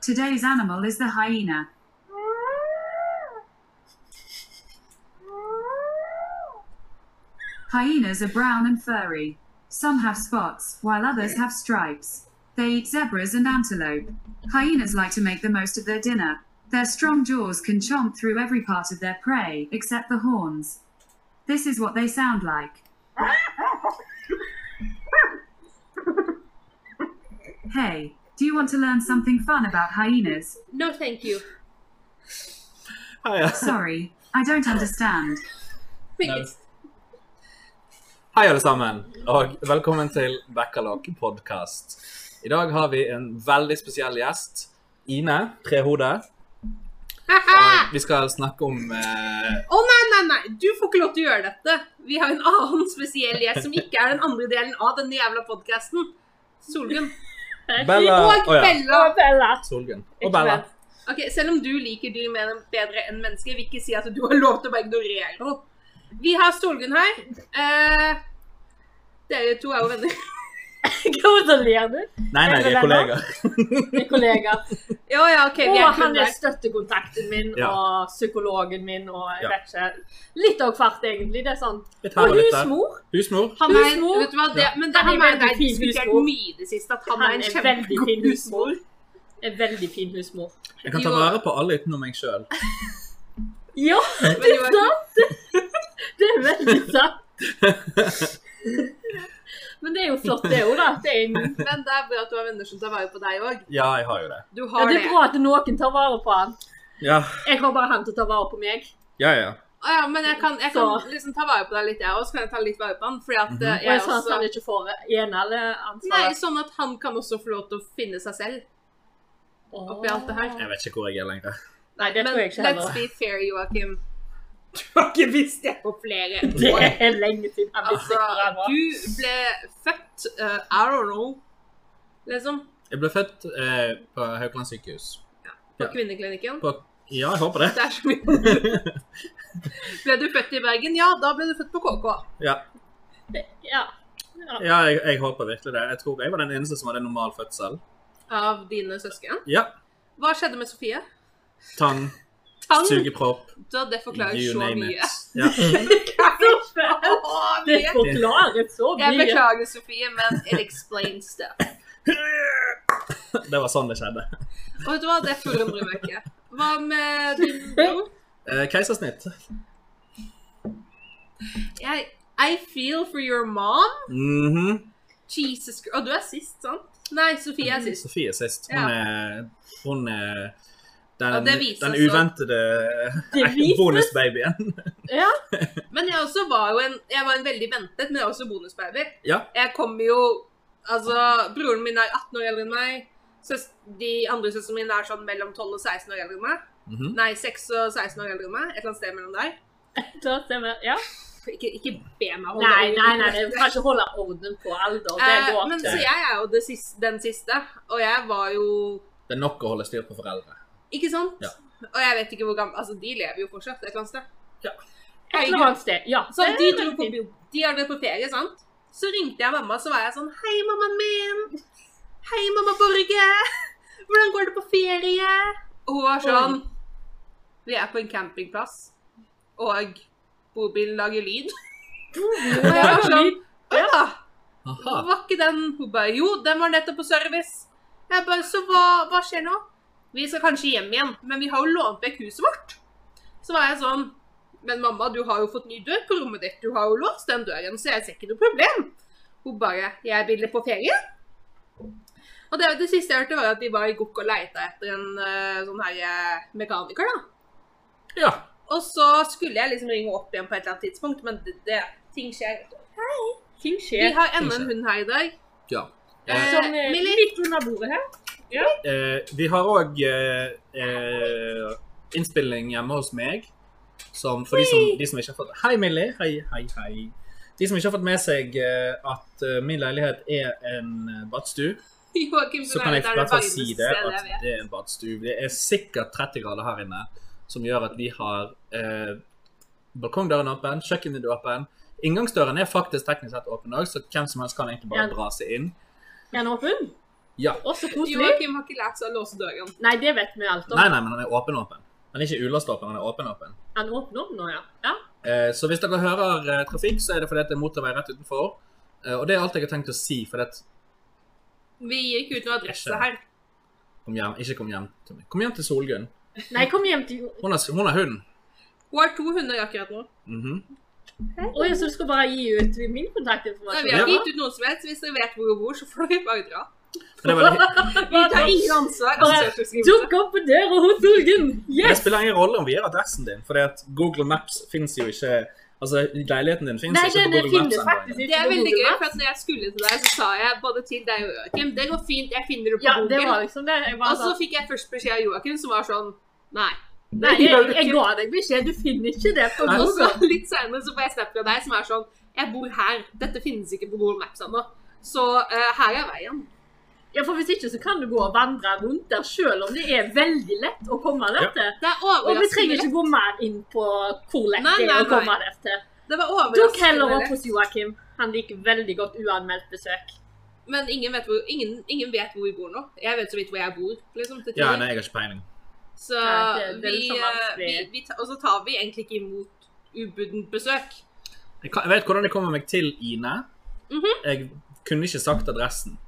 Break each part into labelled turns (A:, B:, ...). A: Today's animal is the hyena. Hyenas are brown and furry. Some have spots, while others have stripes. They eat zebras and antelope. Hyenas like to make the most of their dinner. Their strong jaws can chomp through every part of their prey, except the horns. This is what they sound like. Hey, do you want to learn something fun about hyenas?
B: No, thank you.
C: Hei,
A: Sorry, I don't understand.
B: Please.
C: hei alle sammen, og velkommen til Backlog podcast. I dag har vi en veldig spesiell gjest, Ine Trehode. Og vi skal snakke om eh,
B: Å nei, nei, nei! Du får ikke lov til å gjøre dette. Vi har en annen spesiell gjest som ikke er den andre delen av denne jævla podkasten. Solgunn.
C: Bella
B: Og
C: Å ja,
B: Bella.
D: Bella.
C: Solgunn.
D: Ikke
C: Og Bella.
D: Bella.
B: Ok, Selv om du liker dyr mer enn- bedre enn mennesker, vil ikke si at du har lov til å bare ignorere henne. Vi har Solgunn her. Eh, dere to er jo venner.
D: Gratulerer du?
C: Nei, nei, vi er kollegaer.
D: Min kollega.
B: Ja, ja, ok. Vi
D: Og
B: er kun
D: han er
B: der.
D: støttekontakten min
C: Ja.
D: og psykologen min og jeg
C: Ja.
D: vet ikke. Litt av hvert, egentlig. Det er sånn.
C: Litt her
D: Og
C: og litt der.
D: husmor.
C: Husmor.
B: Han er,
D: Husmor.
B: vet du hva, det,
C: Ja.
B: men det,
D: Han er
B: han er
D: veldig
B: det er
D: fin
B: diskutert
D: husmor.
B: mye i det siste at han,
D: Han
B: er en
D: er veldig
B: kjempegod
D: fin
B: husmor.
D: En veldig fin husmor.
C: Jeg kan ta vare på alle utenom meg sjøl.
D: Ja, det er
B: Joakim-
D: sant! Det er veldig sant. Men det er jo flott, det òg, da. Det er, en-
B: Men det er bra at du har venner som tar vare på deg òg.
C: Ja, jeg har jo det.
B: Du
D: ja,
B: har
D: det er bra at noen tar vare på han.
C: Ja,
D: Jeg har bare han til å ta vare på meg.
C: ja, ja.
B: Å ja, men jeg kan, jeg
D: Så-
B: kan liksom ta vare på deg litt, jeg òg. Så kan jeg ta litt vare på han. Fordi at
C: Mhm.
B: eh,
D: Og
B: jeg
D: jeg sa at
B: også
D: han ikke får ene eller
B: Nei,
D: ansvaret.
B: sånn at han kan også få lov til å finne seg selv. oppi alt det her.
C: Jeg vet ikke hvor jeg er lenger.
D: Nei, det
B: men
D: tror jeg ikke
B: let's
D: heller.
B: be fair, Joakim. Du har ikke visst det på flere
D: Det
B: år.
D: er lenge siden han visste
B: Altså,
D: hvor han var.
B: du ble født eh, I don't know, liksom.
C: Jeg ble født eh, på Haukeland sykehus.
B: På
C: Ja.
B: kvinneklinikken.
C: På Ja, jeg håper det.
B: Det er så mye. Ble du født i Bergen? Ja, da ble du født på KK.
C: Ja,
D: Ja.
C: ja jeg, jeg håper virkelig det. Jeg tror jeg var den eneste som hadde normal fødsel.
B: Av dine søsken.
C: Ja.
B: Hva skjedde med Sofie?
C: Tann,
B: Tang.
C: sugepropp,
B: Da, det forklarer
C: you
B: så
C: name
B: mye.
C: it. Ja.
B: Å,
D: Det
B: mye.
D: forklarer så
B: Jeg
D: mye.
B: beklager, Sofie, men it explains stuff.
C: Det var sånn det skjedde.
B: Og vet du hva, det forundrer meg ikke. Hva med din bror?
C: Eh, keisersnitt.
B: Jeg, I feel for your mom.
C: Mhm.
B: Jesus Christ. Og du er sist, sant? Nei, Sofie er sist.
C: Sofie er sist. Hun
B: Ja.
C: er, hun er
B: Ja,
C: den,
B: det vises
C: den
B: så-
D: Det
C: uventede
D: vises.
C: bonusbabyen.
D: Ja.
B: Men jeg også var jo en, jeg var en veldig ventet, men jeg er også bonusbaby.
C: Ja.
B: Jeg kommer jo, altså, broren min er 18 år eldre enn meg. Søs, de andre søsene mine er sånn mellom 12 og 16 år eldre enn meg.
C: Mhm.
B: Nei, 6 og 16 år eldre enn meg. Et eller annet sted mellom der.
D: Da stemmer. Ja.
B: Ikke, ikke be meg holde
D: Nei,
B: øye
D: nei,
B: med
D: nei, du kan ikke holde orden på alder. Det
B: Eh,
D: går
B: men så
D: ikke.
B: jeg er jo det siste, den siste, og jeg var jo
C: Det er nok å holde styr på foreldre.
B: Ikke sant?
C: Ja.
B: Og jeg vet ikke hvor gammel Altså, de lever jo fortsatt et eller annet sted.
D: Et eller annet sted. Ja.
B: Så
D: det er
B: de dro
D: veldig
B: på
D: fint.
B: De har dratt på ferie, sant? Så ringte jeg mamma, så var jeg sånn Hei, mammaen min! Hei, mamma Borge! Hvordan går det på ferie? Og hun var sånn Vi er på en campingplass, og bobilen lager lyd.
D: Oh,
B: Og jeg var sånn Å ja!
C: Aha.
B: Var ikke den Hun bare Jo, den var nettopp på service. Jeg bare Så hva, hva skjer nå? Vi skal kanskje hjem igjen, men vi har jo lånt vekk huset vårt. Så var jeg sånn Men mamma, du har jo fått ny dør på rommet ditt. Du har jo låst den døren, så jeg ser ikke noe problem. Hun bare Jeg ville på ferie. Og det, det siste jeg hørte, var at de var i Gokk og leita etter en eh, sånn her eh, mekaniker, da.
C: Ja.
B: Og så skulle jeg liksom ringe opp igjen på et eller annet tidspunkt, men det, det ting skjer.
D: Ting
B: Vi
D: skjer.
B: har enda en hund her i dag.
C: ja.
B: Eh,
D: Som er
B: Millie?
D: litt under bordet her.
C: Eh, vi har òg eh, eh, innspilling hjemme hos meg. Som for de som, de som ikke har fått Hei, Millie. Hei, hei, hei. De som ikke har fått med seg eh, at eh, min leilighet er en eh, badstue,
B: Joakim,
C: så kan jeg i
B: er det
C: hvert fall
B: varmeste
C: si det,
B: stedet jeg
C: at
B: vet.
C: det er en badstue. Det er sikkert 30 grader her inne, som gjør at vi har eh, balkongdøren åpen, kjøkkenvinduet åpen. Inngangsdøren er faktisk teknisk sett åpen òg, så hvem som helst kan egentlig bare
D: Ja.
C: dra seg inn.
D: Er den åpen?
C: Ja.
D: Å, så koselig.
B: Joakim har ikke lært seg å låse døren.
D: Nei, det vet vi alt om.
C: Nei, nei, men han er åpen-åpen. Han er ikke ulåst åpen, han er åpen-åpen.
D: Han åpner opp nå, ja. ja.
C: Eh, så hvis dere hører eh, trafikk, så er det fordi at det er motorvei rett utenfor. Eh, og det er alt jeg har tenkt å si, for det
B: Vi gikk ut med adresse her.
C: kom hjem, ikke kom hjem til meg. Kom hjem til Solgunn.
D: Nei, kom hjem til Å
C: Hun har, hun har hund.
B: Hun har to hunder akkurat nå.
C: Mhm.
D: ja, så du skal bare gi ut min
B: Nei,
D: kontaktinformasjon?
B: vi har ikke
D: Ja.
B: gitt ut noen som helst. Hvis dere vet hvor hun bor, så får dere bare dra.
C: Men det, er veldig,
B: Vi tar ingen ansvar. ansvarsforskrivelse.
D: Dukk opp på døra hos Solgunn!
C: det
D: Yes!
C: spiller ingen rolle om vi gir adressen din, for Google Maps fins jo ikke Altså, leiligheten din fins
D: Nei,
C: ikke
D: den
C: på Google Maps
D: finnes
C: ennå.
D: faktisk ikke
B: Det er
D: på
B: veldig
D: Google
B: gøy,
D: Maps.
B: for at når jeg skulle til deg, så sa jeg både til deg og Joakim Det går fint, jeg finner det på
D: Ja, det
B: Google. Altså,
D: var liksom det. Jeg, bare,
B: Og så fikk jeg først beskjed av Joakim, som var sånn Nei.
D: nei, jeg, jeg ga deg beskjed, du finner ikke det på
C: Nei.
B: Og så
D: Google.
B: litt senere så får jeg snap fra deg som er sånn Jeg bor her. Dette finnes ikke på Google Maps ennå. Så eh, her er veien.
D: Ja, for Hvis ikke så kan du gå og vandre rundt der selv om det er veldig lett å komme der
C: Ja.
D: til.
B: Det er
D: Og vi
B: overraskende
D: trenger ikke gå mer inn på hvor lett
B: Nei,
D: det
B: nei,
D: er å komme
B: nei.
D: der til.
B: lett. Det var
D: Dukk heller
B: overraskende
D: opp hos Joakim. Han liker veldig godt uanmeldt besøk.
B: lett. Men ingen vet, hvor, ingen, ingen vet hvor vi bor nå. Jeg vet så vidt hvor jeg bor. Liksom, til
C: Ja,
B: tider.
C: nei, jeg har ikke peiling.
B: Så
D: Nei, det- det er liksom
B: vi,
D: så
B: eh, vi,
D: vanskelig.
B: vi ta- Og så tar vi egentlig ikke imot ubudent besøk.
C: Jeg, kan, jeg vet hvordan jeg kommer meg til Ine.
B: Mhm.
C: Jeg kunne ikke sagt adressen.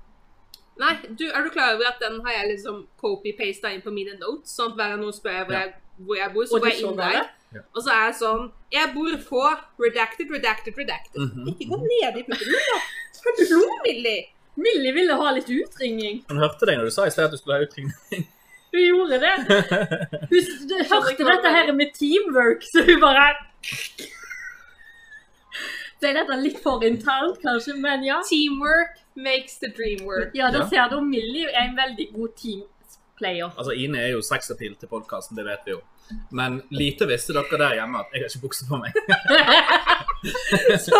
B: Nei, du, er du klar over at den har jeg liksom copy-pasta inn på mine notes? Sånn at hver gang noen spør jeg hvor,
C: Ja.
B: jeg hvor jeg bor, så
D: Og
B: går
D: du
B: jeg
D: så
B: inn
D: bare
B: der.
D: det?
C: Ja.
B: Og så er jeg sånn Jeg bor på redacted, redacted, redacted.
C: Mhm.
B: Ikke gå ned i puppen min, da! Hallo, Millie!
D: Millie ville ha litt utringning.
C: Hun hørte deg når du sa i sted at du skulle ha utringning.
D: Hun gjorde det. Hun s- d- hørte dette her med teamwork, så hun bare Ble dette litt for internt, kanskje, men ja.
B: Teamwork makes the dream work.
D: Ja, da
C: Ja.
D: ser du om Millie er en veldig god teamplayer.
C: Altså, Ine er jo sexappeal til podkasten, det vet vi jo. Men lite visste dere der hjemme at jeg har ikke bukse på meg.
D: Så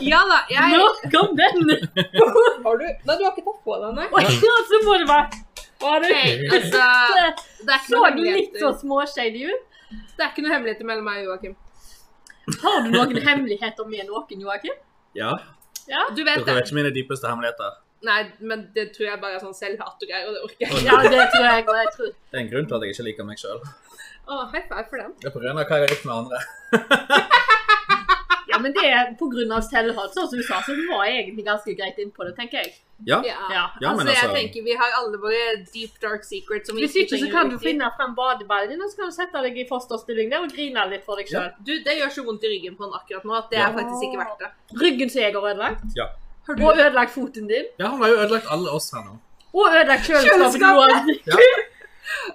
B: Ja da, jeg
D: nok om den!
B: Har du Nei, du har ikke tatt på deg, nei.
D: Og så må det være Var det
B: Hey, altså, det er ikke
D: Så
B: noe
D: du litt
B: hemmeligheter.
D: sånn- så småshady ut?
B: Det er ikke noe hemmeligheter mellom meg og Joakim.
D: Har du noen hemmeligheter med noen, Joakim?
C: Ja,
B: Du vet
C: Dere
B: det.
C: vet ikke mine dypeste hemmeligheter.
B: Nei, men det tror jeg bare er sånn selvhat og greier, og det orker jeg ikke.
D: Ja, det tror jeg. Og jeg tror.
C: Det er en grunn til at jeg ikke liker meg sjøl.
B: Å, high five for den.
C: Det er på grunn av hva jeg har gjort med andre.
D: Ja, men det er pga. selvhat, sånn som du sa. Så hun var egentlig ganske greit innpå det, tenker jeg.
C: Ja,
B: Ja.
D: Ja.
C: ja
B: altså,
C: men
B: jeg
C: altså
B: tenker vi har alle våre deep dark secrets som vi
D: Hvis ikke, så
B: trenger
D: kan
B: å
D: du
B: utgi.
D: finne frem badeballen din, og så kan du sette deg i fosterstilling der og grine litt for deg sjøl.
B: Du, det gjør så vondt i ryggen på han akkurat nå at det
C: Ja.
B: er faktisk ikke verdt det.
D: Ryggen som jeg har ødelagt,
B: Har du
D: og ødelagt foten din,
C: Ja, han har jo ødelagt alle oss her nå.
D: og ødelagt kjøleskapet du har.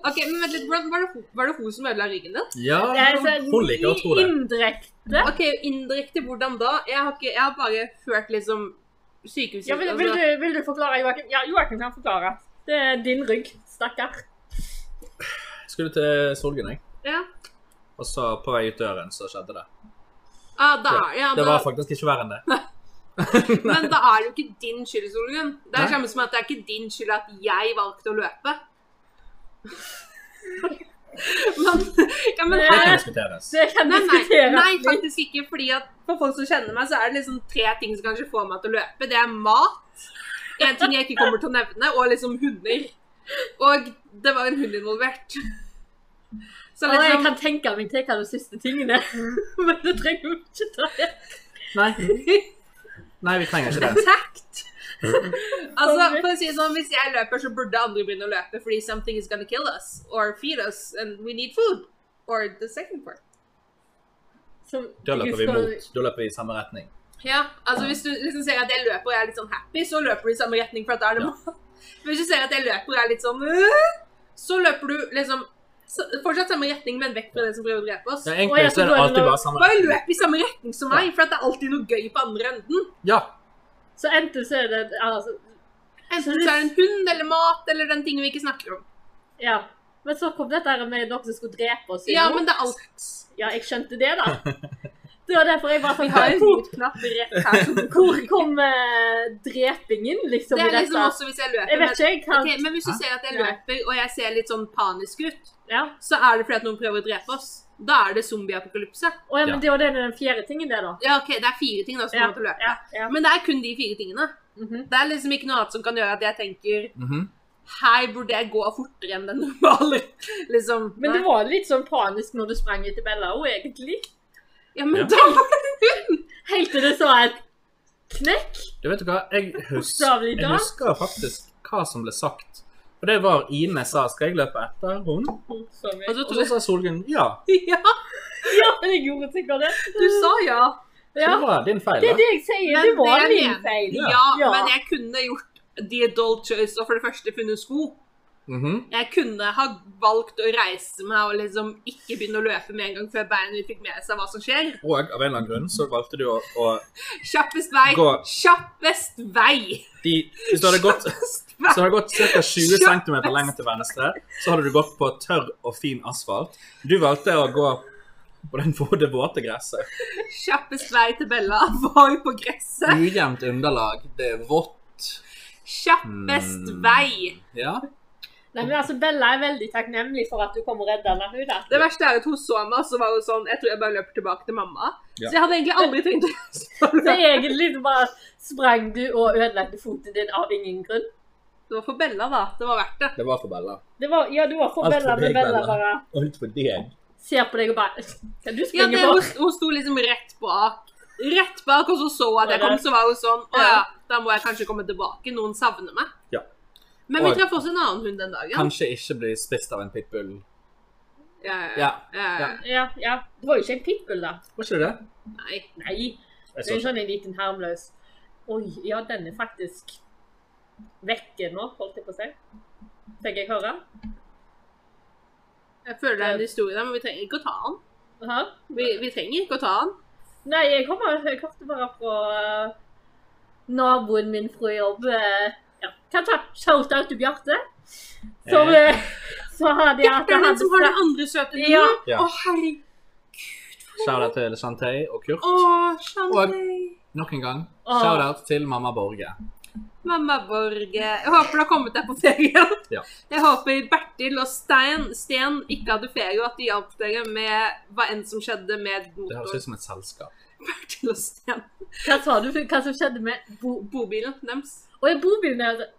B: Ok, men vent litt, hvordan var det, ho- var det hun som ødela ryggen din?
C: Ja,
D: Det er så
C: hun liker å tro det.
D: Indirekte.
B: Ok, indirekte hvordan da? Jeg har, ikke, jeg har bare hørt liksom sykehuset. altså.
D: Ja, vil, vil, du, vil du forklare, Joakim? Ja, Joakim kan forklare. Det er din rygg, stakkar.
C: Skulle til Solgunn, jeg.
B: Ja.
C: Og så på vei ut døren, så skjedde det.
B: Ah, da, ja,
C: Det
B: da,
C: var faktisk ikke verre enn det.
B: men da er det jo ikke din skyld, Solgunn. Det er
C: Nei.
B: det samme som at det er ikke din skyld at jeg valgte å løpe. men, ja, men
D: Det
C: Det kan diskuteres.
D: Så jeg kan
B: Nei, nei,
D: diskutere.
B: nei, faktisk ikke. fordi at For folk som kjenner meg, så er det liksom tre ting som kanskje får meg til å løpe. Det er mat, en ting jeg ikke kommer til å nevne, og liksom hunder. Og det var en hund involvert. Så
D: Og jeg
B: liksom
D: kan tenke meg til hva de siste tingene er. Men det trenger jo ikke ta det.
C: Nei. Nei, vi trenger ikke det.
B: Tact. altså, for å si det sånn, Hvis jeg løper, så burde andre begynne å løpe fordi something is gonna kill us or feed us and we need food. Or the second part.
D: Så-
C: Da løper vi mot. Da løper vi i samme retning.
B: Ja, altså Hvis du liksom ser at jeg løper og jeg er litt sånn happy, så løper du i samme retning. for at da er det
C: Ja.
B: mat. Hvis du ser at jeg løper og jeg er litt sånn øh, Så løper du liksom så, fortsatt samme retning, men vekk fra det som prøver å drepe oss.
C: Ja,
D: Og jeg
C: egentlig så er det
D: tror
C: alltid
D: det var-
C: bare samme
B: Bare
C: retning.
B: løp i samme retning som meg, for at det er alltid noe gøy på andre enden.
C: Ja.
D: Så enten så er det altså,
B: Enten så er det en hund eller mat eller den tingen vi ikke snakker om.
D: Ja. Men så kom dette her med noen som skulle drepe oss. i
B: Ja,
D: nord.
B: men det er alt.
D: ja, jeg skjønte det, da. Det var derfor jeg var sånn
B: Vi har en
D: hvor,
B: motknapp rett her. som du
D: hvor kom eh, drepingen, liksom,
B: Det
D: i
B: er
D: dette?
B: liksom også hvis jeg løper.
D: jeg vet ikke, jeg
B: men,
D: kan
B: Ok, men hvis du ser at jeg
D: Nei.
B: løper, og jeg ser litt sånn panisk ut,
D: ja.
B: så er det fordi at noen prøver å drepe oss. Da er det zombieapokalypse.
D: Å, ja, men det var det med den fjerde tingen, det, da.
B: Ja, ok, det er fire ting da som
D: Ja,
B: kommer til å løpe.
D: ja, Mhm. ja.
B: Men det er kun de fire tingene. Det er liksom ikke noe annet som kan gjøre at jeg tenker
C: Mhm.
B: Her burde jeg gå fortere enn den normale. Liksom.
D: Men
B: nei.
D: du var litt sånn panisk når du sprang etter Bella òg, egentlig.
B: ja, men
C: Ja.
B: da
D: Helt til det så et knekk.
C: Du vet hva, jeg husker,
D: Bokstavelig
C: jeg
D: talt.
C: husker faktisk hva som ble sagt. Og det var Ine sa 'skal jeg løpe etter henne?'
D: Sorry.
B: Og så
C: Og så sa Solgunn 'ja'.
B: Ja,
D: Ja, men jeg gjorde sikkert det.
B: du sa ja.
C: Så
D: Ja,
C: det var din feil,
D: det er
C: da.
D: det jeg sier.
B: Men
D: Det var
B: det jeg
D: min
B: mener.
D: feil.
C: Ja.
B: Ja,
D: Ja.
B: men jeg kunne gjort the adult choice og for det første funnet sko.
C: Mhm.
B: Jeg kunne ha valgt å reise meg og liksom ikke begynne å løpe med en gang før beina mine fikk med seg hva som skjer.
C: Og av en eller annen grunn så valgte du å, å
B: Kjappest vei.
C: Gå.
B: Kjappest vei.
C: de, Hvis du hadde gått
B: Kjappest
C: Så
B: vei.
C: har det gått ca. 20
B: Ja.
C: cm lenger til venstre. Så hadde du gått på tørr og fin asfalt. Du valgte å gå på den vå- det våte gresset.
B: Kjappest vei til Bella var jo på gresset.
C: Ujevnt underlag. Det er vått.
B: Kjappest
C: Mm.
B: vei.
C: Ja.
D: Nei, men altså, Bella er veldig takknemlig for at du kom og redda henne. hun, da.
B: Det verste er at hun så meg, og så var hun sånn Jeg tror jeg bare løper tilbake til mamma.
C: Ja.
B: Så jeg hadde egentlig aldri tenkt å
D: Så egentlig så bare sprang du og ødelagte foten din av ingen grunn.
B: Det var for Bella, da. Det var verdt det.
C: Det var for Bella.
D: Det var, ja, du var for
C: Alt for
D: Bella, men
C: deg,
D: Bella
C: Bella.
D: bare
C: Og ut for deg.
D: ser på deg og bare Kan du
B: Ja,
D: springe
B: det,
D: på?
B: hun, hun sto liksom rett bak. Rett bak, og så så hun at jeg kom, så var hun sånn Å ja, da må jeg kanskje komme tilbake. Noen savner meg.
C: Ja.
B: Men vi
C: Og-
B: traff også en annen hund den dagen.
C: Kanskje ikke bli spist av en pitbull.
B: Ja, ja,
C: Ja.
B: ja, ja.
D: Ja, ja. Det var jo ikke en pitbull, da.
C: Var ikke det det?
B: Nei.
D: Nei.
C: Jeg
D: Det er
C: så
D: jo
C: ikke.
D: sånn en liten harmløs Oi, ja, den er faktisk vekke nå, holdt jeg på å si. Fikk jeg høre?
B: Jeg føler det er en historie der, men vi trenger ikke å ta den.
D: Aha.
B: Vi, vi trenger ikke å ta den.
D: Nei, jeg kommer jeg hørte bare fra eh, naboen min fra jobb. eh, Ja, kan ta shout-out til Bjarte. Som eh, Så hadde jeg at
B: Bjarte er
D: han
B: den som har den andre søte hunden.
D: Ja.
C: Ja.
B: Å, herregud.
C: Shout-out til Shantay og Kurt.
B: Å, Shantay.
C: Nok en gang.
D: Åh.
C: Shout-out til mamma Borge.
B: Mamma Borge. Jeg håper du har kommet deg på ferie.
C: Ja.
B: Jeg håper Bertil og Stein, Sten ikke hadde ferie, og at de hjalp dere med hva enn som skjedde med
C: Det høres ut
B: motoren.
C: som et selskap.
B: Bertil og Sten.
D: Hva sa du? Hva som skjedde med
B: Bo bobilen deres.
D: Og jeg bor jo nede.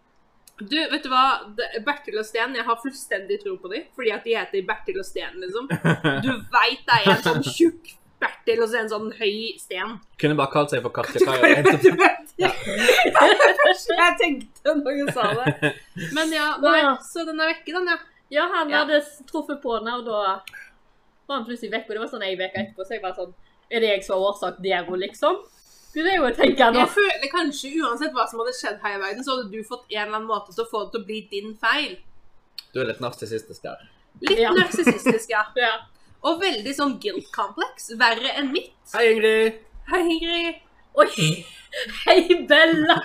B: Du, vet du hva? Det- Bertil og Sten, jeg har fullstendig tro på dem. Fordi at de heter Bertil og Sten, liksom. Du veit det er en sånn tjukk Bertil og så en sånn høy Sten.
C: Kunne bare kalt seg for Katja
B: Du kan jo
C: Kaja.
B: du vet det. Første jeg tenkte når hun sa det. Men ja, nei,
D: Ja.
B: så den er vekke, den, ja.
D: Ja, han
B: Ja.
D: hadde truffet på henne, og da var han plutselig vekk. Og det var sånn ei uke etterpå, så jeg bare sånn Er det jeg som har årsak der òg, liksom? Begynner jeg jo å tenke nå.
B: Jeg føler kanskje uansett hva som hadde skjedd her i verden, så hadde du fått en eller annen måte til å få det til å bli din feil.
C: Du er litt narsissistisk der.
B: Litt
D: Ja.
B: narsissistisk, ja.
D: Ja.
B: Og veldig sånn guilt complex. Verre enn mitt.
C: Hei, Ingrid.
B: Hei, Ingrid.
D: Oi! Hei, Bella!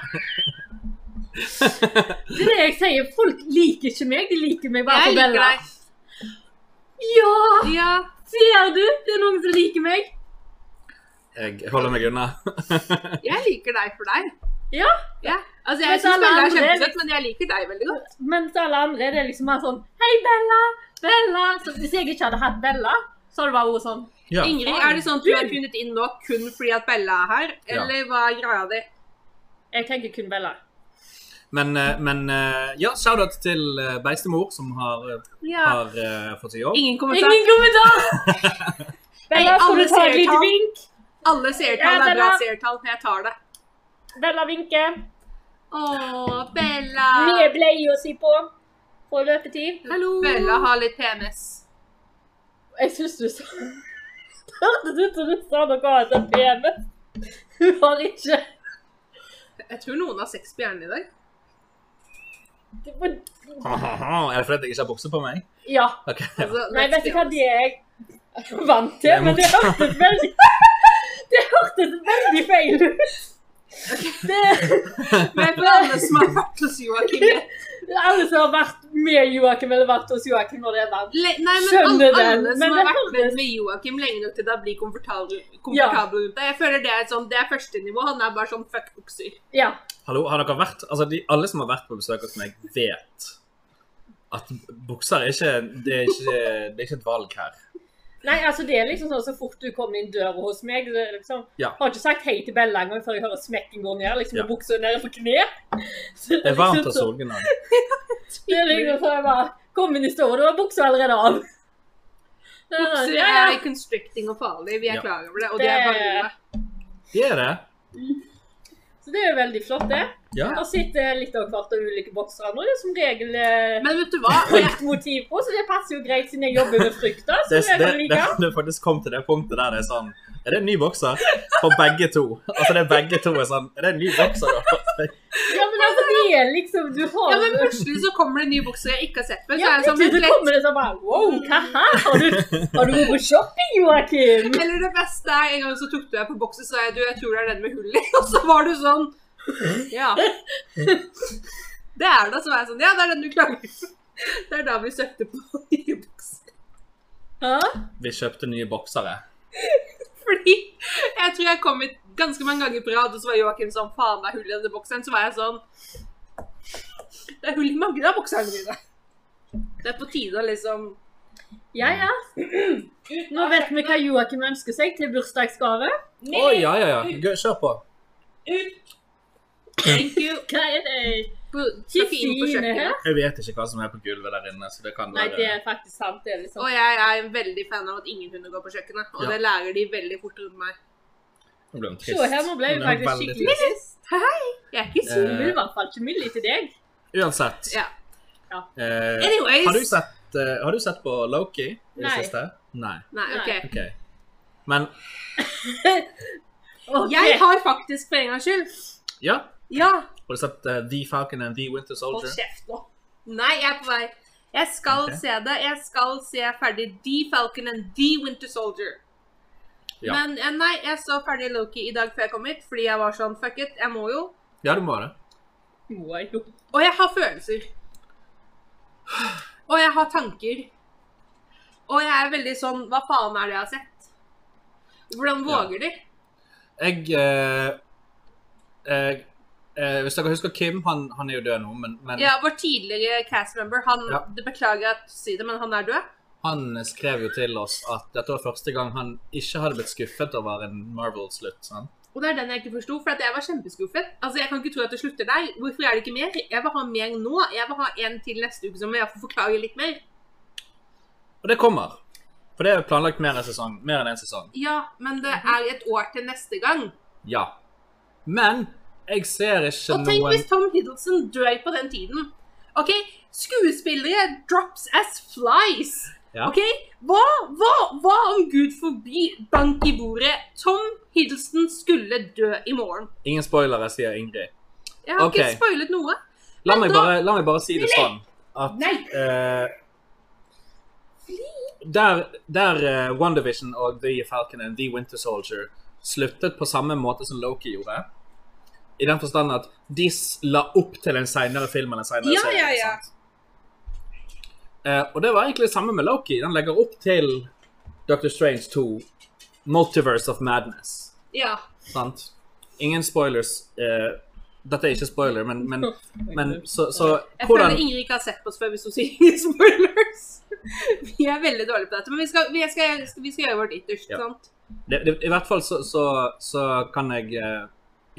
D: Det er det jeg sier. Folk liker ikke meg. De liker meg bare
B: Jeg
D: for
B: liker
D: Bella.
B: deg.
D: Ja!
B: Ja.
D: Ser du? Det er noen som liker meg.
C: Jeg holder meg unna.
B: Jeg liker deg for deg.
D: Ja.
B: ja. Altså,
D: Men
B: jeg syns
D: alle
B: Bella er
D: andre er
B: kjempesøt, men jeg liker deg veldig godt.
D: Mens alle andre det er liksom bare sånn Hei, Bella! Bella! Så hvis jeg ikke hadde hatt Bella, så hadde det bare vært sånn
C: Ja.
B: Ingrid, er det sånn at du er kunnet inn nå kun fordi at Bella er her,
C: Ja.
B: eller hva er greia di?
D: Jeg tenker kun Bella.
C: Men, eh, men eh, ja, shout-out til eh, beistemor som har, eh,
B: Ja.
C: har eh, fått seg jobb.
B: Ingen kommentar.
D: Ingen kommentar! Bella,
B: Hei,
D: skal
B: alle
D: du ta
B: ser
D: et lite
B: tall.
D: vink?
B: Alle seertall
D: Ja,
B: er bra
D: Bella.
B: seertall. Jeg tar det.
D: Bella vinker.
B: Å, Bella.
D: Mye bleie å sy på. På løpetid.
B: Bella har litt PMS.
D: Jeg syns du sa Det hørtes ut som du sa noe annet enn PM. Hun har ikke
B: Jeg tror noen har sex på hjernen i dag.
D: det var-
C: Er det fordi jeg ikke har bukse på meg?
D: Ja.
C: Ok.
B: Altså,
D: Nei,
B: let's
D: vet
B: be
D: du hva
B: honest.
D: det er jeg vant til,
C: Det er
D: men det hørtes veldig Det hørtes veldig feil ut. Det
B: Men for alle som har vært hos Joakim
D: Alle som har vært med Joakim eller vært hos Joakim når det er varmt.
B: le- Nei, men alle,
D: Skjønner den,
B: alle
D: men
B: som har
D: det
B: vært
D: holdes.
B: med, med Joakim lenge nok til det blir komfortabel komfortabel rundt deg. Jeg føler det er et sånn, det er første nivå. Han er bare sånn fuck bukser.
D: Ja.
C: Hallo, har dere vært Altså, de, alle som har vært på besøk hos meg, vet at bukser er ikke Det er ikke, det er ikke et valg her.
D: Nei, altså det er liksom sånn så fort du kommer inn døra hos meg, så er det liksom
C: Ja.
D: Har ikke sagt hei til Bella engang før jeg hører smekken gå ned, liksom
C: Ja.
D: med buksa nede på kne. Så
C: Det er varmt
D: liksom
C: og
D: så-
C: solgnad.
D: Det er liksom så jeg bare Kom inn i stua, da var buksa allerede av.
B: Bukser
D: Ja, ja.
B: er constricting og farlig. Vi er
C: Ja.
B: klar over det. Og
D: Det-
B: det er bare
C: Det er det.
D: Så det er jo veldig flott, det.
C: Ja.
D: Her sitter litt av hvert av ulike boksere nå, det er som regel eh,
B: Men vet du hva? Jeg,
D: fryktmotiv på, så det passer jo greit siden jeg jobber med frykt, da.
C: Det,
D: Som jeg
C: det, det,
D: kan like.
C: det faktisk kom til det punktet der det er sånn Er det en ny bokser? For begge to. Altså det er begge to er sånn Er det en ny bokser, da?
D: Ja, men altså, det er liksom Du har
B: ja, men plutselig så kommer det en ny bukse jeg ikke har sett før. Så
D: Ja,
B: er jeg sånn Mm. vent
D: plutselig så
B: litt.
D: kommer det sånn bare Wow, hva her? Har du, har du vært på shopping, Joakim?
B: Eller det beste er en gang så tok du deg på boksen og sa jeg, du, jeg tror det er den med hull i. Og så var du sånn Ja. Det er det. Så var jeg sånn Ja, det er den du klager på. Det er da vi søkte på nye bukser.
D: Hæ?
C: Vi kjøpte nye boksere.
B: Fordi jeg tror jeg kom hit ganske mange ganger på rad, og så var Joakim sånn Faen, det er hull i denne boksen. Så var jeg sånn Det er hull i mange av bokserne mine. Det er på tide å liksom
D: Ja, ja. Nå vet vi hva Joakim ønsker seg til bursdagsgave.
C: Å ja, ja, ja. Gøy, Kjør på.
B: Thank you.
D: Hva er det?
B: På- Trykke inn på
D: Kristine her?
B: kjøkkenet.
C: Jeg vet ikke hva som er på gulvet der inne, så det kan
D: Nei, det
C: være
D: er faktisk sant. Det er litt
B: Og
D: sånn.
B: jeg er en veldig fan av at ingen hunder går på kjøkkenet. Og
C: Ja.
B: det lærer de veldig fort rundt meg.
C: Nå ble hun
D: Se
C: trist.
D: her, nå ble vi
C: Hun er
D: faktisk
C: veldig
D: skikkelig trist.
B: Jeg er ikke
D: Så hun vil i hvert fall ikke milde til deg.
C: Uansett.
B: Ja.
D: Ja.
C: Eh,
B: Anyways.
C: har, du sett, eh, har du sett på Loki i det
D: Nei.
C: siste? Nei.
B: Nei, ok.
C: OK. Men
D: Ok.
B: Jeg har faktisk, for en gangs skyld
C: ja.
B: Ja.
C: Har du sett eh, The Falcon and The Winter
B: Hold
C: Soldier?
B: kjeft nå. Nei, jeg er på vei. Jeg skal
C: Ok.
B: se det. Jeg skal se ferdig The Falcon and The Winter Soldier.
C: Ja.
B: Men eh, nei, jeg så ferdig Loki i dag før jeg kom hit, fordi jeg var sånn fuck it, jeg må jo.
C: Ja, du må det.
D: Må jeg jo.
B: Og jeg har følelser. Og jeg har tanker. Og jeg er veldig sånn Hva faen er det jeg har sett? Hvordan
C: Ja.
B: våger de?
C: Jeg eh, jeg- eh, Hvis dere husker Kim, han, han er jo død nå, men, men
B: Ja, Vår tidligere cast member, han
C: Ja.
B: det Beklager at jeg sier det, men han er død.
C: han skrev jo til oss at dette var første gang han ikke hadde blitt skuffet over en Marvel-slutt. sant?
B: Og det er den jeg ikke forsto, for at jeg var kjempeskuffet. Altså, Jeg kan ikke tro at det slutter der. Hvorfor er det ikke mer? Jeg vil ha mer nå. Jeg vil ha en til neste uke som jeg får forklare litt mer.
C: Og det kommer. For det er jo planlagt mer enn sesong, mer enn en sesong.
B: Ja, men
C: Mhm.
B: det er et år til neste gang.
C: Ja. Men jeg ser ikke
B: Og tenk
C: noen
B: hvis Tom Hiddleston dør på den tiden. Ok, Skuespillere drops as flies.
C: Ja.
B: Ok, hva, hva, hva om Gud forby bank i bordet? Tom Hiddleston skulle dø i morgen.
C: Ingen spoilere, sier Ingrid.
B: Jeg har
C: Ok.
B: ikke spoilet noe.
C: La
B: Men
C: meg
B: da-
C: bare, la meg bare si det sånn at
B: Nei.
C: eh, Der, der eh, WandaVision og The Falcon and The Winter Soldier sluttet på samme måte som Loki gjorde. I den forstand at de s- la opp til en seinere film eller en seinere
B: Ja,
C: serie.
B: ja, ja.
C: sant? Eh, og det var egentlig det samme med Loki. Den legger opp til Doctor Strange 2, Multiverse of Madness.
B: Ja.
C: Sant? Ingen spoilers. eh, dette er ikke spoiler, men, men, men så, så
B: Jeg
C: hvordan
B: føler Ingrid ikke har sett på oss før hvis hun sier spoilers. Vi er veldig dårlige på dette, men vi skal, vi skal, vi skal gjøre vårt ytterst.
C: Ja.
B: sant?
C: det, det, I hvert fall så, så, så kan jeg eh,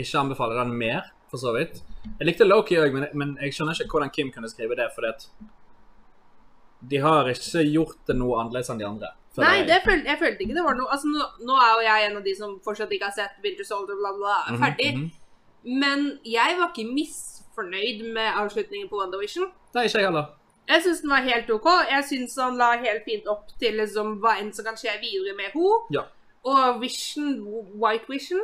C: ikke anbefale den mer, for så vidt. Jeg likte Loki òg, men, men jeg skjønner ikke hvordan Kim kunne skrive det. fordi at de har ikke gjort det noe annerledes enn de andre. føler
B: Nei,
C: jeg.
B: det føl, jeg følte ikke det var noe altså, nå, nå er jo jeg en av de som fortsatt ikke har sett Winter Soldier, bla, bla, bla,
C: Mhm,
B: ferdig.
C: mhm.
B: Men jeg var ikke misfornøyd med avslutningen på WandaVision.
C: Nei, ikke jeg heller.
B: Jeg syns den var helt OK. Jeg syns han la helt fint opp til liksom, hva enn som kan skje videre med henne.
C: Ja.
B: Og Vision White Vision.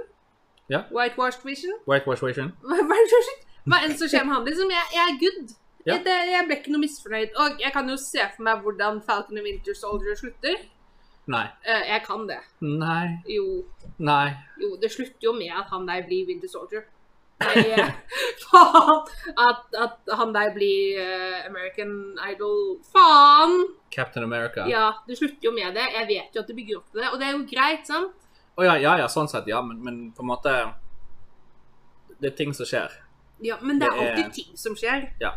C: Ja.
B: Whitewashed Vision.
C: Whitewash Vision.
B: Hva hva er det som skjer? Hva enn som skjer med han, liksom. Jeg, jeg er good.
C: Ja.
B: Jeg, det, jeg ble ikke noe misfornøyd. Og jeg kan jo se for meg hvordan Falcon and Winter Soldier slutter.
C: Nei.
B: Eh, jeg kan det.
C: Nei.
B: Jo,
C: Nei.
B: jo, det slutter jo med at han der blir Winter Soldier. Nei, eh, faen! At, at han der blir eh, American Idol. Faen!
C: Captain America. Å ja.
B: Ja, det slutter jo med det. Jeg vet jo at det bygger opp til det, og det er jo greit, sant?
C: ja, ja, sånn sett, ja. Men, men på en måte Det er ting som skjer.
B: Ja, men det er
C: Det er-
B: alltid ting som skjer.
C: Ja.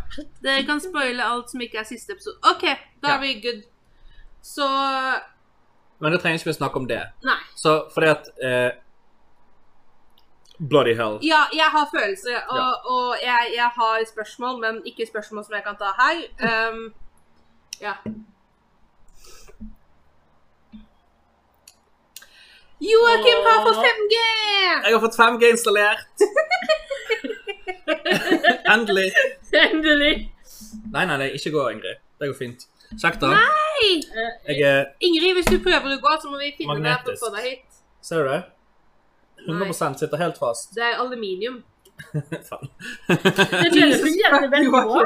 B: Dere kan spoile alt som ikke er siste episode. OK, da
C: Ja.
B: er vi good. Så
C: Men da trenger ikke vi snakke om det.
B: Nei.
C: Så fordi at eh, Bloody hell.
B: Ja, jeg har følelser, og, og jeg, jeg har spørsmål, men ikke spørsmål som jeg kan ta her. Ehm, ja. Joakim har fått 5G!
C: Jeg har fått 5G installert! Endelig.
D: Endelig.
C: Nei, nei, det ikke gå, Ingrid. Det går fint. Kjekt, da.
D: Eh,
C: Jeg er
B: Ingrid, hvis du prøver å gå, så må vi finne deg
C: Magnetisk.
B: for å få deg hit.
C: Ser du det? 100 sitter helt fast.
B: Det er aluminium.
C: Faen.
D: Det kjennes som jevnebelt på.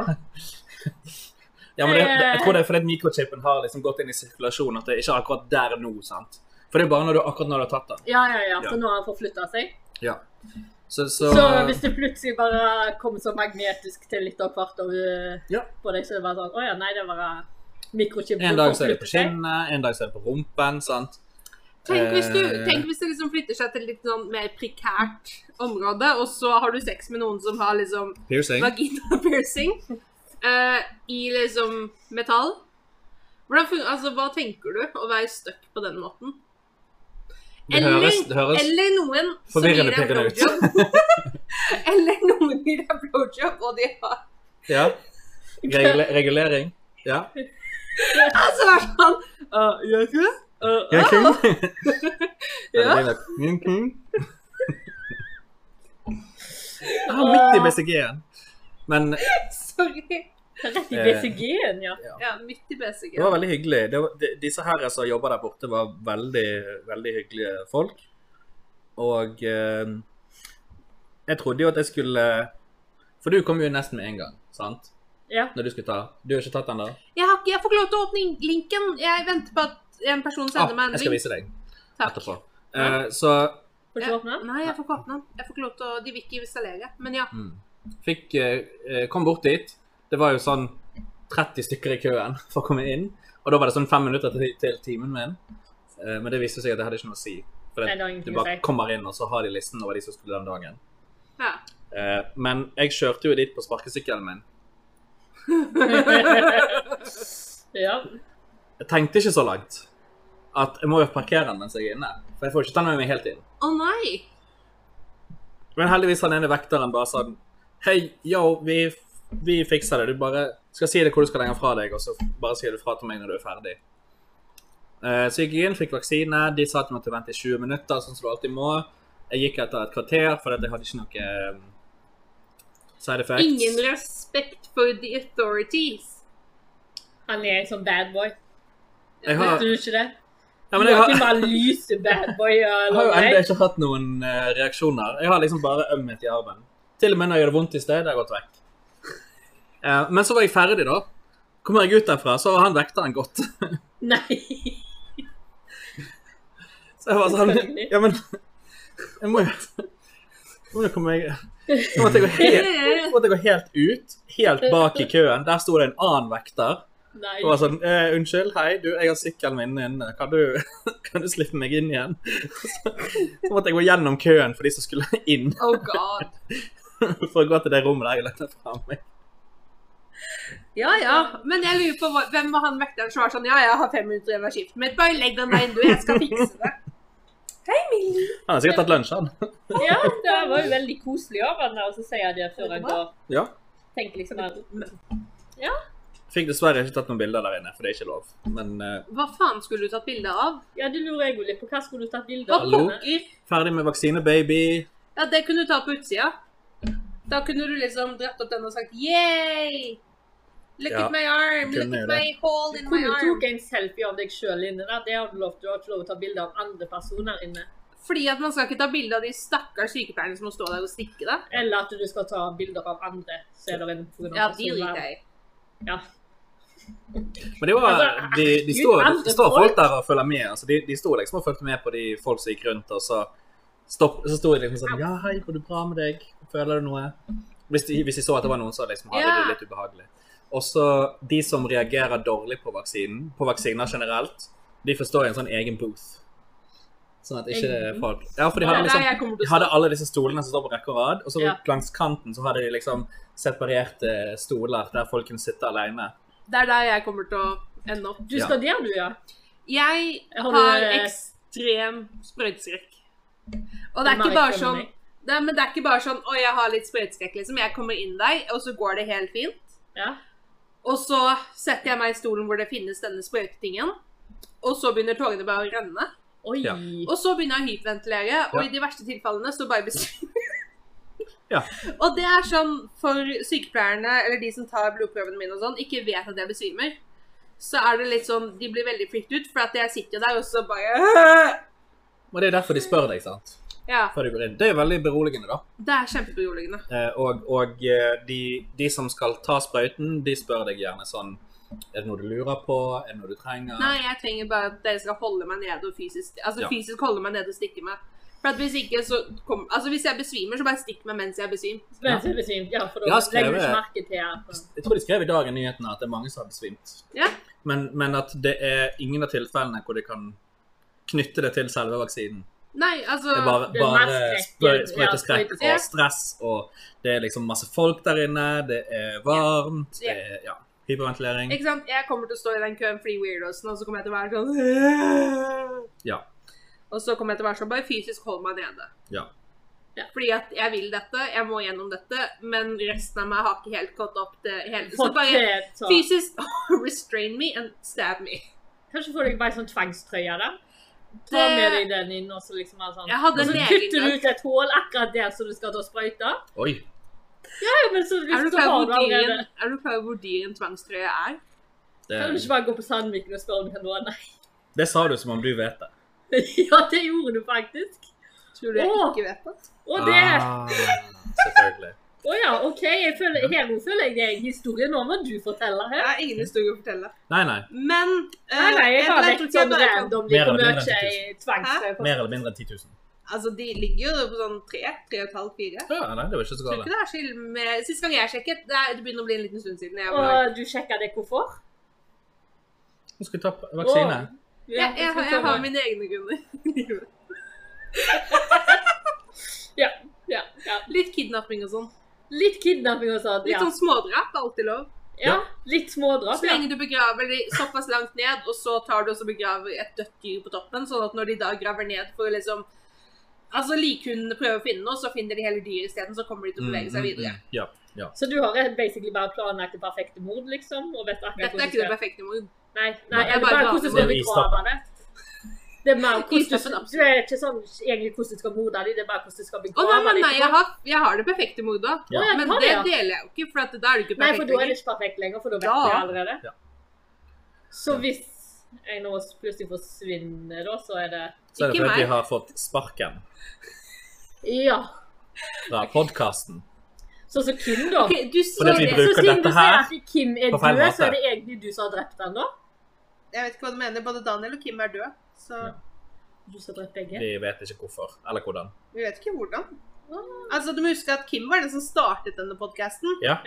C: Ja, men det, det, jeg tror det er fordi at mikrochipen har liksom gått inn i sirkulasjon, at det er ikke akkurat der nå, sant? For det er bare når du, akkurat når du har tatt den.
D: Ja, ja, ja. Så nå har han forflytta seg.
C: Ja. Så, så,
D: Så hvis det plutselig bare kommer så magnetisk til litt av hvert over eh,
C: Ja.
D: på deg, så er det bare sånn Å ja, nei, det er bare mikrochip.
C: En dag så er det på skinnet, en dag så er det på rumpen, sant?
B: Tenk hvis, du,
C: Eh.
B: tenk hvis det liksom flytter seg til litt sånn mer prekært område, og så har du sex med noen som har liksom
C: Piercing.
B: vagina piercing eh, i liksom metall. Hvordan fun altså, hva tenker du å være stuck på den måten?
C: Det høres, det høres
B: eller noen som gir
C: forvirrende
B: deg
C: pirrende ut.
B: blowjob. eller noen gir deg blowjob, og de har
C: Ja. Regule, regulering. Ja.
B: Altså, det er sånn «Å, Gjør ikke det? Å,
C: Ja, king.
B: Ja.
C: Ja, det er min king. Jeg har Ah, midt i
B: Ah.
C: BCG-en. Men det
B: å, Sorry.
D: Rett i
C: Eh.
D: BCG-en, ja.
B: Ja, midt i BCG.
C: var veldig hyggelig. Det var, de, disse her som jobber der borte var veldig, veldig hyggelige folk. Og eh, jeg trodde jo at jeg skulle For du kom jo nesten med en gang, sant?
D: ja.
C: Når du skulle ta. Du har ikke tatt den der?
B: Jeg, har ikke, jeg får ikke lov til å åpne in- linken. Jeg venter på at en person
C: Ah,
B: sender meg en
C: jeg skal
B: link.
C: vise deg
B: Takk.
C: etterpå.
B: Ja.
C: Eh, så
D: Får ikke åpne den?
B: Nei, jeg får ikke åpne den. Jeg får ikke lov til å De vil ikke installere. Men ja.
C: mm, fikk eh, eh, Kom bort dit. Det var jo sånn 30 stykker i køen for å komme inn. Og da var det sånn fem minutter til, til timen min. Eh, men det viste seg at det hadde ikke noe å si. For
D: Nei, det
C: det,
D: har
C: du
D: ingenting å
C: bare
D: si.
C: kommer inn, og så har de listen over de som skulle den dagen.
B: ja.
C: Eh, men jeg kjørte jo dit på sparkesykkelen min.
D: Ja.
C: Jeg tenkte ikke så langt at jeg må jo parkere den mens jeg er inne. For jeg får ikke ta den med meg helt inn.
B: Å nei!
C: Men heldigvis han ene vekteren bare sånn Hei, yo, vi, vi fikser det. Du bare skal si det hvor du skal lenger fra deg, og så bare sier du fra til meg når du er ferdig. Eh, Så gikk jeg inn, fikk vaksine. De sa at jeg måtte vente i 20 minutter, sånn som du alltid må. Jeg gikk etter et kvarter, for jeg hadde ikke noe eh, side effects.
B: Ingen respekt for the authorities.
D: Han er en sånn bad boy.
C: jeg
D: Vet
C: har,
D: du ikke det?
C: ja, men jeg har,
D: Joakim bare lyser bad boy.
C: jeg har jo
D: Eller,
C: ennå
D: nei.
C: ikke hatt noen eh, reaksjoner. Jeg har liksom bare ømhet i armen. Til og med når jeg gjør det vondt i sted, det har gått vekk. Eh, Men så var jeg ferdig, da. Kommer jeg ut derfra, så har han vekteren gått.
D: nei.
C: Så jeg var sånn
D: Selvfølgelig.
C: Ja, men Jeg må jo jeg må jo komme meg Nå måtte jeg gå helt, nå måtte jeg gå helt ut. Helt bak i køen. Der sto det en annen vekter.
D: nei.
C: Og var sånn eh, 'Unnskyld, hei, du, jeg har sykkelen min inne. Kan du, kan du slippe meg inn igjen?' Så måtte jeg gå gjennom køen for de som skulle inn,
B: Oh god.
C: for å gå til det rommet der jeg lette fra meg.
B: Ja ja. Men jeg lurer på hva- hvem var han vekteren som var sånn Ja, jeg har fem minutter igjen av skiftet mitt. Bare legg den der inne, du. Jeg skal fikse det.
C: Han har sikkert tatt lunsj, han.
D: Ja, det var jo veldig koselig av han da, og så sier jeg det før han går.
C: Ja.
D: Tenk liksom at
C: Fikk dessverre ikke tatt noen bilder der inne, for det er ikke lov. Men eh,
B: Hva faen skulle du tatt bilde av?
D: Ja, det lurer jeg jo litt på. Hva skulle du tatt bilde
B: Hva
D: av?
C: Hallo?
B: pokker?
C: ferdig med vaksine, baby.
B: Ja, det kunne du ta på utsida. Da kunne du liksom dratt opp den og sagt yeah! Look
C: Ja,
B: at my arm!
C: kunne
B: Look at
C: gjøre
B: my hole in
D: Hvor
B: my
D: du
B: arm!
D: tok en selfie av deg sjøl inne der, det har du lov til. Du har ikke lov til å ta bilde av andre personer inne.
B: Fordi at man skal ikke ta bilde av de stakkars sykepleierne som må stå der og stikke deg.
D: Eller at du skal ta bilder av andre. Så er det en på grunn av
B: Ja, de
D: personvern.
B: driter jeg i.
D: Ja.
C: Men det var,
D: Altså,
C: de, de,
D: herregud,
C: står,
D: andre
C: de står
D: folk.
C: folk der og følger med. Altså, de, de sto liksom og fulgte med på de folk som gikk rundt, og så, stopp, så sto de liksom sånn Ja, hei, går det bra med deg? Føler du noe? Hvis de, hvis de så at det var noen som liksom hadde
B: Ja.
C: det litt ubehagelig. Og så de som reagerer dårlig på vaksinen, på vaksiner generelt, de får stå i en sånn egen booth. Sånn at ikke
D: Egen
C: folk Ja, for de
B: Det
C: hadde
B: er
C: liksom
B: der jeg kommer
C: de
B: til å
C: hadde alle disse stolene som står på rekke og rad, og så
D: Ja.
C: langs kanten så hadde de liksom eh, separerte stoler der folk kunne sitte alene.
B: Det er der jeg kommer til å ende opp.
D: Du skal der, du, ja?
B: Jeg
D: Har du,
B: har
D: eh,
B: ekstrem sprøyteskrekk. Og det er ikke bare sånn Nei, men det er ikke bare sånn Å, jeg har litt sprøyteskrekk, liksom. Jeg kommer inn der, og så går det helt fint.
D: Ja.
B: Og så setter jeg meg i stolen hvor det finnes denne sprøytetingen. Og så begynner tårene bare å renne.
D: Oi.
C: Ja.
B: Og så begynner jeg å hyperventilere, og
C: Ja.
B: i de verste tilfellene så bare besvimer
C: Ja.
B: Og det er sånn for sykepleierne, eller de som tar blodprøvene mine og sånn, ikke vet at jeg besvimer. Så er det litt sånn De blir veldig frikt ut, for at jeg sitter der, og så bare
C: Og det er derfor de spør deg, sant?
B: Ja.
C: Før du går inn. Det er veldig beroligende, da.
B: Det er kjempeberoligende.
C: Eh, Og, og eh, de, de som skal ta sprøyten, de spør deg gjerne sånn Er det noe du lurer på? Er det noe du trenger?
B: Nei, jeg trenger bare at dere skal holde meg nede og fysisk Altså
C: Ja.
B: fysisk holde meg nede og stikke meg. For at hvis ikke, så kom, Altså hvis jeg besvimer, så bare stikk meg mens jeg besvimer.
D: Men så er det besvimt. Ja, for
C: Jeg
D: da
C: har skrevet-
D: legger du ikke merke til at
C: Jeg tror de skrev i dag i nyhetene at det er mange som har besvimt.
B: Ja.
C: Men, men at det er ingen av tilfellene hvor de kan knytte det til selve vaksinen.
B: Nei, altså
C: Det er bare,
D: det er
C: bare
D: mest
C: sprø-
D: skrekken.
C: sprøyteskrekk
D: Ja,
B: sprøyteskrekk.
C: og stress, og det er liksom masse folk der inne, det er varmt,
B: Ja.
C: det er ja, hyperventilering.
B: Ikke sant? Jeg kommer til å stå i den køen for de weirdosen, og så kommer jeg til å være sånn
C: Ja.
B: Og så kommer jeg til å være sånn Bare fysisk hold meg nede.
C: Ja.
D: Ja.
B: Fordi at jeg vil dette, jeg må gjennom dette, men resten av meg har ikke helt gått opp det hele. Så
D: folk
B: bare
D: er så-
B: fysisk restrain me and stab me.
D: Kanskje få deg bare en sånn tvangstrøye der. Ta
B: Det-
D: med deg den inn, og så liksom ha sånn
B: Jeg hadde
D: Og så
B: en egen
D: kutter du
B: gang.
D: ut et hull akkurat der som du skal da sprøyte.
C: Oi.
D: Ja, men så
B: Er
D: hvis
B: du
D: du
B: klar
D: har
B: over
D: det
B: hvor dyr
D: allerede
B: en- er du klar over hvor dyr en tvangstrøye er?
C: Det,
D: Kan du ikke bare gå på Sandviken og spørre om du kan låne?
C: det sa du som om du vet det.
D: ja, det gjorde du faktisk.
B: Tror du jeg
D: Åh!
B: ikke vet det?
D: Å, det
C: Ah, selvfølgelig.
D: Å ja, OK. Jeg føler, her nå føler jeg deg historien. Nå må du fortelle
B: Jeg
D: her.
B: har ingen historie å fortelle.
C: Nei, nei.
B: Men eh,
D: Nei, nei,
B: jeg
D: jeg har
B: vet
D: vekk
B: ikke, jeg
D: sånn
B: bare kan-
D: randomlig
C: Mer
D: hvor
C: eller mindre
D: mye jeg tvangstrøye på.
C: Mer eller mindre enn 10 000.
B: Altså, de ligger jo på sånn tre, tre og et halvt, fire.
C: Ja, nei, det var ikke
B: Tror
C: så
B: ikke
C: galt.
B: det er så ille med Sist gang jeg sjekket, det, er, det begynner å bli en liten stund siden. Jeg, var-
D: Og du sjekker det hvorfor?
C: Nå skal vi ta vaksine.
B: jeg, jeg,
D: skal
B: jeg,
D: ta
B: har
D: det.
B: mine egne grunner.
D: ja, ja.
B: Litt kidnapping og sånn.
D: Litt kidnapping og sånn.
B: Litt
D: Ja.
B: sånn smådrap er alltid lov.
D: ja.
C: Ja.
D: Litt smådrap.
B: Så
D: Ja.
B: lenge du begraver de såpass langt ned, og så tar du og så begraver et dødt dyr på toppen, sånn at når de da graver ned for å liksom Altså, likhundene prøver å finne noe, så finner de hele dyret isteden, så kommer de til å bevege seg videre.
C: Mm, mm, mm. Ja.
D: Så du har basically bare planlagt det perfekte mord, liksom? Og vet akkurat
B: Dette er ikke det perfekte mord.
D: Nei, nei,
C: Nei.
D: er det bare
B: Bare
D: hvordan du skal
C: Det er
D: begrave det? Det er
B: Istappen,
D: mer hvordan du,
B: absolutt.
D: du er ikke sånn egentlig hvordan du skal morde dem, det er bare hvordan du skal
B: Å nei,
D: begrave
B: nei, nei, jeg har, jeg har det perfekte mordet.
C: Ja.
D: Å, ja,
B: Men
D: du har
B: det
D: det, ja.
B: deler jeg jo ikke, for at da er det ikke
D: Nei, for
B: perfekt
D: da er det
B: lenger.
D: ikke perfekt lenger, for da vet
B: Ja.
D: jeg allerede.
C: Ja.
D: Så hvis jeg nå plutselig forsvinner, da, så er det
C: Så er det
B: Ikke
C: fordi
B: meg.
C: vi har fått sparken
D: Ja.
C: fra podkasten.
D: Sånn som Kim, da.
B: Ok, du
C: For
B: sier
C: det
D: Så
C: vi
B: det.
C: bruker
D: siden du
C: dette
D: sier
C: her
D: at Kim er
C: på feil
D: død, så
C: måte.
D: er det egentlig du som har drept han da?
B: Jeg vet ikke hva du mener. Både Daniel og Kim er døde, så
C: Ja.
D: Du som har drept begge?
C: Vi vet ikke hvorfor, eller hvordan.
B: vi vet ikke hvordan. Altså, Du må huske at Kim var den som startet denne podkasten,
D: Ja.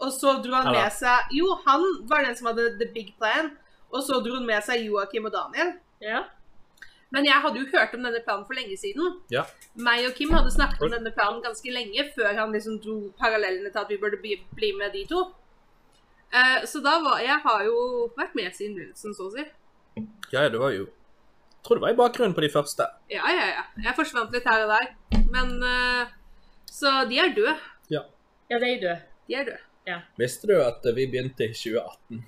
B: og så dro han
C: Eller-
B: med seg Jo, han var den som hadde the big plan, og så dro han med seg Joakim og Daniel.
D: ja.
B: Men jeg hadde jo hørt om denne planen for lenge siden.
C: Ja.
B: Meg og Kim hadde snakket om denne planen ganske lenge før han liksom dro parallellene til at vi burde bli, bli med de to. Eh, så da var Jeg har jo vært med siden begynnelsen, så å si.
C: Ja, ja, du var jo Jeg tror du var i bakgrunnen på de første.
B: Ja, ja, ja. Jeg forsvant litt her og der. Men eh, Så de er døde.
D: ja, de er døde.
B: De er døde.
C: Visste du at vi begynte i 2018?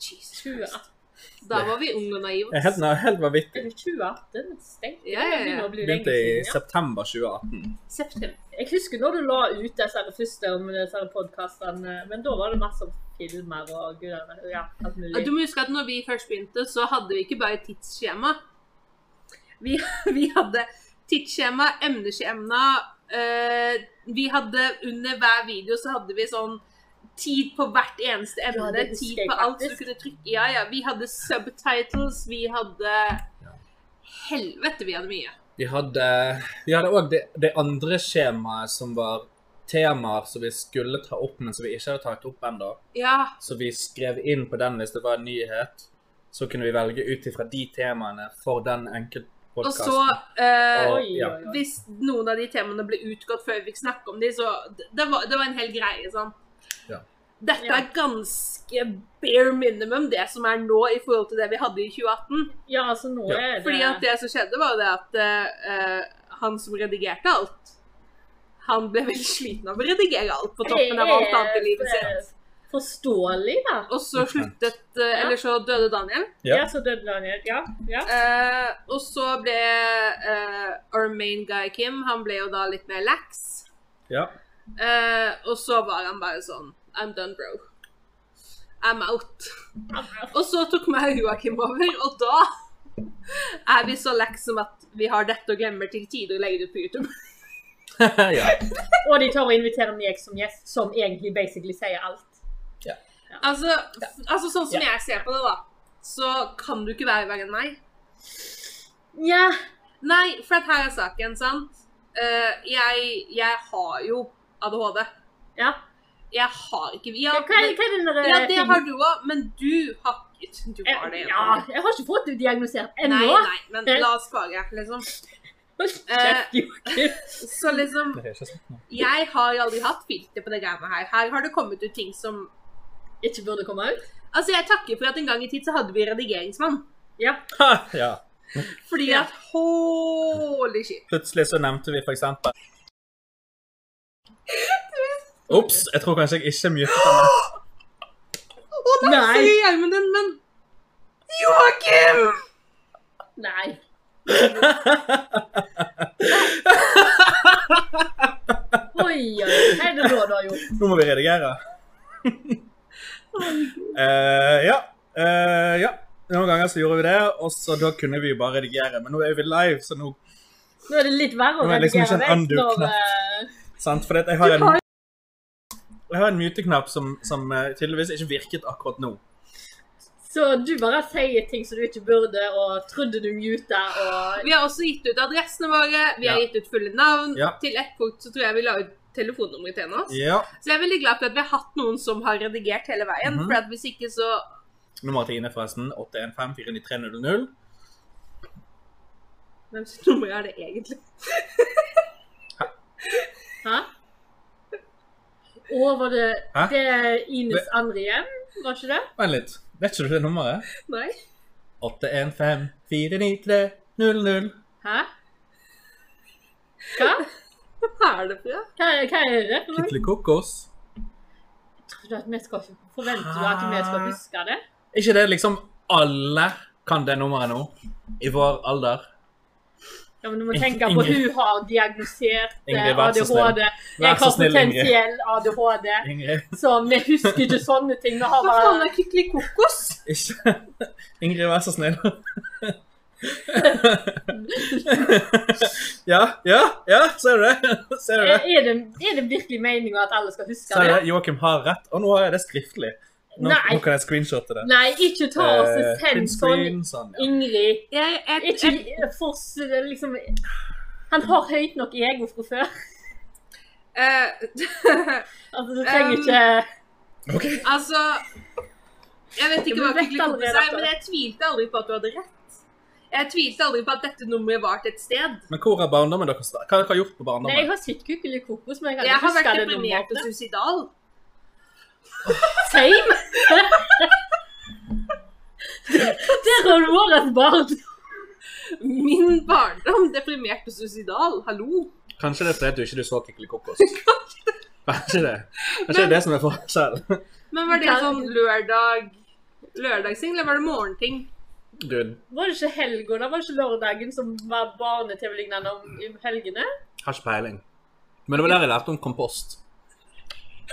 B: Jesus.
D: 2018.
B: Da var vi unge og naive.
C: Det er Helt, nei, helt vanvittig.
D: Er det 2018? Stengt?
B: Ja, ja, ja.
D: Det begynner å bli lenge
C: Begynte i
D: siden, ja.
C: september 2018.
B: September.
D: Jeg husker når du la ut disse her første om disse her podcastene, men da var det masse om filmer og gudene, ja, alt mulig.
B: Du må huske at når vi først begynte, så hadde vi ikke bare tidsskjema. Vi, vi hadde tidsskjema, emneskjema eh, Vi hadde under hver video så hadde vi sånn tid på hvert eneste
D: Ja,
B: emne.
D: det husker
B: tid
D: jeg
B: på alt du
D: faktisk.
B: kunne trykke Ja, ja. Vi hadde subtitles, vi hadde Helvete, vi hadde mye.
C: Vi hadde vi hadde òg det, det andre skjemaet som var temaer som vi skulle ta opp, men som vi ikke hadde tatt opp ennå.
B: Ja.
C: Så vi skrev inn på den hvis det var en nyhet. Så kunne vi velge ut ifra de temaene for den
B: Og
C: enkeltpodkasten.
B: så eh,
C: Og-
D: Oi,
C: ja.
D: oi, oi.
B: hvis noen av de temaene ble utgått før vi fikk snakke om de, så det var, det var en hel greie, sånn.
C: Ja.
B: Dette
D: Ja.
B: er ganske bare minimum det som er nå i forhold til det vi hadde i 2018.
D: Ja, altså nå
C: Ja.
D: er det
B: Fordi at det som skjedde, var jo det at eh, han som redigerte alt, han ble veldig sliten av å redigere alt på toppen av alt annet i livet sitt.
D: Forståelig, da.
B: Og så sluttet eh, Eller så døde Daniel.
C: Ja.
D: Ja, så døde Daniel. Ja. ja.
B: Eh, og så ble eh, our main guy Kim Han ble jo da litt mer lax.
C: Ja.
B: Eh, og så var han bare sånn I'm done, bro. I'm out. Og så tok meg og Joakim over, og da er vi så lax som at vi har dette og glemmer til tider å legge det ut på YouTube.
C: ja.
D: Og de tør å invitere meg som gjest, som egentlig basically sier alt.
B: Altså, altså sånn som jeg ser på det, da, så kan du ikke være verre enn meg.
D: Ja.
B: Nei, for at her er saken, sant? Eh, jeg, jeg har jo ADHD.
D: ja.
B: Jeg har ikke ja,
D: Hva, hva er
B: men,
D: hva er den der
B: ja, det
D: tingen?
B: har du òg, men du har ikke Du har det.
D: Eh, Ja, jeg har ikke fått det diagnosert
B: Nei,
D: ennå.
B: nei, men la oss spare, liksom.
D: Kjeft, Joakim.
B: Så liksom
C: Det er ikke sant nå.
B: Jeg har aldri hatt filter på det greiene her. Her har det kommet ut ting som
D: Ikke burde komme ut.
B: Altså, jeg takker for at en gang i tid så hadde vi redigeringsmann.
D: Ja.
C: Ha, ja.
B: Fordi
D: Ja.
B: at Holy shit.
C: Plutselig så nevnte vi for eksempel Ops, jeg tror kanskje jeg ikke mye
B: Å nei,
D: Nei.
B: sorry, hjelmen din, men Joakim!
D: Nei. Oi, oi, oi. hva er det da du har gjort?
C: Nå må vi redigere. Eh, ja. eh, ja. Noen ganger så gjorde vi det, og så da kunne vi jo bare redigere. Men nå er vi live, så nå
D: Nå er det litt verre å
C: Nå er det liksom ikke en
D: redigere vekk
C: undo-knapp.
D: når eh,
C: Sant? For jeg har en, jeg har en muteknapp som, som eh, tydeligvis ikke virket akkurat nå.
D: Så du bare sier ting som du ikke burde, og trodde du muta, og
B: Vi har også gitt ut adressene våre, vi har
C: Ja.
B: gitt ut fulle navn.
C: Ja.
B: Til ett punkt så tror jeg vi la ut telefonnummeret til henne.
C: Ja.
B: Så jeg er veldig glad for at vi har hatt noen som har redigert hele veien.
C: Mhm.
B: For at hvis ikke så
C: Nummer til Ine, forresten. 815-49300.
B: Hvem sitt nummer er det egentlig?
D: Hæ? Å, var det
C: Hæ?
D: Det er Ines andre hjem, var ikke det?
C: Vent litt. Vet ikke du det nummeret?
B: Nei?
C: 815-49300.
D: Hæ? Hva?
B: Hva er det fra?
D: Hva, er- hva er det? for noe?
C: Kittle kokos.
D: Tror du at vi skal forvente du at vi
C: Ah.
D: skal huske det?
C: Er ikke det liksom alle kan det nummeret nå? I vår alder?
D: Ja, men du må tenke på
C: Ingrid.
D: hun har diagnosert eh,
C: Ingrid, vær så snill.
D: ADHD.
C: Vær
D: Jeg
C: så
D: har
C: snill, Ingrid.
D: potensiell ADHD.
C: Ingrid,
D: Så vi husker ikke sånne ting. Vi har
B: Hva faen
D: bare
B: er Kykeli kokos?
C: ikke Ingrid, vær så snill. ja, ja, ja, ser du det? Ser du det?
D: Er det, er det virkelig meningen at alle skal huske
C: Ser du
D: det?
C: det? Joakim har rett, og nå har jeg det skriftlig. Nå,
D: Nei.
C: nå kan jeg screenshotte det.
D: Nei, ikke ta oss og
C: Eh,
D: send sånn
C: printscreen, sånn, ja.
D: Ingrid.
B: Jeg, jeg, jeg,
D: Ikke fors... Liksom Han har høyt nok ego fra før.
B: eh,
D: Altså, du trenger
B: Um,
D: ikke
C: Ok.
B: altså Jeg vet ikke
D: Ja, men
B: hva
D: du vet
B: Kykeli kokos
D: allerede at
B: er, men jeg tvilte aldri på at du hadde rett. Jeg tvilte aldri på at dette nummeret var til et sted.
C: Men hvor er barndommen deres? da? Hva har dere gjort på
D: Nei, jeg
C: barndommen?
D: har sett Kukkeli kokos, men jeg kan
B: Jeg
D: ikke
B: har
D: huske
B: vært
D: det
B: deprimert og
D: nummeret.
B: suicidal.
D: Same! Der har du årets barn.
B: Min barndom, deprimert og suicidal. Hallo.
C: Kanskje det er fordi du ikke du så Kikli Kokos. Kanskje det. Kanskje det er det som er forskjellen.
B: Men var det
D: Kan-
B: sånn lørdag lørdagsting, eller var det morgenting?
C: Dude,
D: Var det ikke helga, da? Var det ikke lørdagen som var barne-TV-lignende om i helgene?
C: har ikke peiling. Men det var der jeg lærte om kompost.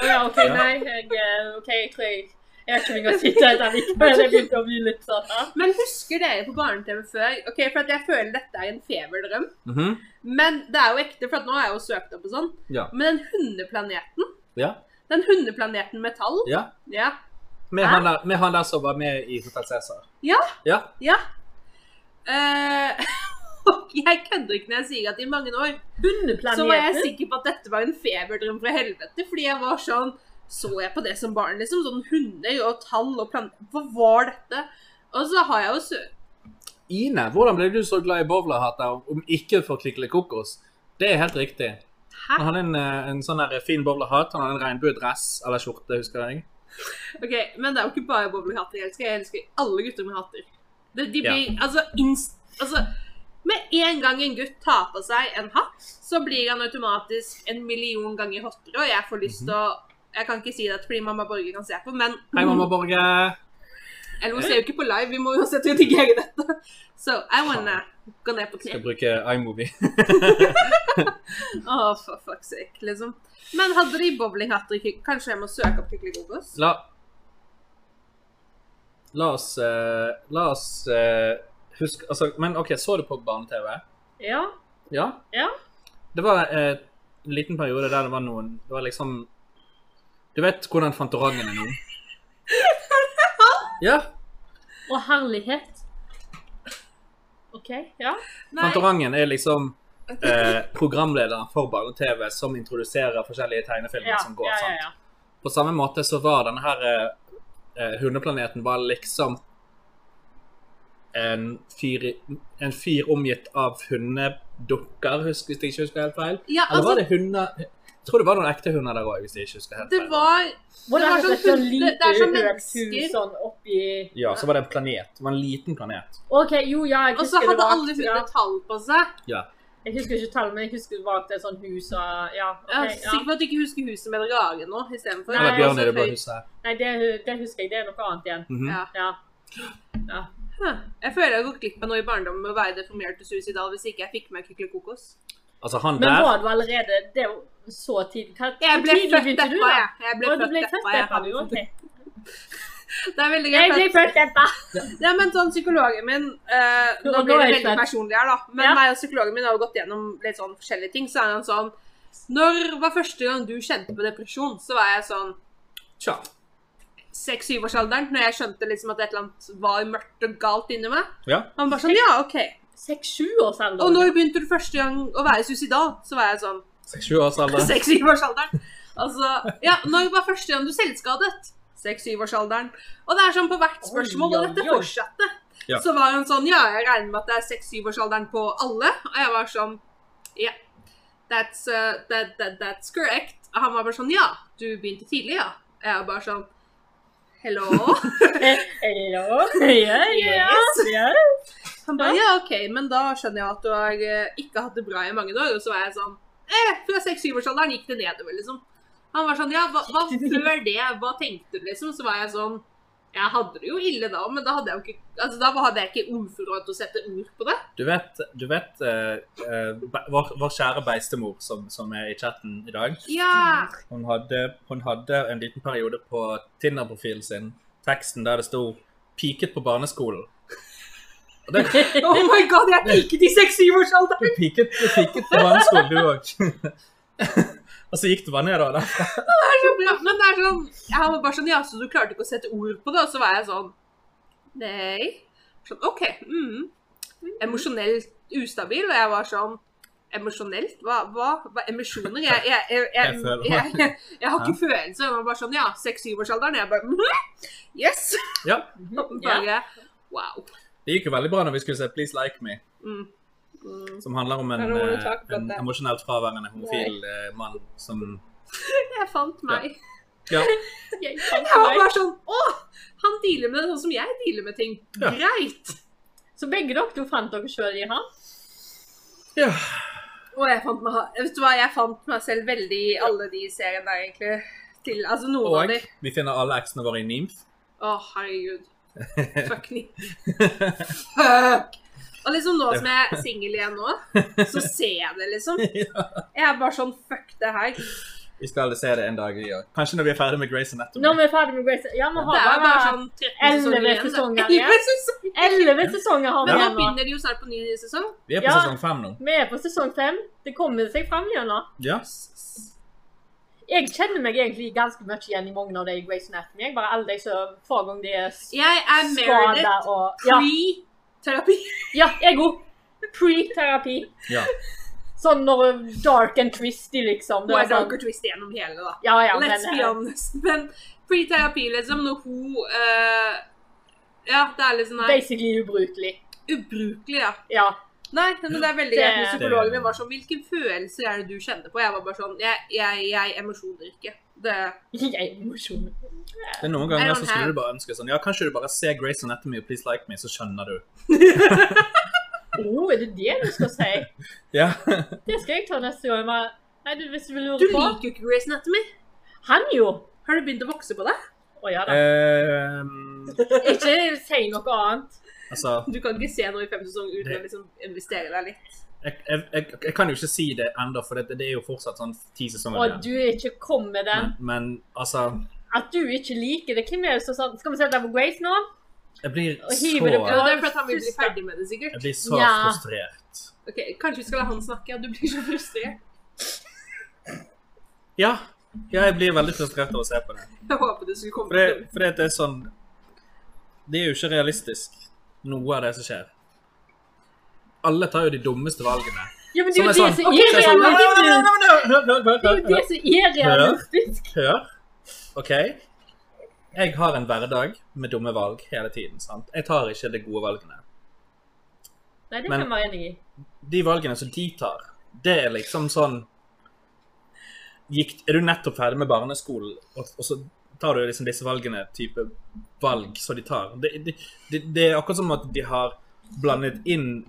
D: Å ja, OK,
C: Ja.
D: nei. Jeg, eh, OK, jeg tror jeg Jeg har ikke engang sett det der likevel. Jeg begynte å bli litt sånn ja.
B: Men husker dere på barne-TV før? Ok, for at jeg føler dette er en feberdrøm.
C: Mhm.
B: Men det er jo ekte, for at nå har jeg jo søkt opp og sånn.
C: Ja.
B: Men den hundeplaneten,
C: Ja.
B: den hundeplaneten Metall,
C: ja.
B: ja,
C: Med, han der, med han der som var med i Hotel Cæsar.
B: Ja.
C: ja.
B: ja. Eh, og jeg kødder ikke når jeg sier at i mange år så var jeg
D: Hundeplaneten.
B: sikker på at dette var en feberdrøm fra helvete, fordi jeg var sånn Så jeg på det som barn, liksom? Sånn hunder og tall og planeter. Hva var dette? Og så har jeg jo sø...
C: Ine, hvordan ble du så glad i bowlerhatter om ikke for Klikle Kokos? Det er helt riktig.
B: Hæ?
C: Han hadde en, eh, en sånn der fin bowlerhatt, han hadde en regnbuedress eller skjorte, husker jeg.
B: Ok, Men det er jo ikke bare bowlinghatter jeg elsker. Jeg elsker alle gutter med hatter. De, de
C: Ja.
B: blir, altså, inst, altså Med en gang en gutt tar på seg en hatt, så blir han automatisk en million ganger hottere, og jeg får lyst til å Jeg kan ikke si det fordi mamma Borge kan se på, men
C: Mhm. Hei, mamma Borge.
B: Eller hun ser jo ikke på live, vi må uansett redigere dette. Så I wanna gå ned på kne.
C: Skal bruke iMovie.
B: Åh, for fuck's sake, liksom. Men hadde de bowlinghatter ikke Kanskje jeg må søke opp Kykeli Gogos?
C: La La oss eh, La oss eh, huske altså, Men OK, så du på barne-TV?
D: Ja.
C: Ja?
D: Ja.
C: Det var eh, en liten periode der det var noen Det var liksom Du vet hvordan Fantorangen er nå? Ja.
D: Og herlighet. OK, ja.
B: Nei.
C: Fantorangen er liksom eh, programlederen for barne-TV som introduserer forskjellige tegnefilmer
D: Ja,
C: som går.
D: ja, ja,
C: sant?
D: ja.
C: På samme måte så var denne her eh, eh, hundeplaneten var liksom en fyr, i- en fyr omgitt av hundedukker, husk, hvis jeg ikke husker helt feil.
B: Ja,
C: Eller var
B: altså,
C: det hunder Jeg tror det var noen ekte hunder der òg, hvis jeg ikke husker helt
B: det
C: feil.
B: var
D: Det
B: var
D: var
B: sånn
D: sånn, sånn
B: hund-
D: lite
B: det er sånn
D: høyt
B: mennesker.
D: hus sånn oppi
C: Ja, så var det en planet. Det var en liten planet.
D: OK, jo, ja, jeg
B: Og så
D: husker det
B: hadde
D: var
B: alle
D: ja.
B: hunder tall på seg.
D: Jeg husker ikke tallet, men jeg husker det var et sånt hus og Ja. ok,
B: Jeg er
D: ja.
B: sikker på at du ikke husker huset med den rare nå istedenfor.
D: Nei,
C: Eller bjørn
B: altså,
C: i det blå
B: høy-
C: huset.
D: Nei, det, det husker jeg. Det er noe annet igjen.
C: Mhm.
B: Ja.
D: Ja.
B: Huh. Jeg føler jeg har gått glipp av noe i barndommen med å være deprimert og suicidal hvis ikke jeg fikk med Kykeli Kokos.
C: Altså, han
D: Men
C: der
D: var du allerede Det er jo så tidlig. Hva,
B: Jeg
D: hvor
B: ble
D: tidlig
B: født
D: begynte du,
B: etterpå,
D: da?
B: jeg. Jeg ble
D: Å, du
B: født
D: ble
B: etterpå,
D: født
B: jeg.
D: etterpå, jo, ok.
B: Det er veldig
D: Jeg
B: gøy.
D: ble
B: for at-
D: født etterpå.
B: Ja, men sånn psykologen min eh, Nå blir det
D: Og da er det
B: veldig
D: fett.
B: personlig her, da. Men
D: Ja.
B: meg og psykologen min har jo gått gjennom litt sånn forskjellige ting. Så er han sånn Når var første gang du kjente på depresjon? Så var jeg sånn
C: Tja.
B: seks-syvårsalderen, når jeg skjønte liksom at et eller annet var mørkt og galt inni meg.
C: Ja.
B: Han bare sånn Ja, OK.
D: Seks-sju års alder.
B: Og når begynte du første gang å være suicidal? Så var jeg sånn
C: Seks-sju års alder.
B: Seks-syvårsalderen. Altså Ja, når var første gang du selvskadet? Seks-syvårsalderen. Og det er sånn på hvert spørsmål, og
D: Oi, oi,
B: dette
D: oi.
B: fortsatte.
C: Ja.
B: Så var hun sånn Ja, jeg regner med at det er seks-syvårsalderen på alle. Og jeg var sånn Ja. That's, uh, that, that, that's correct. Og han var bare sånn Ja, du begynte tidlig, ja. Jeg var bare sånn Hello?
D: Hello? Ja, ja, ja.
B: Han bare Ja, OK, men da skjønner jeg at du har eh, ikke hatt det bra i mange år. Og så var jeg sånn Eh, fra seks-syvårsalderen gikk det nedover, liksom. Han var sånn Ja, hva, hva før det? Hva tenkte du, liksom? Så var jeg sånn Jeg hadde det jo ille da, men da hadde jeg jo ikke Altså, da hadde jeg ikke ordforråd til å sette ord på det.
C: Du vet, du vet eh, eh, be- vår, vår kjære beistemor som, som er i chatten i dag,
B: Ja.
C: hun hadde, hun hadde en liten periode på Tinder-profilen sin, teksten der det sto 'piket på barneskolen'. Og det,
B: Oh my god, jeg piket i seks-syvårsalderen!
C: du, piket, du piket på barneskolen, du òg. Og så gikk du bare ned da.
B: Det er så bra. Men det er sånn Jeg var bare sånn Ja, så du klarte ikke å sette ord på det? Og så var jeg sånn Nei. Sånn OK. Mm. Emosjonelt ustabil. Og jeg var sånn Emosjonelt? Hva? hva, hva Emisjoner? Jeg, jeg, jeg, jeg,
C: Jeg
B: jeg,
C: føler-
B: jeg, har ikke følelser. Jeg var bare sånn Ja, seks-syvårsalderen. Jeg bare mhm, Yes!
C: Ja.
D: Mhm,
B: Bare Wow.
C: Det gikk jo veldig bra når vi skulle se 'Please Like Me',
B: Mm. Mm.
C: som handler om en,
B: Ja, nå må du
C: eh,
B: ta akkurat
C: en
B: det.
C: emosjonelt fraværende homofil eh, mann som
B: Jeg fant meg.
C: Ja.
D: Jeg
B: Jeg
D: kan
B: var
D: ikke meg.
B: bare sånn Å! Han dealer med det sånn som jeg dealer med ting.
C: Ja.
B: Greit.
D: Så begge dere to fant dere sjøl i han?
C: ja.
B: Og jeg fant meg, vet du hva, jeg fant meg selv veldig i alle de seriene der, egentlig. Til, altså noen
C: Og
B: av de.
C: vi finner alle eksene våre i Nimf.
B: Å, herregud. Fuck me. Fuck! Og liksom nå som jeg er singel igjen nå, så ser jeg det, liksom. Jeg er bare sånn fuck det her.
C: Vi skal alle se det en dag, vi òg. Kanskje når vi er ferdig med Grace Anatomy.
D: Når vi er ferdig med Grace Ja, vi
B: Det
D: har
B: er jo bare
D: bare
B: sånn 13 sesonger
D: elleve
B: igjen.
D: sesonger igjen.
B: Elleve sesonger.
D: elleve sesonger har vi
B: Men nå
D: igjen nå.
B: begynner de jo snart på ny sesong.
C: Vi er på
D: Ja.
C: sesong fem nå.
D: Vi er på sesong fem. Det kommer seg fram gjennom.
C: Ja.
D: Jeg kjenner meg egentlig ganske mye igjen i mange av de Grace Anatomy. Jeg bare alle de som hver gang de er
B: Jeg er
D: skada
B: Meredith
D: og Ja,
B: pre-terapi.
D: ja jeg òg. Pre-terapi.
C: ja.
D: Sånn når dark and twisty, liksom.
B: Hun
D: Det var
B: er
D: sånn-
B: darker twist gjennom hele, da.
D: Ja, ja, men,
B: Let's be
D: eh,
B: honest. Men pre-terapi, liksom, når hun eh, Ja, det er litt sånn her
D: Basically ubrukelig.
B: ubrukelig, ja.
D: Ja.
B: Nei, men det er veldig
D: Det-
B: greit. Men psykologen min var sånn Hvilken følelse er det du kjenner på? Jeg var bare sånn Jeg, jeg, jeg emosjoner ikke. Det
D: Jeg er emosjonell.
C: Det er noen
B: I
C: ganger
B: don't
C: så skulle
B: have-
C: du bare ønske sånn Ja, kanskje du bare ser Grace Anatomy og Please Like Me, så skjønner du.
D: Å, Oh, er det det du skal si?
C: Ja.
D: Det skal jeg ta neste gang. men- Nei, du, hvis du vil
B: Du
D: lure på.
B: liker jo ikke Grace Anatomy.
D: Han jo!
B: Har du begynt å vokse på deg?
D: Å ja
C: Eh.
D: da.
C: Ehm,
D: Ikke si noe annet.
C: altså
B: Du kan ikke se noe i fem sesonger uten
C: Det-
B: å liksom investere deg litt.
C: jeg, jeg, jeg, jeg kan jo ikke si det ennå, for det, det er jo fortsatt sånn ti sesonger
D: Og du er ikke kom med den.
C: Men, men altså
D: At du ikke liker det. Hvem er det som sa Skal vi se det på Grace nå?
C: Jeg blir
D: Og
C: så
D: hiver det
B: Ja,
D: på.
C: Jeg
B: det er fordi at han vil bli
D: Tusen takk.
B: ferdig med det, sikkert.
C: blir så
D: Ja.
C: frustrert.
B: Ok, Kanskje vi skal la han snakke? Ja, du blir så frustrert.
C: Ja. ja, jeg blir veldig frustrert av å se på det.
B: Jeg håper det skulle komme
C: For det,
B: til
C: for det, er sånn Det er jo ikke realistisk, noe av det som skjer. Alle tar jo de dummeste valgene.
D: Ja, men det
C: Som
D: er
C: er
D: jo det
C: sånn
D: som
C: ok,
D: er
C: det er sånn, nei, nei, nei, nei,
D: realistisk.
C: nei, nei, hør, hør,
D: Det er
C: hør,
D: jo det
C: hør,
D: som er realistisk.
C: Hør. OK? Jeg har en hverdag med dumme valg hele tiden. sant? Jeg tar ikke de gode valgene.
D: Nei, det
C: Men-
D: kan jeg være enig i.
C: de valgene som de tar, det er liksom sånn gikk, Er du nettopp ferdig med barneskolen, og, og så tar du liksom disse valgene, type valg som de tar? Det, det, det, det er akkurat som at de har blandet inn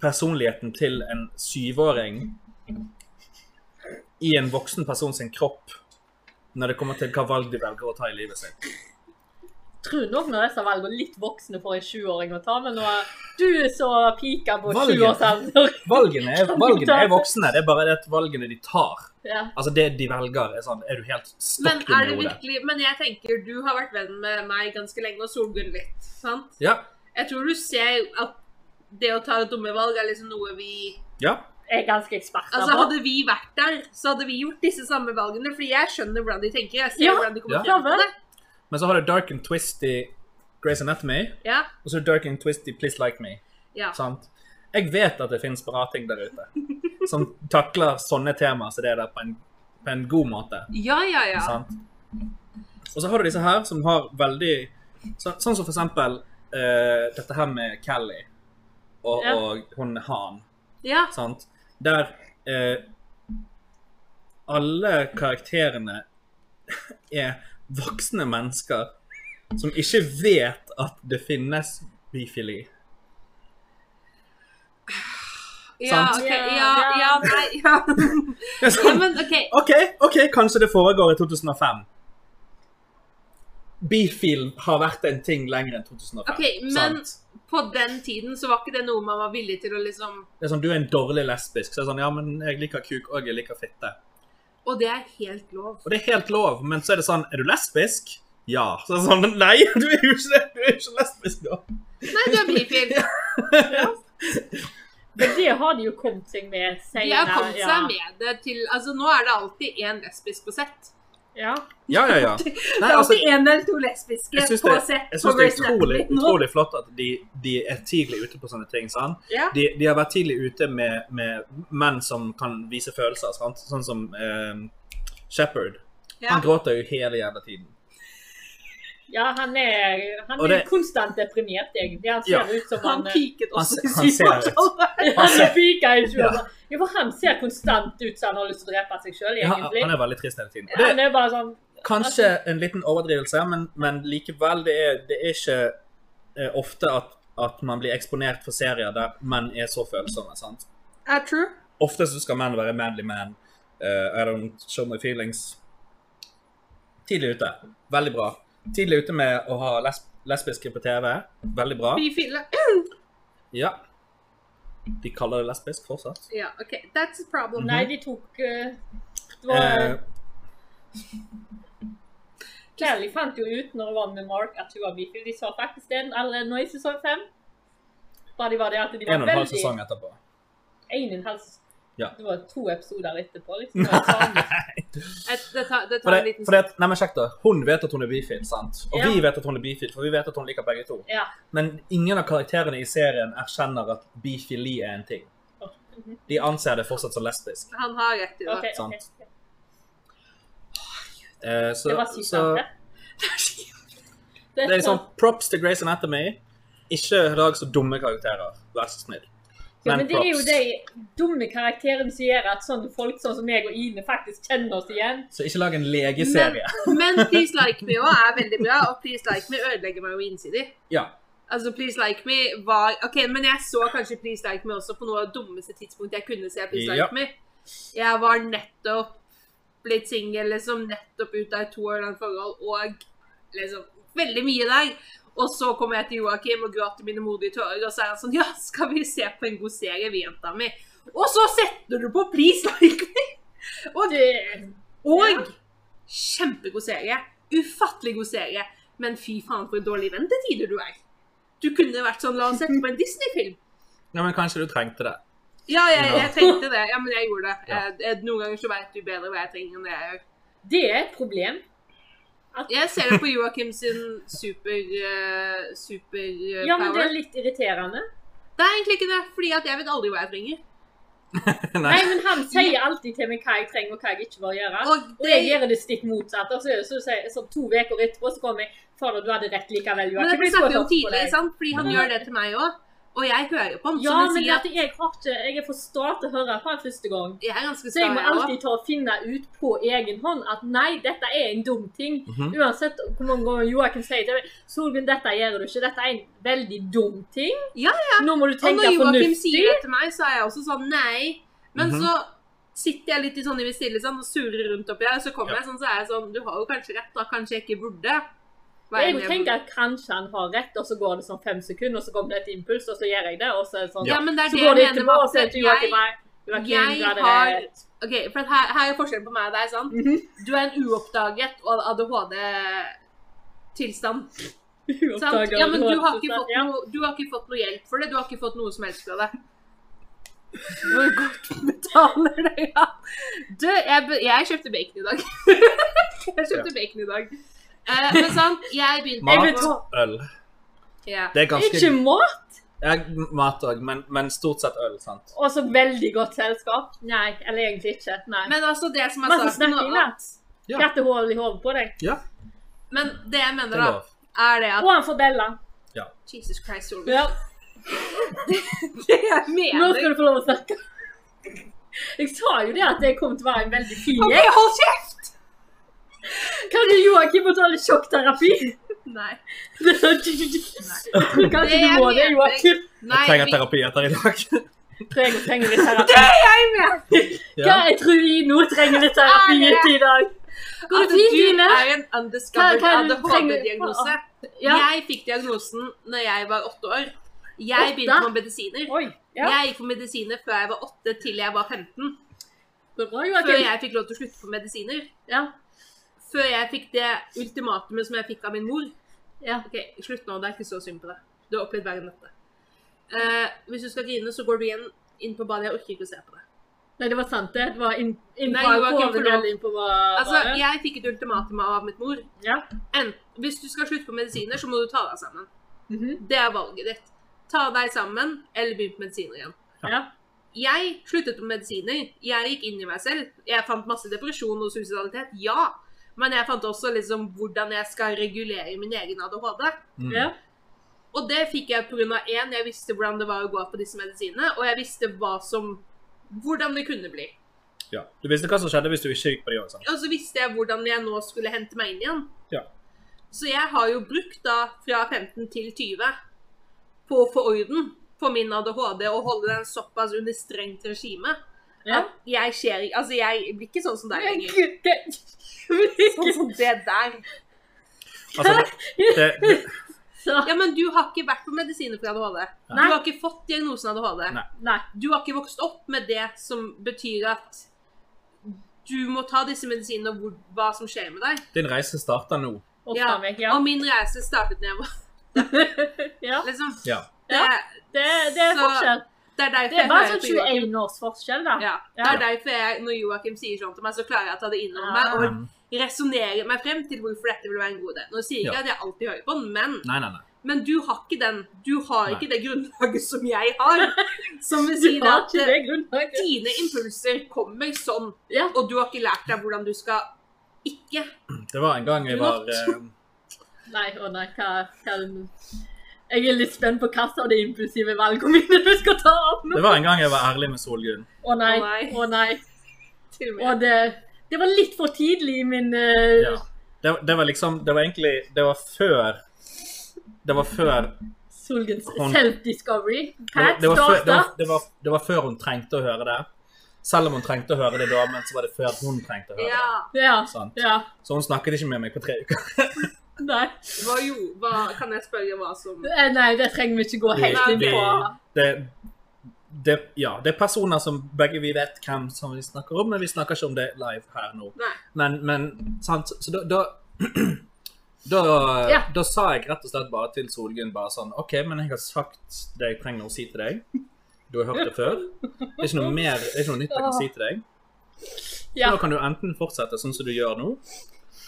C: personligheten til en syvåring i en voksen person sin kropp når det kommer til hva valg de velger å ta i livet sitt.
D: Tror nok når disse valgene er litt voksne for en sjuåring å ta, men nå er du så pika på
C: Valget.
D: sjuårsalder.
C: Valgene er, valgene er voksne, det er bare det at valgene de tar.
D: Ja.
C: Altså det de velger, er sånn Er du helt
B: å Men
C: stokk dum
B: er
C: i
B: det
C: hodet?
B: virkelig Men jeg tenker du har vært venn med meg ganske lenge, og Solgunn litt. sant?
C: Ja.
B: Jeg tror du ser at det å ta dumme valg er liksom noe vi
C: Ja.
D: Jeg er ganske ekspert
B: Altså
D: på.
B: Hadde vi vært der, så hadde vi gjort disse samme valgene. Fordi jeg skjønner hvordan de tenker. Jeg ser
D: Ja.
B: hvordan de kommer
C: Ja.
B: frem til det.
C: Men så har du Dark and Twist i Grey's Anatomy,
B: Ja,
C: og så er det Dark and Twist i Please Like Me.
B: ja.
C: Sant? Jeg vet at det finnes bra ting der ute som takler sånne temaer som det der på en, på en god måte.
B: Ja, ja, ja.
C: Sant? Og så har du disse her som har veldig så, Sånn som for eksempel eh, dette her med Kelly og,
D: Ja.
C: og hun Han.
B: ja.
C: sant? Der eh, alle karakterene er voksne mennesker som ikke vet at det finnes bifili.
B: Ja,
C: Sant.
B: ok,
D: Ja,
B: ja, ja,
D: ja.
B: nei, ja.
C: Det er
B: ja
C: sånn,
B: men OK.
C: OK, ok, kanskje det foregår i 2005. Bifil har vært en ting lenger enn 2005.
B: Ok, men-
C: sant?
B: På den tiden så var ikke det noe man var villig til å liksom
C: Det er sånn, Du er en dårlig lesbisk. så er det sånn, ja, men Jeg liker kuk og jeg liker fitte.
B: Og det er helt lov.
C: Og det er helt lov, men så er det sånn Er du lesbisk? Ja. Så er det sånn, Nei, du er jo ikke det. Du er jo ikke lesbisk, da.
B: Nei, du er bifil.
D: Men det har de jo kommet seg med
B: De
D: senere.
B: har kommet seg med det til Altså, nå er det alltid én lesbisk på sett.
D: Ja.
C: Ja, ja, ja.
B: Det
C: Nei,
B: er
C: altså,
B: alltid én eller to lesbiske
C: jeg syns
B: på
C: det,
B: sett. på
C: jeg synes det er
B: Grey's Anatomy
C: utrolig,
B: nå.
C: utrolig flott at de, de er tidlig ute på sånne ting. sant?
B: Ja.
C: De, de har vært tidlig ute med, med menn som kan vise følelser, sant? sånn som eh, Shepherd.
B: Ja.
C: Han gråter jo hele jævla tiden.
D: ja, han er, han
C: Og
D: er
C: det-
D: konstant deprimert, egentlig. Han ser
C: Ja.
D: ut som
B: Han
D: han, eh,
B: piket
C: Han
B: også sånn. i
C: ser- han ser ut.
B: syvårsalderen.
D: han er pika i
C: Altså- Ja.
D: sjuårsalder. Jo, for han ser konstant ut som han har lyst til å drepe seg sjøl,
C: Ja, han
D: egentlig.
C: han er veldig trist hele tiden. Og det,
D: Han er bare sånn
C: Kanskje en liten overdrivelse, men, men likevel, det er, det er ikke eh, ofte at, at man blir eksponert for serier der menn er så følsomme. sant?
B: Er true.
C: Ofte så skal menn være manly man. eh, I don't show my feelings. Tidlig ute. Veldig bra. Tidlig ute med å ha lesb lesbiske på TV. Veldig bra.
B: Bifile.
C: Ja. De kaller det lesbisk fortsatt.
B: Ja, OK. That's a problem.
D: Nei, de tok eh, Det var
C: Eh,
D: Kelly fant jo ut når hun var med Mark at hun var bifil. De sa faktisk det allerede nå i sesong fem. Bare de var det at de var
C: Eh, en og en halv
D: veldig
C: sesong etterpå.
D: En og en halv sesong.
C: Ja.
D: Det var to episoder etterpå. liksom. Det var sånn.
B: Et- Det tar, det
C: For
B: tar en
C: det,
B: liten
C: for det, nei, men sjekk da. Hun vet at hun er bifil, sant? Og
D: Ja.
C: vi vet at hun er bifil, for vi vet at hun liker begge to.
D: Ja.
C: Men ingen av karakterene i serien erkjenner at bifili er en ting. De anser det fortsatt som lesbisk.
B: Han har rett i det.
D: Ok, ok.
C: Sant. Eh, så,
D: Det var
C: så
D: sykt sant, det.
C: sånn det er liksom props til Grace Anatomy. Ikke lag så dumme karakterer, vær så snill.
D: Ja,
C: Men
D: men det er jo
C: props.
D: de dumme karakterene som gjør at sånne folk sånn som meg og Ine faktisk kjenner oss igjen.
C: Så ikke lag en legeserie.
B: Men Please Like Me også er veldig bra, og Please Like Me ødelegger meg jo innsidig.
C: Ja.
B: Altså, Please Like Me var OK, men jeg så kanskje Please Like Me også på noe av det dummeste tidspunktet jeg kunne se Please Like
C: Ja.
B: Me. Jeg var nettopp blitt singel, liksom nettopp ut av et to år langt forhold, og liksom veldig mye der. Og så kommer jeg til Joakim og gråter mine modige tårer, og så er han sånn Ja, skal vi se på en god serie, vi jenta mi? Og så setter du på Please Like Me! Og
D: Det,
B: og
D: Ja.
B: kjempegod serie. Ufattelig god serie. Men fy faen for en dårlig venn til tider du er. Du kunne vært sånn, la oss sette på en Disney-film.
C: ja, men kanskje du trengte det.
B: Ja, jeg,
C: Ja.
B: jeg trengte det. Ja, men jeg gjorde det.
C: Ja.
B: Eh, eh, Noen ganger så vet du bedre hva jeg trenger enn det jeg gjør.
D: det er et problem.
B: Jeg ser det på Joakim sin super... eh, super eh,
D: Ja, men det
B: power.
D: er litt irriterende.
B: Det er egentlig ikke det, fordi at jeg vet aldri hva jeg trenger.
D: Nei, men han sier alltid til meg hva jeg trenger og hva jeg ikke bør gjøre.
B: Og
D: Og
B: det,
D: jeg gjør det stikk motsatt. Og så, så, så, så to uker etterpå så kommer jeg Fader, du hadde rett likevel.
B: men
D: Joakim.
B: dette snakker
D: Jeg så
B: vi om
D: godt på
B: tidlig,
D: deg.»
B: sant? Fordi han
C: Mhm.
B: gjør det til meg også. Og jeg hører jo på ham,
D: Ja,
B: som
D: men
B: jeg sier
D: det at jeg har ikke Jeg er for sta til å høre på han første gang.
B: at jeg er ganske
D: Så jeg må
B: jeg også.
D: alltid ta og finne ut på egen hånd at nei, dette er en dum ting.
C: Mhm.
D: Uansett hvor mange ganger Joakim sier til meg Solgunn, dette gjør du ikke. Dette er en veldig dum ting.
B: Ja,
D: Nå må du
B: Og
D: tenke
B: når Joakim
D: fornuftig.
B: sier det til meg, så er jeg også sånn nei. Men
C: Mhm.
B: så sitter jeg litt i sånn i mitt stille sånn, og surrer rundt oppi her, og så kommer
C: Ja.
B: jeg sånn, så er jeg sånn Du har jo kanskje rett, da. Kanskje jeg ikke burde.
D: Og
B: være
D: jeg
B: med-
D: tenker at kanskje han har rett, og så går det sånn fem sekunder, og så kommer det et impuls, og så gjør jeg det, og så er det sånn.
B: ja. men det er
D: Så
B: det
D: går det
B: jeg mener
D: etterpå, og så
B: med
D: er
B: at
D: det
B: jeg
D: Joakim her. Joakim,
B: jeg
D: du hadde
B: har-
D: rett.
B: Ok, for at her, her er forskjellen på meg og deg, sant?
D: Mhm.
B: Du er en uoppdaget og ADHD-tilstand. Sant? Ja, men du har, ikke fått
D: Ja.
B: noe, du har ikke fått noe hjelp for det. Du har ikke fått noe som helst fra det.
D: Hvor godt
B: betaler det, ja. Du, jeg, be- jeg kjøpte bacon i dag. jeg kjøpte bacon i dag. Eh, men sant, jeg begynte
C: Mat,
D: Jeg vet hva.
C: øl.
B: Ja.
C: Det er ganske
D: Ikke mat,
C: ja, Mat òg, men, men stort sett øl, sant.
D: og så veldig godt selskap. Nei, eller egentlig ikke. Nei.
B: Men altså det som er
D: Masse
B: saken
D: snakking,
B: nå,
D: da.
C: Ja.
D: Kattehull i hodet på deg.
B: Men det jeg mener,
C: Det er
B: da,
C: lov.
B: er det
D: Og
B: at
D: han får Bella.
B: Jesus Christ, Solveig. Det jeg
D: Nå
B: mener
D: skal du få lov å snakke. Jeg sa jo det at jeg kom til å være en veldig fin
B: OK,
D: gjeng.
B: hold kjeft!
D: Kan du Joakim betale sjokkterapi?
B: Nei.
D: Jeg tror kanskje du må det, Joakim.
B: Nei,
C: Jeg trenger
B: vi-
C: terapi etter i dag.
D: Tror jeg hun trenger litt terapi.
B: jeg mener
D: Hva
C: Ja.
D: jeg tror vi nå trenger litt terapi i dag. Går
B: at
D: det fint,
B: Altså, du
D: Ine?
B: er en undiscovered
D: Hva- hva er det du
B: ADHD-diagnose.
D: Ja.
B: Jeg fikk diagnosen når jeg var åtte år. Jeg begynte
D: Åtte?
B: med medisiner.
D: Oi. Ja.
B: Jeg gikk på medisiner før jeg var åtte til jeg var 15.
D: Bra,
B: Før
D: Joakim.
B: jeg fikk lov til å slutte på medisiner.
D: Ja.
B: Før jeg fikk det ultimatumet som jeg fikk av min mor.
D: Ja.
B: Ok, Slutt nå, det er ikke så synd på deg. Du har opplevd verre enn dette. Eh, hvis du skal grine, så går du igjen inn på badet. Jeg orker ikke å se på deg.
D: Nei, det var sant, det. Det var inn, inn
B: Nei,
D: på
B: Joakim,
D: hoven
B: forlåt.
D: eller inn på hva
B: Altså,
D: hva det-
B: Jeg fikk et ultimatum av mitt mor.
D: Ja.
B: En, hvis du skal slutte på medisiner, så må du ta deg sammen.
D: Mhm.
B: Det er valget ditt. Ta deg sammen, eller begynn på medisiner igjen.
D: Ja.
B: Jeg sluttet med medisiner. Jeg gikk inn i meg selv. Jeg fant masse depresjon og suicidalitet. Ja. Men jeg fant også liksom hvordan jeg skal regulere min egen ADHD.
C: Mm.
D: Ja.
B: Og det fikk jeg pga. én, jeg visste hvordan det var å gå på disse medisinene, og jeg visste hva som Hvordan det kunne bli.
C: Ja. Du visste hva som skjedde hvis du ikke gikk på de òg, sant.
B: Og så visste jeg hvordan jeg nå skulle hente meg inn igjen.
C: Ja.
B: Så jeg har jo brukt da fra 15 til 20 på å få orden på min ADHD og holde den såpass under strengt regime.
D: Ja.
B: At jeg skjer ikke Altså, jeg blir ikke sånn som deg
D: Men
B: lenger.
D: gud, det-
B: Sånn som det der.
C: Altså, det, det,
D: Så,
B: Ja, men du har ikke vært på medisiner for ADHD. Du
D: Nei.
B: har ikke fått diagnosen ADHD.
C: Nei.
D: nei.
B: du har ikke vokst opp med det som betyr at du må ta disse medisinene og hvor, hva som skjer med deg.
C: din reise starter nå.
D: Opp
B: Ja.
D: av meg, ja.
B: Og min reise startet da jeg var
D: ja.
B: liksom,
C: Ja.
B: det,
D: Det, det er
B: Så-
D: forskjell.
B: det er derfor
D: Det er bare
B: hører
D: sånn
B: på Joakim.
D: 21 års forskjell, da.
B: Ja, det
D: Ja.
B: er derfor jeg, når Joakim sier sånn til meg, så klarer jeg å ta det innover
D: Ah.
B: meg
C: Mm.
B: og resonnere meg frem til hvorfor dette vil være en god idé. Nå sier jeg ikke
C: Ja.
B: at jeg alltid hører på den, men,
C: Nei, nei, nei.
B: men du har ikke den. Du har
C: Nei.
B: ikke det grunnlaget som jeg har. Som vil
D: Du
B: si
D: har
B: at
D: ikke
B: eh,
D: det grunnlaget.
B: dine impulser kommer sånn,
D: Ja.
B: og du har ikke lært deg hvordan du skal ikke
C: Det var en gang jeg var eh,
D: Nei, å nei, hva, hva Jeg er litt spent på hva som er de impulsive valgene mine du skal ta opp nå.
C: Det var en gang jeg var ærlig med Solgunn.
D: Å
B: Å
D: nei.
B: nei.
D: Å nei.
B: Til og
D: Og
B: med.
D: det, det var litt for tidlig i min eh,
C: Ja. Det, det var liksom Det var egentlig Det var før Det var før det
D: Solgens
C: Hun-
D: self-discovery.
C: var,
D: Pat
C: det, var før, det,
D: starta.
C: var, det, var, det var før hun trengte å høre det. Selv om hun trengte å høre det da, men så var det før hun trengte å høre
B: Ja.
D: Ja.
C: det. Sant?
D: ja.
C: Så hun snakket ikke med meg på tre uker.
D: Nei.
B: Hva jo, hva, kan jeg spørre hva som
D: Eh, nei, det trenger vi ikke gå
C: Vi-
D: helt inn
C: vi-
D: på.
C: det, det, ja, det er personer som begge vi vet hvem som vi snakker om, men vi snakker ikke om det live her nå.
B: Nei.
C: Men, men sant, så da da, da,
D: Ja.
C: da sa jeg rett og slett bare til Solgunn bare sånn OK, men jeg har sagt det jeg trenger å si til deg. Du har hørt det før. Det er ikke noe, mer, det er ikke noe nytt jeg kan si til deg.
D: Ja.
C: Nå kan du enten fortsette sånn som du gjør nå,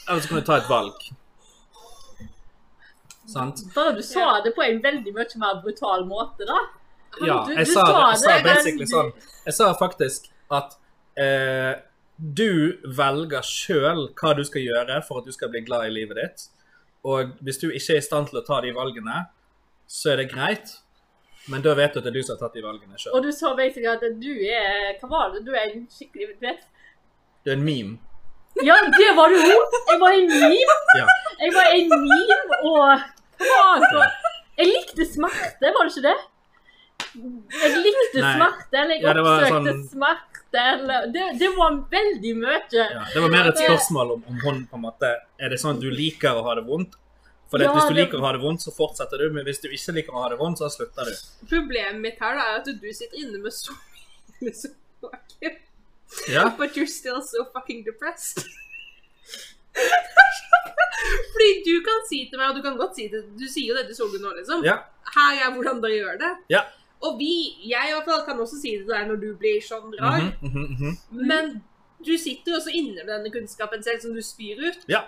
C: eller så kan du ta et valg. Sant?
D: Bare du sa det på en veldig mye mer brutal måte, da.
C: Ja,
D: Du-
C: jeg
D: du
C: sa,
D: sa
C: jeg sa
D: det, men
C: basically
D: du-
C: sånn Jeg sa faktisk at eh, du velger sjøl hva du skal gjøre for at du skal bli glad i livet ditt. Og hvis du ikke er i stand til å ta de valgene, så er det greit. Men da vet du at det er du som har tatt de valgene
D: Og
C: sjøl.
D: du sa basically at du er Hva var det? Du er en skikkelig vet.
C: Du er en meme.
D: Ja, det var du òg! Jeg var en meme.
C: Ja.
D: Jeg var en meme, og hva var det? Jeg likte smerte, var det ikke det? Jeg likte
C: Nei.
D: smerte, eller jeg
C: Ja, det var
D: oppsøkte
C: sånn-
D: smerte, eller det, det var veldig mye.
C: Ja, det var mer et spørsmål om, om hun på en måte Er det sånn at du liker å ha det vondt? For det,
D: Ja,
C: hvis du
D: det-
C: liker å ha det vondt, så fortsetter du. Men hvis du ikke liker å ha det vondt, så slutter du.
B: Problemet mitt her da, er at du sitter inne med så mye som baker.
C: Ja,
B: But you're still so fucking depressed. Fordi du kan si til meg, og du kan godt si det, du sier jo det til Solgunn nå, liksom.
C: ja,
B: Her er hvordan dere gjør det.
C: Ja.
B: Og vi, jeg i hvert fall, kan også si det der når du blir sånn rar.
C: mhm, mhm, mhm.
B: Men du sitter jo også inne med denne kunnskapen selv som du spyr ut.
C: ja.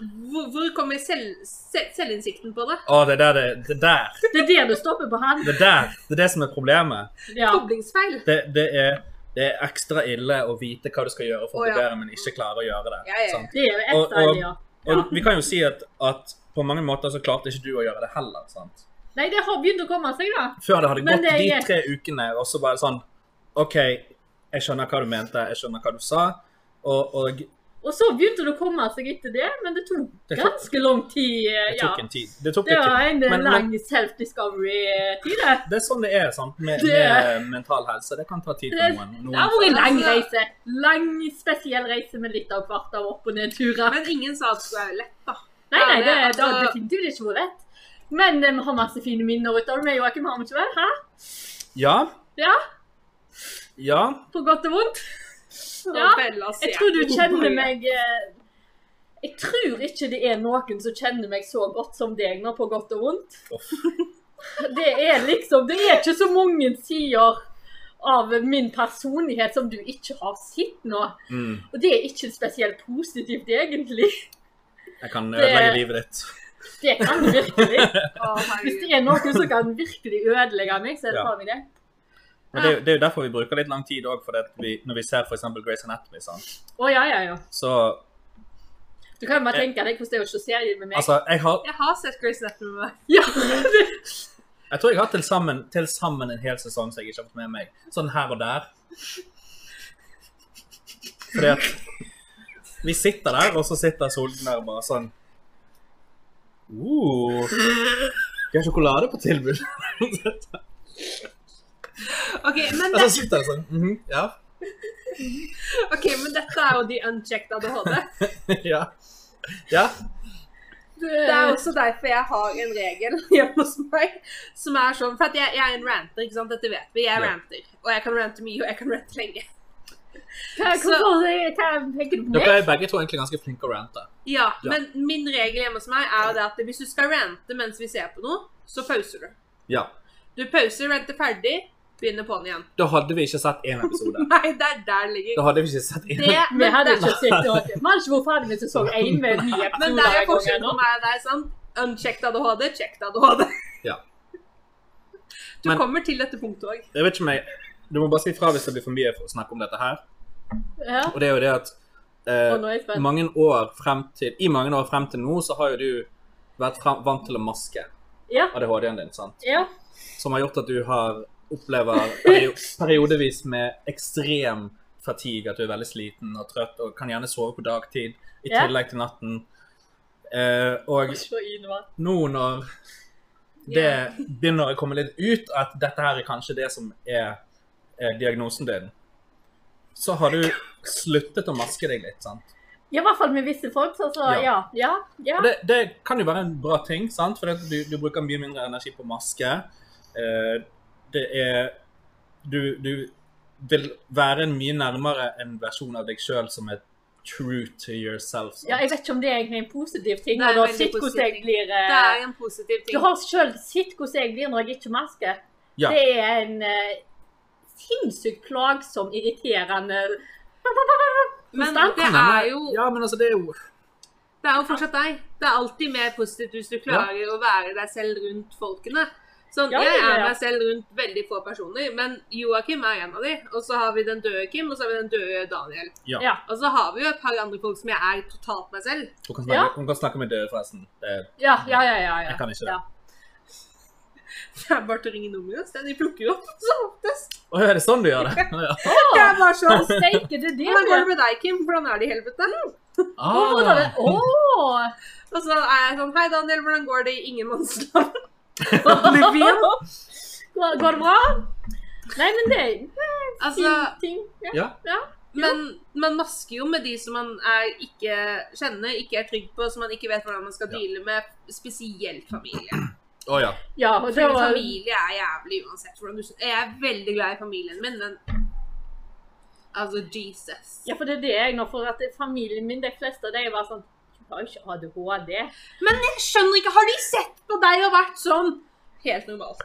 B: Hvor, hvor kommer selv, se- selvinnsikten på det?
C: Å, det der, det, det der.
D: Det er der du stopper på han.
C: Det der, det er det som er problemet.
D: Ja.
B: Koblingsfeil.
C: Det, det, er, det er ekstra ille å vite hva du skal gjøre for å
B: Å, ja.
C: bli bedre, men ikke klare å gjøre det.
B: Ja, ja, ja.
C: sant?
D: Det er jo
C: Og-
D: ekstra
C: og-
D: ideer. Ja.
C: Og vi kan jo si at, at på mange måter så klarte ikke du å gjøre det heller. sant?
D: Nei, det har begynt å komme seg, da.
C: Før det hadde
D: Men
C: gått
D: det er-
C: de tre ukene, og så bare sånn OK, jeg skjønner hva du mente, jeg skjønner hva du sa, og, og det
D: Og så begynte det å komme seg etter det, men det tok
C: Det tok-
D: ganske lang tid. eh, Ja.
C: tok en tid. Det tok
D: Det
C: litt tid.
D: var en
C: Men- men-
D: lang self-discovery-tid, det.
C: Det er sånn det er sant, med,
D: Det-
C: med mental helse. Det kan ta tid for noen.
D: Det har vært
C: noen
D: en lang reise. altså, Lang, spesiell reise med litt av hvert av opp- og nedturer.
B: Men ingen sa at det er lett, da.
D: Nei, nei, det,
B: altså-
D: det har definitivt ikke vært lett. Men eh, vi har masse fine minner ut av det. Vi, Joakim, har vi ikke vel? Hæ?
C: ja,
D: Ja,
C: ja.
D: på godt og vondt. Ja,
B: Og Bella ser
D: Jeg tror du
B: på
D: kjenner
B: bordet.
D: meg eh, Jeg tror ikke det er noen som kjenner meg så godt som deg nå, på godt og vondt.
C: Uff.
D: Det er liksom Det er ikke så mange sider av min personlighet som du ikke har sett nå.
C: Mm,
D: Og det er ikke spesielt positivt, egentlig.
C: jeg kan
D: Det-
C: ødelegge livet ditt.
D: Det kan du virkelig.
B: Å,
D: Hvis
B: herregud.
D: det er noen som kan virkelig ødelegge meg, så er det
C: Ja.
D: tar vi det.
C: Men det, er jo- det er jo derfor vi bruker litt lang tid òg, når vi ser f.eks. Grace Anatomy. Sant?
D: Å ja, ja, ja.
C: Så
D: Du kan jo bare tenke deg hvordan det er å se serien med meg.
C: Eh. altså, jeg, har,
B: Jeg har sett Grace Anatomy med meg.
D: ja, det,
C: jeg tror jeg har til sammen, til sammen en hel sesong som jeg ikke har fått med meg. Sånn her og der. Fordi at vi sitter der, og så sitter Solden der og bare sånn uh, Vi har sjokolade på tilbud.
B: Ok, men,
C: Og
B: det,
C: så sitter jeg sånn mhm, Ja.
B: ok, men dette er jo de unchecked ADHD.
C: Ja. ja.
B: Det er også derfor jeg har en regel hjemme hos meg som er sånn For at jeg, jeg er en ranter, ikke sant? Dette vet vi. Jeg
C: Ja.
B: ranter. Og jeg kan rante mye, og jeg kan rante lenge.
D: hva, hvorfor, hva tenker du på meg?
C: Dere er begge to egentlig ganske flinke å rante.
B: Ja,
C: Ja.
B: men min regel hjemme hos meg er jo det at hvis du skal rante mens vi ser på noe, så pauser du.
C: Ja.
B: Du pauser, ranter ferdig, begynner på'n igjen.
C: Da hadde vi ikke sett én episode.
B: Nei, det er der det ligger.
C: Da hadde vi ikke sett en
B: Det,
D: Vi
B: men,
D: hadde
B: det,
D: ikke sett det. altså, Vi hadde ikke vært ferdig med sesong én med en ny
B: men
D: episode
B: det er jo
D: en gang
B: forskjell på
D: ennå.
B: meg og deg, sant? Unchecked ADHD, checked ADHD.
C: Ja.
B: Du
C: Men-
B: kommer til dette punktet òg.
C: Jeg vet ikke om jeg Du må bare si fra hvis det blir for mye for å snakke om dette her.
D: Ja.
C: Og det er jo det at
D: Og nå
C: eh,
D: er jeg spent.
C: mange år frem til, i mange år frem til nå så har jo du vært frem, vant til å maske
D: Ja.
C: ADHD-en din, sant?
D: Ja.
C: Som har gjort at du har opplever perio periodevis med ekstrem fatigue, at du er veldig sliten og trøtt og kan gjerne sove på dagtid i
D: Ja.
C: tillegg til natten. Eh, og
D: Ikke for innvandrere.
C: nå når det begynner å komme litt ut at dette her er kanskje det som er eh, diagnosen din, så har du sluttet å maske deg litt, sant?
D: Ja, i hvert fall med visse folk, så, så
C: Ja.
D: ja. Ja, ja.
C: Og Det, det kan jo være en bra ting, sant? for du, du bruker mye mindre energi på maske. Eh, det er du, du vil være en mye nærmere en versjon av deg sjøl som er true to yourself. sant?
D: ja, jeg vet ikke om det er egentlig en positiv ting.
B: Det er
D: og du har
B: veldig
D: sett
B: positiv
D: hvordan jeg
B: ting.
D: blir eh,
B: Det er en positiv
D: Du
B: ting.
D: har selv sett hvordan jeg blir når jeg ikke masker.
C: Ja.
D: Det er en eh, sinnssykt plagsom, irriterende
B: Men
D: Konstant.
B: det er jo
C: Ja, men altså, det er jo
B: Det er jo fortsatt deg. Det er alltid mer positivt hvis du klarer å være deg selv rundt folkene. Sånn,
D: Ja, ja,
B: Jeg
D: ja,
B: er
D: ja.
B: meg selv rundt veldig få personer, men Joakim er en av de. Og så har vi den døde Kim, og så har vi den døde Daniel.
C: Ja.
D: Ja.
B: Og så har vi jo et par andre folk som jeg er totalt meg selv.
C: Hun kan snakke,
D: Ja.
C: hun kan snakke med døde, forresten. Det,
D: Ja, ja, ja. ja, ja.
C: jeg kan ikke det.
D: Ja.
B: Det er bare til å ringe nummeret hans. De plukker jo opp som oftest.
C: Å, er det sånn du gjør det? Ja.
B: Det er bare
D: Å,
B: sånn.
D: steike, det er det
B: Hvordan
D: det
B: går
D: er.
B: det med deg, Kim? Hvordan er det i helvete?
D: Å, hvordan er det?
C: Ah.
D: Å!
B: Og så er jeg sånn Hei, Daniel, hvordan går det i ingenmannsland?
D: Går går det bra? Nei, men det er en
B: Altså,
D: fin ting. Ja.
C: Ja.
B: Men man masker jo med de som man er ikke kjenner, ikke er trygg på, som man ikke vet hvordan man skal
C: Ja.
B: deale med, spesielt familie.
C: Å, ja.
D: ja og det
B: Fordi
D: var,
B: familie er jævlig uansett hvordan du Jeg er veldig glad i familien min, men Altså, Jesus.
D: ja, for det er det jeg nå får at familien min, de fleste av dem var sånn Du har jo ikke ADHD.
B: Jeg skjønner ikke, har de sett på deg og vært sånn? Helt normalt.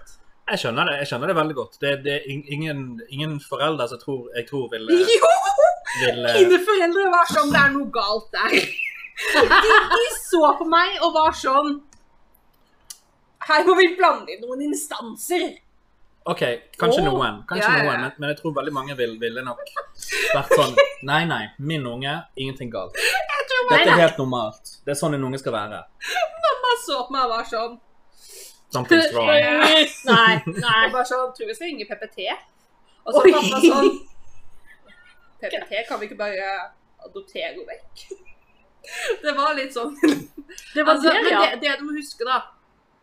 C: Jeg skjønner det jeg skjønner det veldig godt. Det, det er ing- ingen, ingen foreldre som tror, jeg tror vil, eh,
B: Jo!
C: vil eh,
B: Mine foreldre var sånn, det er noe galt der. De, de så på meg og var sånn Her må vi blande inn noen instanser.
C: OK, kanskje
B: Åh.
C: noen, kanskje
B: Ja, ja, ja.
C: noen men, men jeg tror veldig mange vil, ville nok vært sånn Nei, nei, min unge, ingenting galt. Dette er helt normalt. Det er sånn en unge skal være.
B: Han så på meg og var sånn
C: Something's wrong.
D: Nei, nei.
B: Jeg bare sånn, tror vi skal ringe PPT. Og så
D: Oi.
B: pappa sånn PPT, kan vi ikke bare adoptere henne vekk? Det var litt sånn.
D: Det var
B: Altså,
D: det,
B: men
D: ja.
B: det, det du må huske, da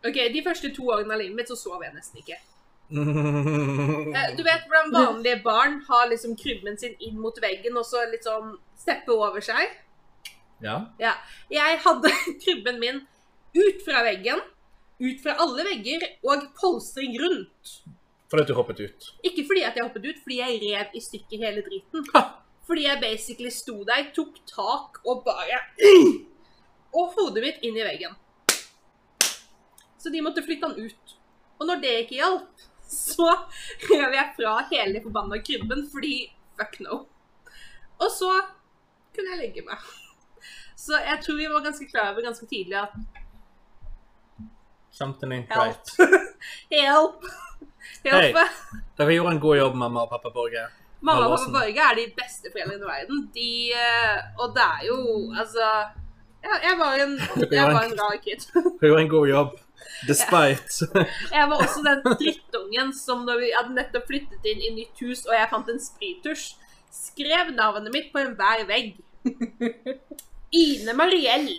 B: Ok, De første to årene av livet mitt så sov jeg nesten ikke. Eh, Du vet hvordan vanlige barn har liksom krybben sin inn mot veggen og så litt sånn steppe over seg?
C: Ja.
B: Jeg hadde krybben min ut fra veggen, ut fra alle vegger og polstring rundt.
C: Fordi at du hoppet ut.
B: Ikke fordi at jeg hoppet ut, fordi jeg rev i stykker hele driten. Fordi jeg basically sto der, tok tak og bare Og hodet mitt inn i veggen. Så de måtte flytte han ut. Og når det ikke hjalp, så rev jeg fra hele forbanna krybben fordi fuck no. Og så kunne jeg legge meg. Så jeg tror vi var ganske klar over ganske tidlig at
C: Something ain't
B: Help.
C: right.
B: Hjelp! Hjelp!
C: Hei. Dere gjorde en god jobb, mamma og pappa Borge.
B: Mamma og
C: Halvorsen.
B: pappa Borge er de beste foreldrene i verden. De, eh, og det er jo Altså Jeg, jeg, var, en, jeg var en rar kid.
C: Dere gjorde en god jobb. Despite.
B: Jeg var også den drittungen som når vi hadde nettopp flyttet inn i nytt hus og jeg fant en sprittusj, skrev navnet mitt på enhver vegg. Ine Mariell.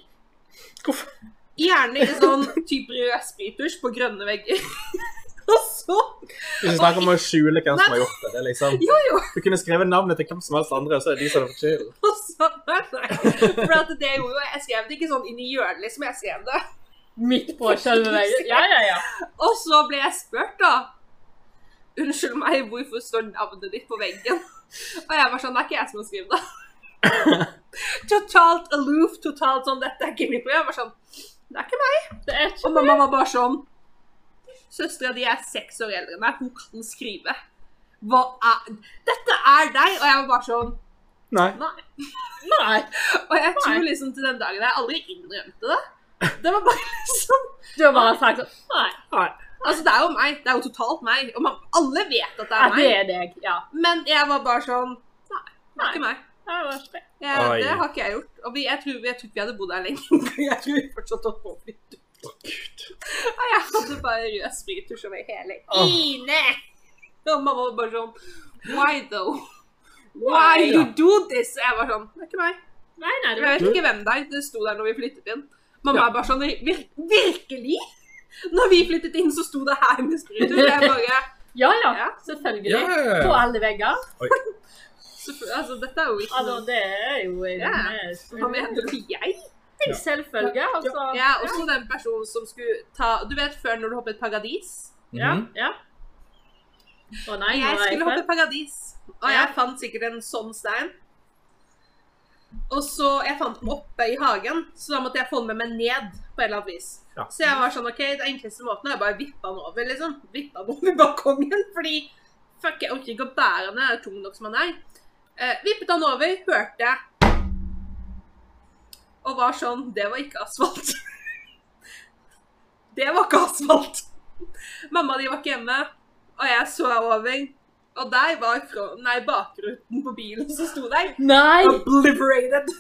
B: Gjerne i sånn type rød sprittusj på grønne vegger. Og så
C: Ikke snakk om å skjule hvem som har gjort det. det er liksom,
B: Jo, jo.
C: du kunne skrevet navnet til hvem som helst andre, og så er det de som har fått skylden.
B: Og så Nei, nei. For at det jeg gjorde, jeg skrev det ikke sånn inn i hjørnet, liksom. Jeg skrev det.
D: Midt på selve veien. Ja, ja, ja.
B: Og så ble jeg spurt, da. Unnskyld meg, hvorfor står navnet ditt på veggen? Og jeg var sånn, det er ikke jeg som har skrevet det. totalt aloof, totalt sånn, dette er ikke mitt problem. Jeg var sånn, det er ikke meg.
D: Det er ikke
B: Og mamma var bare sånn, søstre di er seks år eldre enn meg, hun kan skrive. Hva er, dette er deg! Og jeg var bare sånn,
C: Nei.
B: nei.
D: Nei.
B: Og jeg tror
D: Nei.
B: liksom til den dagen jeg aldri innrømte det. Det var bare liksom
D: Du har bare sagt sånn Nei.
B: Altså, det er jo meg. Det er jo totalt meg. Og man, alle vet at det
D: Ja,
B: er
D: det
B: meg.
D: er deg. Ja.
B: Men jeg var bare sånn Nei, det er ikke meg.
D: Ja, det var ikke det.
B: Jeg,
C: Oi.
B: det har ikke jeg gjort. Og vi, jeg, tror, jeg tror ikke vi hadde bodd her lenge. Jeg tror vi fortsatt holdt på å flytte. ut. Og jeg hadde bare rød sprittusj over hele
C: Åh.
B: Ine! Og mamma var bare sånn Why though? Why you do this? Jeg var sånn Det er ikke meg.
D: Nei, nei, det
B: Jeg
D: var
B: vet ikke hvem det er. Det sto der når vi flyttet inn. Mamma
C: Ja.
B: er bare sånn vir Virkelig? Når vi flyttet inn, så sto det her med sprut. Og jeg bare
D: Ja, ja,
B: Ja.
D: selvfølgelig.
C: Ja, ja, ja.
D: På alle vegger.
B: "Selvfø- Altså, dette er jo ikke
D: Altså,
B: noe
D: det er jo en eh,
B: Ja. Hva
D: yeah.
B: mener du? Jeg?
D: en selvfølge, altså.
B: Jeg er også den personen som skulle ta Du vet før når du hoppet paradis?
D: Ja,
C: Mhm.
D: ja. Å nei, nå
B: Jeg
D: er jeg
B: skulle hoppe
D: spent.
B: paradis, og
D: Ja.
B: jeg fant sikkert en sånn stein. Og så Jeg fant den oppe i hagen, så da måtte jeg få den med meg ned på et eller annet vis.
C: Ja.
B: Så jeg var sånn OK, den enkleste måten er bare vippa den over, liksom. Vippa den over balkongen. Fordi fuck, jeg orker ikke å bære den, jeg er tung nok som den er. Eh, vippet den over, hørte jeg. Og var sånn Det var ikke asfalt. det var ikke asfalt. Mamma de var ikke hjemme, og jeg så over. Og der var fra, nei, bakruten på bilen som sto der.
D: Nei!
B: Obliterated.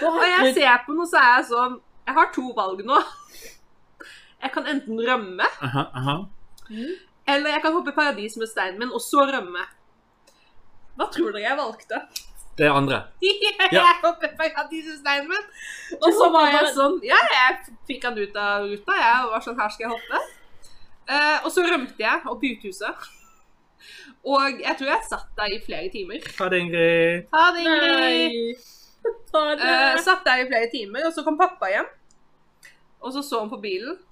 B: Og jeg
D: Bakgrunn-
B: ser på den, og så er jeg sånn Jeg har to valg nå. Jeg kan enten rømme,
C: Aha, aha.
B: eller jeg kan hoppe i paradis med steinen min, og så rømme. Hva tror dere jeg valgte?
C: Det er andre.
B: Jeg
C: Ja.
B: hoppet i paradis med steinen min. Og så var jeg sånn Ja, jeg fikk han ut av ruta, jeg, og var sånn Her skal jeg hoppe. Eh, og så rømte jeg opp i uthuset. Og jeg tror jeg satt der i flere timer.
C: Ha det, Ingrid.
B: Ha det, Ingrid!
D: Nei! Ta det.
B: Eh, satt der i flere timer, og så kom pappa hjem. Og så så han på bilen.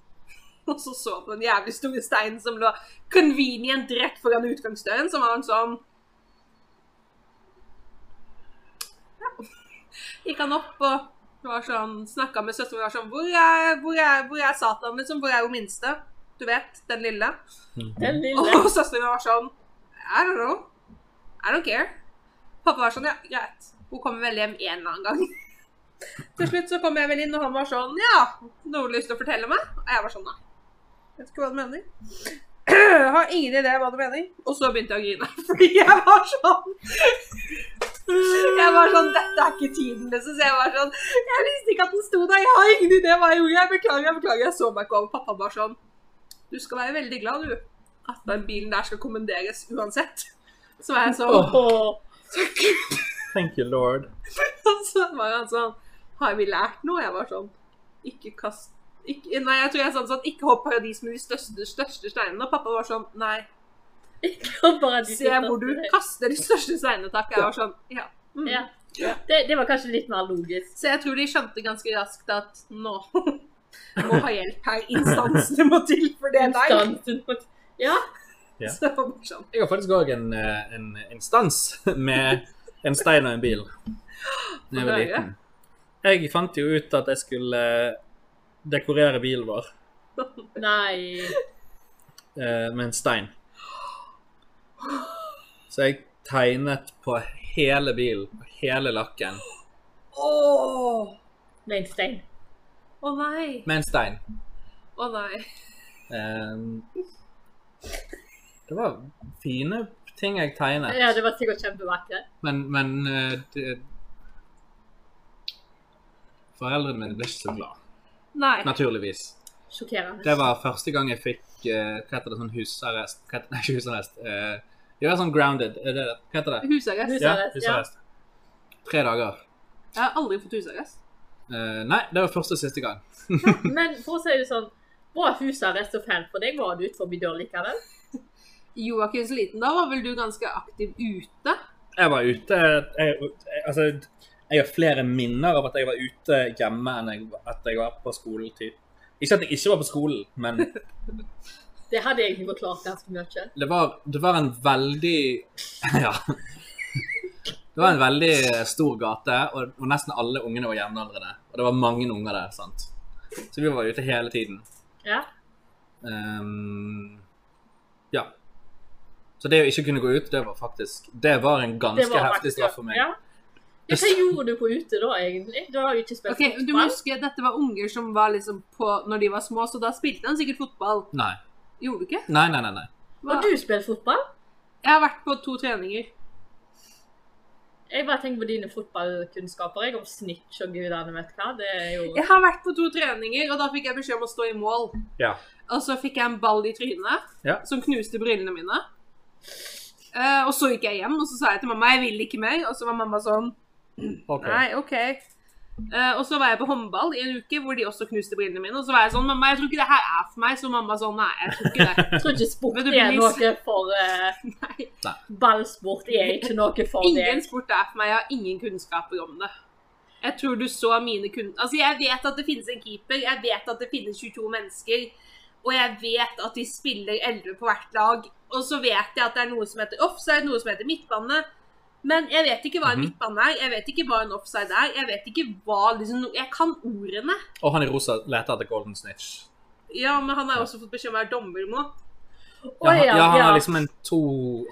B: Og så så han på den jævlig store steinen som lå convenient rett foran utgangsdøren, som var han sånn Ja. Gikk han opp og var sånn, snakka med søsteren og var sånn hvor er, hvor, er, 'Hvor er Satan, liksom? Hvor er hun minste?' Du vet, den lille.
C: Mhm.
D: Den lille.
B: Og søsteren min var sånn I don't know. I don't care. Pappa var sånn, ja, greit. Hun kommer vel hjem en eller annen gang. Til slutt så kom jeg vel inn, og han var sånn, ja, noe du lyst til å fortelle meg? Og jeg var sånn, nei. Vet ikke hva du mener. Jeg har ingen idé hva du mener. Og så begynte jeg å grine, fordi jeg var sånn. Jeg var sånn, dette er ikke tiden, liksom. Så jeg var sånn, jeg visste ikke at den sto der. Jeg har ingen idé hva jeg gjorde. Jeg beklager, jeg beklager. Jeg så meg ikke over. Pappa var sånn, du skal være veldig glad, du. At den bilen der skal kommanderes uansett. Så var jeg sånn,
D: Åh.
C: Thank you, lord.
B: Og så var han sånn Har vi lært noe? Jeg var sånn Ikke kast ikke, Nei, jeg tror jeg sa sånn Ikke hopp paradis med de største, største steinene. Og pappa var sånn Nei,
D: Ikke bare de
B: se hvor du kaster de største steinene, takk. Jeg var sånn Ja. Mm.
D: Ja. Det, det var kanskje litt mer logisk.
B: Så jeg tror de skjønte ganske raskt at nå må ha hjelp her. Instansene må til for det der.
D: Instansen på Ja.
C: Ja.
B: Så det var bare sånn.
C: Jeg har faktisk òg en, eh, en instans med en stein og en bil. Da jeg var liten. Jeg fant jo ut at jeg skulle eh, dekorere bilen vår
D: Nei.
C: eh, med en stein. Så jeg tegnet på hele bilen, på hele lakken,
B: Åh!
D: Med en stein.
B: Å nei.
C: med en stein.
B: Å nei.
C: Eh, Det var fine ting jeg tegnet,
D: Ja, det var sikkert kjempevakkert.
C: men, men eh, det Foreldrene mine ble ikke så glad,
B: Nei.
C: naturligvis.
D: Sjokkerende.
C: Det var første gang jeg fikk eh, hva heter det, sånn husarrest hva heter, Nei, ikke husarrest. eh, jeg var sånn grounded. Er det, det? hva heter det?
B: Husarrest.
D: Husarrest, ja.
C: Tre dager.
B: Jeg har aldri fått husarrest.
C: Eh, nei, det var første og siste gang.
D: Men for å si det sånn, var husarrest så fælt for deg? Var du utenfor døra likevel?
B: Joakims liten, da var vel du ganske aktiv ute?
C: Jeg var ute jeg, Altså, jeg har flere minner av at jeg var ute hjemme enn jeg, at jeg var på skolen. Typ. Ikke at jeg ikke var på skolen, men
D: Det hadde jeg egentlig forklart ganske mye.
C: det var, det var en veldig Ja. Det var en veldig stor gate, og, og nesten alle ungene var jevnaldrende. Og det var mange unger der, sant. Så vi var ute hele tiden.
D: Ja.
C: Ehm, ja. Så det å ikke kunne gå ut, det var faktisk Det var en ganske
D: Det var
C: heftig
D: faktisk-
C: straff for meg.
D: Ja. Ja, Hva gjorde du på ute da, egentlig? Du har jo ikke spilt
B: Ok, men Du må huske at dette var unger som var liksom på når de var små, så da spilte han sikkert fotball.
C: Nei.
B: Gjorde du ikke?
C: Nei, nei, nei. nei.
D: Har du spilt fotball?
B: Jeg har vært på to treninger.
D: Jeg bare tenker på dine fotballkunnskaper. Jeg om snitch og gudene vet hva. Det er jo
B: Jeg har vært på to treninger, og da fikk jeg beskjed om å stå i mål.
C: Ja.
B: og så fikk jeg en ball i trynet
C: Ja.
B: som knuste brillene mine. Eh, og så gikk jeg hjem, og så sa jeg til mamma jeg vil ikke mer. Og så var mamma sånn
C: Ok.
B: Nei, OK. Eh, og så var jeg på håndball i en uke hvor de også knuste brillene mine. Og så var jeg sånn Mamma, jeg tror ikke det her er for meg. Så mamma sånn Nei, jeg tror ikke det.
D: Jeg tror ikke sport
B: Men du
D: er
B: blir
D: noe for eh,
B: Nei.
D: Ballsport er ikke noe for
B: Ingen
D: deg.
B: sport er for meg. Jeg har ingen kunnskaper om det. Jeg tror du så mine kun... Altså, jeg vet at det finnes en keeper, jeg vet at det finnes 22 mennesker, og jeg vet at de spiller 11 på hvert lag. Og så vet jeg at det er noe som heter offside, noe som heter midtbane. Men jeg vet ikke hva en
C: Mhm.
B: midtbane er, jeg vet ikke hva en offside er, jeg vet ikke hva liksom no- Jeg kan ordene.
C: Og han i rosa leter etter Golden Snitch.
B: Ja, men han har jo også fått beskjed om å være dommer nå.
D: Å,
C: Ja, han, ja, han
D: ja. Ah,
C: har liksom en to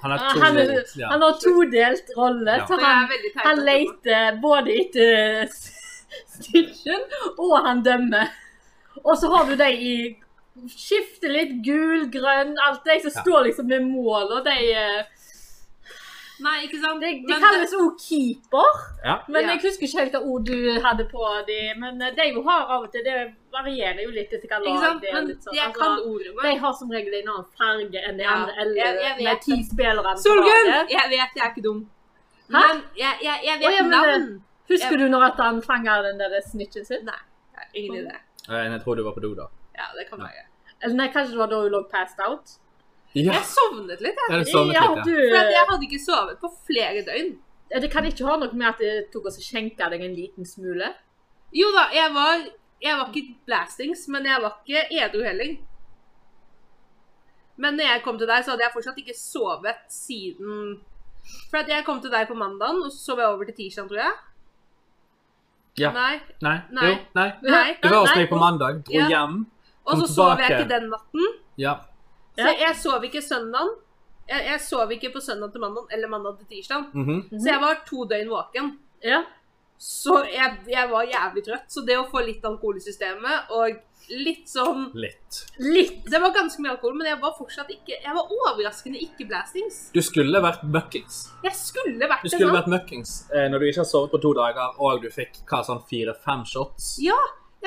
C: Han har to
D: Han, er-
C: ja.
D: han har todelt rolle,
C: Ja.
D: så
B: Det er
D: han,
B: veldig teit.
D: han
B: at det var-
D: leter både etter stitchen, og han dømmer. Og så har du de i Skifter litt gul, grønn, alt de som
C: Ja.
D: står liksom ved mål, og de eh,
B: Nei, ikke sant?
D: De, de
B: Men
D: kalles òg keeper,
C: Ja.
D: men
B: Ja.
D: jeg husker ikke helt hva ord du hadde på de, men eh, de jo har av og til Det varierer jo litt etter hva
B: Ikke
D: lag
B: sant?
D: det er.
B: Men
D: litt sånn,
B: jeg
D: altså.
B: kan ordene.
D: De har som regel en annen farge enn de
B: Ja,
D: andre
B: jeg- jeg
D: elleve
B: vet
D: med ti spillere. på
B: Solgunn!
D: laget.
B: Jeg vet jeg er ikke dum.
D: Hæ?
B: Men jeg, jeg, jeg vet
D: Å, ja, men det-
B: navn.
D: Husker du når at han fanger den der snitchen sin?
B: Ja, Ingen idé.
C: Eh, Jeg tror du var på do, da.
B: Ja, det kan være.
D: Eller nei, kanskje det var da hun lå passed out?
C: Ja,
B: Jeg sovnet litt, jeg.
C: sånn jeg hadde sovnet litt, ja.
D: du,
B: For at jeg hadde ikke sovet på flere døgn.
D: Det kan ikke ha noe med at det tok oss og skjenka deg en liten smule?
B: Jo da, jeg var, jeg var ikke blastings, men jeg var ikke edru heller. Men når jeg kom til deg, så hadde jeg fortsatt ikke sovet siden For at jeg kom til deg på mandagen, og så sov jeg over til tirsdag, tror jeg.
C: Ja.
B: Nei.
C: Nei.
B: Nei.
C: Jo, nei.
B: Nei.
C: Du var hos
D: Nei,
C: meg på mandag, dro
B: Ja.
C: hjem.
B: Og så
C: Kom
B: sov jeg
C: tilbake.
B: ikke den natten.
C: Ja.
B: Så jeg sov ikke søndagen. Jeg, jeg sov ikke på søndag til mandag eller mandag til tirsdag.
C: mhm.
B: Så jeg var to døgn våken.
D: Ja.
B: Så jeg, jeg var jævlig trøtt. Så det å få litt alkohol i systemet og litt sånn
C: Litt.
D: Litt.
B: Det var ganske mye alkohol, men jeg var fortsatt ikke Jeg var overraskende ikke blastings.
C: Du skulle vært møkkings.
B: Jeg skulle vært
C: Du
B: det
C: skulle
B: nå.
C: vært møkkings eh, når du ikke har sovet på to dager, og du fikk hva, sånn fire-fem shots.
B: Ja,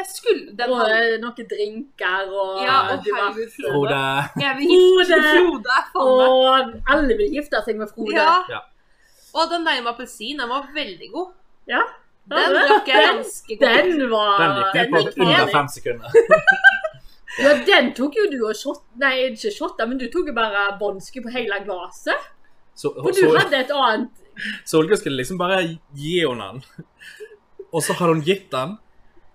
B: jeg skulle den
D: Og eh, noen drinker og
B: Ja, å
D: diverse.
B: herregud,
C: Frode.
B: Frode. Jeg vil gifte meg med Frode. er faen meg-
D: Og alle vil gifte seg med Frode.
B: Ja.
C: Ja.
B: Og den der med appelsin, den var veldig god.
D: Ja.
B: Den drakk jeg ganske godt.
D: Den var
C: Den gikk ned på
D: gikk ned.
C: under fem sekunder.
D: Ja, den tok jo du og shot... Nei, ikke shotta, men du tok jo bare bånske på hele glasset.
C: Så,
D: For du
C: så,
D: hadde et annet
C: Solgunn skulle liksom bare gi henne den. Og så hadde hun gitt den.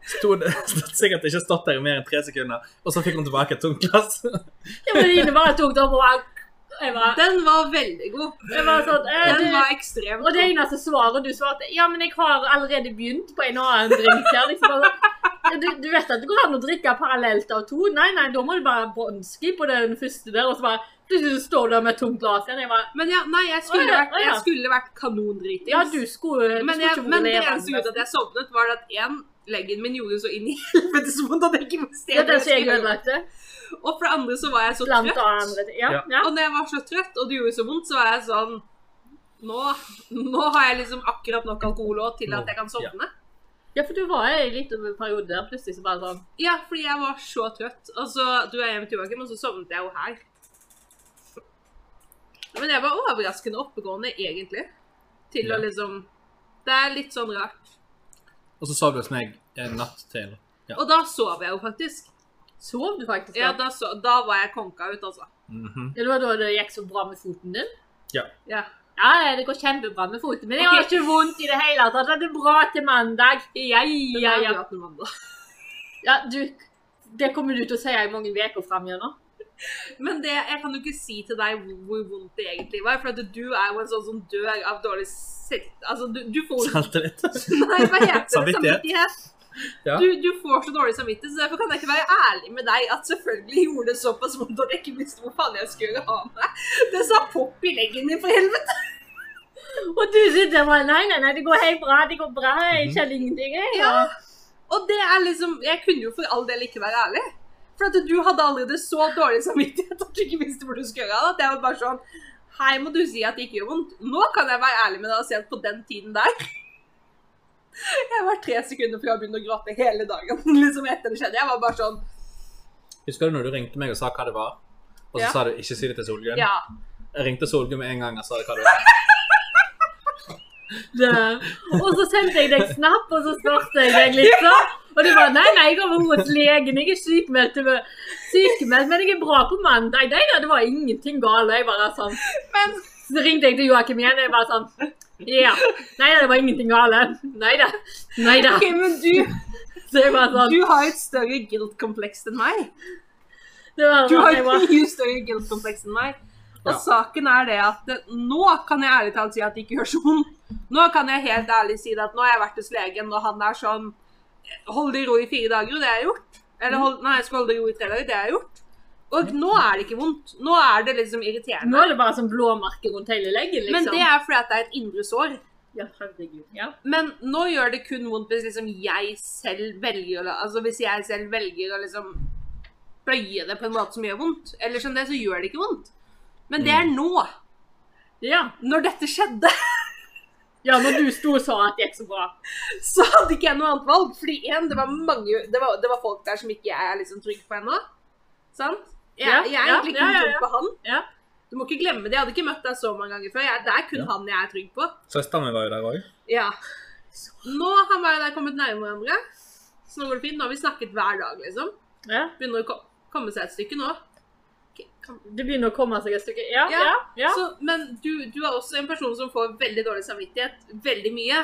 C: Stod, stod sikkert ikke stått der i mer enn tre sekunder. Og så fikk hun tilbake et tomt glass.
D: Ja, men Ine bare tok det opp og bare- jeg bare
B: Den var veldig god.
D: jeg bare sånn eh,
B: Den var
D: du,
B: ekstremt
D: Og det
B: god.
D: eneste svaret du svarte Ja, men jeg har allerede begynt på en annen drink her. Liksom, bare sånn, ja, du, du vet at det går an å drikke parallelt av to? Nei, nei, da må du bare bånski på den første der, og så bare Plutselig så står du der med et tomt glass igjen. Jeg bare
B: Men ja, nei, jeg skulle
D: Å ja,
B: vært,
D: å ja.
B: jeg skulle vært kanondritings.
D: Ja, du skulle du
B: men,
D: skulle
B: jeg,
D: ikke vært
B: men det
D: levende.
B: eneste som gjorde at jeg sovnet, var at én, leggen min gjorde så inn i helvetes vondt at jeg ikke
D: Ja,
B: presterte.
D: den som jeg ødelagte.
B: Og for det andre så var jeg så
D: Blant
B: trøtt.
D: annet. Ja.
C: Ja.
D: ja.
B: Og når jeg var så trøtt, og det gjorde så vondt, så var jeg sånn nå, nå har jeg liksom akkurat nok alkohol også til at jeg kan sovne.
D: ja, for du var i litt over en periode der plutselig så bare sånn
B: Ja, fordi jeg var så trøtt. Og så dro jeg hjem til Joakim, og så sovnet jeg jo her. Men jeg var overraskende oppegående, egentlig. Til
C: Ja.
B: å liksom Det er litt sånn rart.
C: Og så sov du hos meg en natt til. Ja.
B: Og da sov jeg jo faktisk.
D: Sov du faktisk?
B: Ja,
D: da?
B: da, så, da var jeg konka ut, altså.
C: Mhm.
D: Ja, det var da det gikk så bra med foten din?
B: Ja.
D: Ja, ja, det går kjempebra med foten min. Jeg
B: Ok.
D: har ikke vondt i det hele tatt. Det er bra til mandag. Ja,
B: Men
D: ja,
B: da er
D: ja.
B: vi hatt noe mandag.
D: ja du, det kommer du til å si i mange uker framover.
B: Men det, jeg kan jo ikke si til deg hvor- hvor vondt det egentlig var, for at du er jo en sånn som dør av dårlig selv... Altså, du, du får
C: Selvtillit.
B: Nei, hva heter det?
C: Samvittighet. Ja.
B: Du, du får så dårlig samvittighet, så derfor kan jeg ikke være ærlig med deg at selvfølgelig gjorde det såpass vondt at jeg ikke visste hvor faen jeg skulle ha meg. Det sa popp i leggen min, for helvete!
D: Og du sitter der og bare Nei, nei, nei, det går helt bra. Det går bra. Jeg kjenner ingenting. Jeg.
B: Ja. Og det er liksom Jeg kunne jo for all del ikke være ærlig. For at du hadde allerede så dårlig samvittighet at du ikke visste hvor du skulle gjøre av det. At jeg var bare sånn Hei, må du si at det ikke gjør vondt? Nå kan jeg være ærlig med deg og si at på den tiden der Jeg var tre sekunder fra å begynne å gråte hele dagen liksom etter det skjedde. Jeg var bare sånn
C: Husker du når du ringte meg og sa hva det var? Og så
B: Ja.
C: sa du 'ikke si det til Solgunn'?
B: Ja.
C: Jeg ringte Solgunn med en gang og sa det hva det var.
D: Det. Og så sendte jeg deg snap, og så spurte jeg deg litt sånn. Og du bare nei, nei, jeg går over hos legen, jeg er sykemeldt, jeg er sykemeldt, men jeg er bra på mandag. Nei da, det var ingenting galt. Og jeg bare sånn
B: Men
D: Så ringte jeg til Joakim igjen, og jeg bare sånn Ja. Nei da, det var ingenting galt. Nei da. Nei da.
B: Ok, men du,
D: Så jeg bare sånn
B: du har et større guilt-kompleks enn meg.
D: det var, sånn,
B: Du har
D: jeg
B: et
D: bare,
B: mye større guilt-kompleks enn meg. Og
C: Ja.
B: saken er det at det, nå kan jeg ærlig talt si at det ikke gjør så vondt. Nå kan jeg helt ærlig si det at nå har jeg vært hos legen, og han er sånn Hold det i ro i fire dager, og det har jeg gjort. Eller hold, nei, jeg skal holde det i ro i tre dager, det har jeg gjort. Og nå er det ikke vondt. Nå er det liksom
D: Nå
B: irriterende.
D: er det bare sånn blåmerke rundt hele leggen, liksom.
B: Men det er fordi at det er et indre sår.
D: Ja, herregud. Ja.
B: Men nå gjør det kun vondt hvis liksom jeg selv velger å la- Altså hvis jeg selv velger å liksom bøye det på en måte som gjør vondt. Ellers enn det så gjør det ikke vondt. Men det er
D: Mm.
B: nå.
D: ja.
B: Når dette skjedde,
D: Ja, når du sto og sa at det gikk så bra.
B: så hadde ikke jeg noe annet valg. Fordi en, det var mange Det var, det var folk der som ikke jeg er liksom trygg på ennå. Sant? Jeg,
D: Ja,
B: jeg er
D: ja,
B: egentlig
D: ja,
B: kun
D: ja,
B: trygg på han.
D: Ja.
B: Du må ikke glemme det. Jeg hadde ikke møtt deg så mange ganger før. Jeg, det er kun
C: Ja.
B: han jeg er trygg på.
C: Søsteren min var jo der òg.
B: Ja. Nå har vi der kommet nærmere hverandre. Så nå går det fint. Nå har vi snakket hver dag, liksom.
D: Ja.
B: Begynner å ko- komme seg et stykke nå. Ok, Kan,
D: Det begynner å komme seg et stykke. Ja,
B: Ja.
D: ja. ja.
B: Så, men du, du er også en person som får veldig dårlig samvittighet. Veldig mye.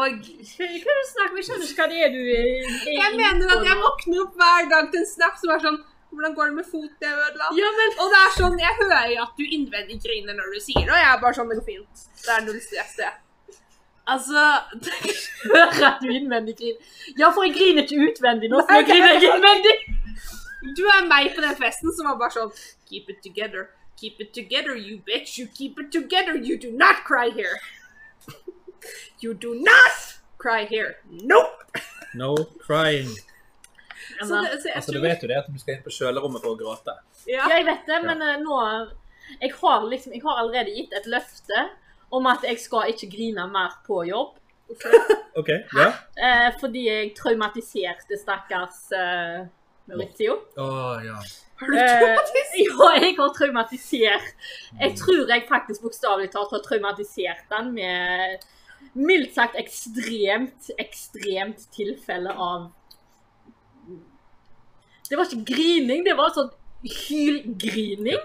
B: Og
D: Hva hva er det du snakker om? Jeg skjønner ikke hva det er du eh, er- er
B: Jeg mener at jeg våkner opp hver dag til en snap som er sånn Hvordan går det med fot jeg ødela?
D: Ja, men
B: Og det er sånn, jeg hører jo at du innvendig griner når du sier det, og jeg er bare sånn Det går fint. Det er null stress, det. Altså
D: hører at du innvendig griner. Ja, for jeg griner ikke utvendig nå, så nå
B: Nei.
D: griner jeg innvendig.
B: Du er meg på den festen som var bare sånn Keep it together. Keep it together, you bitch. You keep it together. You do not cry here. You do not cry here. Nope!
C: No crying.
B: Så det, så jeg
C: Altså, Du
B: tror,
C: vet jo det at du skal inn på kjølerommet for å gråte.
B: ja.
D: Ja, jeg vet det, men eh, nå jeg har, liksom, jeg har allerede gitt et løfte om at jeg skal ikke grine mer på jobb.
C: OK. Ja.
D: Eh, fordi jeg traumatiserte stakkars eh, Maurizio.
C: Å, ja.
B: Har du
D: Eh,
B: traumatisert?
D: Ja, jeg har traumatisert. Jeg tror jeg faktisk bokstavelig talt har traumatisert den med mildt sagt ekstremt, ekstremt tilfelle av Det var ikke grining, det var sånn hylgrining.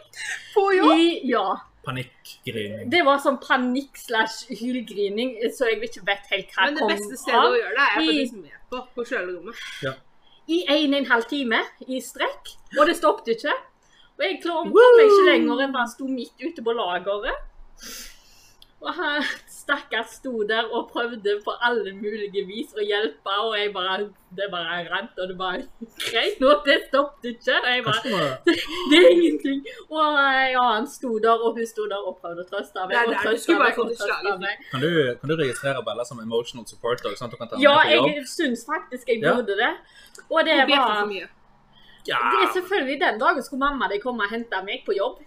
B: På jobb?
D: I, ja.
C: Panikkgrining.
D: Det var sånn panikk slash hylgrining, så jeg ikke vet helt hva
B: Men det
D: kom
B: beste stedet å
D: av.
B: gjøre det er
D: I-
B: faktisk med på, på kjølerommet.
D: I en og en halv time i strekk, og det stoppet ikke. Og jeg klar- kom meg ikke lenger enn bare sto midt ute på lageret. Og han stakkars sto der og prøvde på alle mulige vis å hjelpe, og jeg bare Det bare rant, og det bare Greit, nå, det stoppet ikke. Og jeg bare
C: Kanskje det
D: Det er ingenting. Og eh, ja, han sto der, og hun sto der og prøvde å trøste meg.
B: Nei,
D: og
B: nei, du
D: trøste
B: skulle bare
D: meg, og
B: fått et
D: trøste
B: slag i
D: meg.
C: Kan du, kan du registrere Bella som emotional supporter? sånn at du kan ta henne
D: Ja,
C: med på jobb?
D: jeg syns faktisk jeg
C: Ja.
D: burde det. Og det
B: Det var
D: var
B: for mye.
C: Ja.
D: det er selvfølgelig den dagen skulle mamma di komme og hente meg på jobb.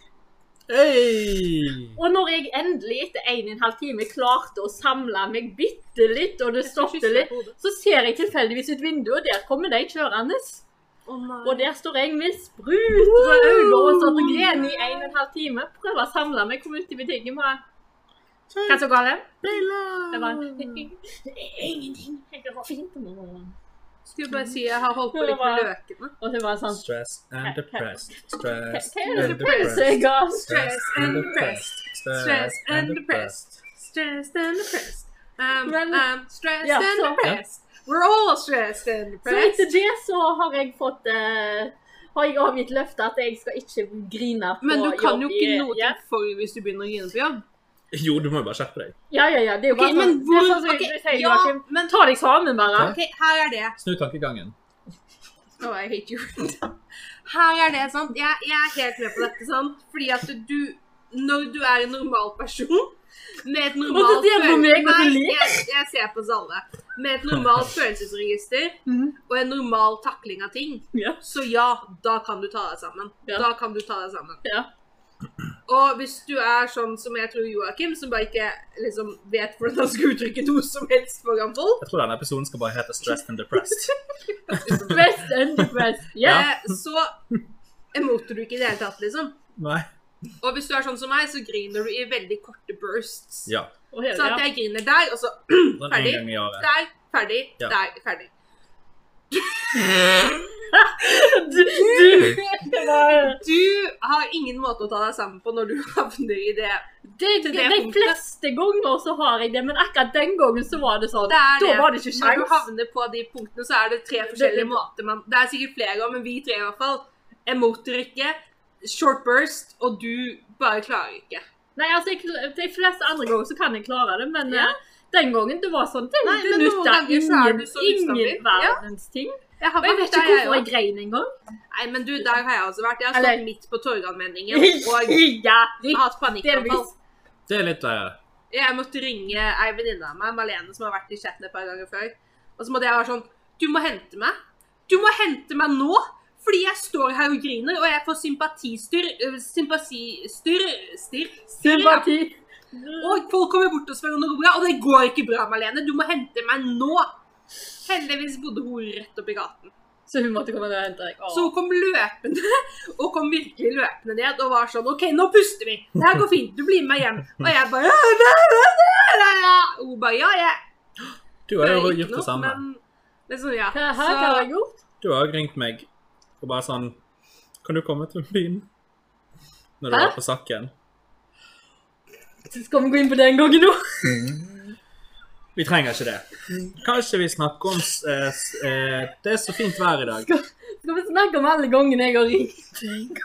C: Hey!
D: Og når jeg endelig etter en og en halv time klarte å samle meg bitte litt, og det
B: Jeg skal kysse
D: stoppet
B: deg
D: litt,
B: på hodet.
D: så ser jeg tilfeldigvis ut vinduet, og der kommer de kjørende.
B: Å nei.
D: Og der står jeg med sprutrøde øyne og satt og gren i en og en halv time. Prøver å samle meg, kom ut i butikken bare
B: er
D: Hva som galt? Det var ingenting. Det går fint.
B: Skulle bare si jeg har holdt på litt med løkene.
D: Og så var det sånn
C: Stress and depressed.
D: Hva
C: Stress
D: hva er
C: and
D: det for pølse
C: depressed.
D: jeg har?
C: Stress and depressed. Stress and depressed.
B: Stressed and depressed. Um,
D: Men-
B: um, stressed
D: Ja,
B: and
D: så-
B: depressed. We're all stressed and
D: Så
B: depressed.
D: etter det så har jeg fått eh, har jeg avgitt løfte at jeg skal ikke grine på
B: Men du kan jo
D: jobb
B: ikke
D: i-
B: noe
D: ja.
B: til for hvis du begynner å grine på jobb.
C: Jo, du må jo bare skjerpe deg.
D: Ja, ja, ja. Det er
B: Ok,
D: jo bare
B: men
D: sånn,
B: hvor-
D: det er sånn som
B: ok,
D: du sier,
B: ja,
D: Joakim. Ta deg sammen, bare.
C: Hæ?
B: Ok, her er det.
C: Snu tankegangen.
B: Oh, I hate you. Her er det, sant. Jeg, jeg er helt med på dette, sant. Fordi at du, når du er en normal person med et normalt
D: Og så ser du på meg, og så
B: Nei,
D: ler.
B: jeg, jeg ser på oss alle. Med et normalt følelsesregister
D: Mhm.
B: og en normal takling av ting,
D: Ja.
B: så ja, da kan du ta deg sammen.
D: Ja.
B: Da kan du ta deg sammen.
D: Ja.
B: Og hvis du er sånn som jeg tror Joakim, som bare ikke liksom vet hvordan han skal uttrykke noe som helst foran folk,
C: Jeg tror denne episoden skal bare hete 'Stressed and Depressed'.
D: Stress and depress. Ja.
C: Ja.
B: eh, så emoter du ikke i det hele tatt, liksom.
C: Nei.
B: Og hvis du er sånn som meg, så griner du i veldig korte bursts.
C: Ja.
D: Og hele,
B: Så at
D: ja.
B: jeg griner der, og så
C: Sånn en
B: Ferdig.
C: gang i året.
B: der, ferdig,
C: Ja.
B: der, ferdig.
D: Du, du. Det var-
B: Du har ingen måte å ta deg sammen på når du havner i det.
D: det,
B: Til det
D: de
B: punktet.
D: fleste ganger så har jeg det, men akkurat den gangen så var det sånn.
B: det, er
D: Da
B: det.
D: var det ikke
B: Når du
D: sjans.
B: havner på de punktene, så er det tre forskjellige måter man Det er sikkert flere, men vi tre i hvert fall. Emoter ikke, short burst, og du bare klarer ikke.
D: Nei, altså, jeg, de fleste andre ganger så kan jeg klare det, men
B: Ja.
D: eh, den gangen det var sånn. Det,
B: Nei,
D: det
B: men noen
D: nytta
B: ganger så er
D: ingen,
B: du så
D: ingen
B: ustabil. Ja.
D: verdens ting.
B: Jeg har
D: Og jeg vet
B: vært der,
D: ikke
B: jeg
D: hvorfor jeg
B: også.
D: grein engang.
B: Nei, men du, der har jeg også vært. Jeg har
D: Eller-
B: stått midt på Torgallmenningen og
D: ja,
B: hatt panikkanfall.
D: delvis.
C: Det er litt eh,
B: Jeg måtte ringe ei venninne av meg, Malene, som har vært i chatten et par ganger før. Og så måtte jeg være sånn Du må hente meg. Du må hente meg nå! Fordi jeg står her og griner, og jeg får sympatistyr øh, Sympatistyr Stirr. stirr, ja.
D: Sympati.
B: Og folk kommer bort og spør om det går bra, og det går ikke bra, Malene. Du må hente meg nå! Heldigvis bodde hun rett oppi gaten.
D: Så hun måtte komme ned og hente deg. Åh.
B: Så hun kom løpende, og kom virkelig løpende ned og var sånn OK, nå puster vi. Det her går fint. Du blir med meg hjem. Og jeg bare «Ja, ja, ja, ja, ja». Og Hun bare Ja, jeg
C: Du har jo
B: Ikke
C: gjort det
B: noe,
C: samme.
B: Men, men sånn, ja.
D: Hva hva har jeg
B: Så,
D: gjort?
C: Du har jo ringt meg og bare sånn Kan du komme til byen? Når du
D: Hæ?
C: var på Sakken.
D: Skal vi gå inn på det en gang nå?
C: Vi trenger ikke det. Kanskje vi snakker om s- eh, s- eh, Det er så fint vær i dag.
D: Skal vi snakke om alle gangene jeg har ringt?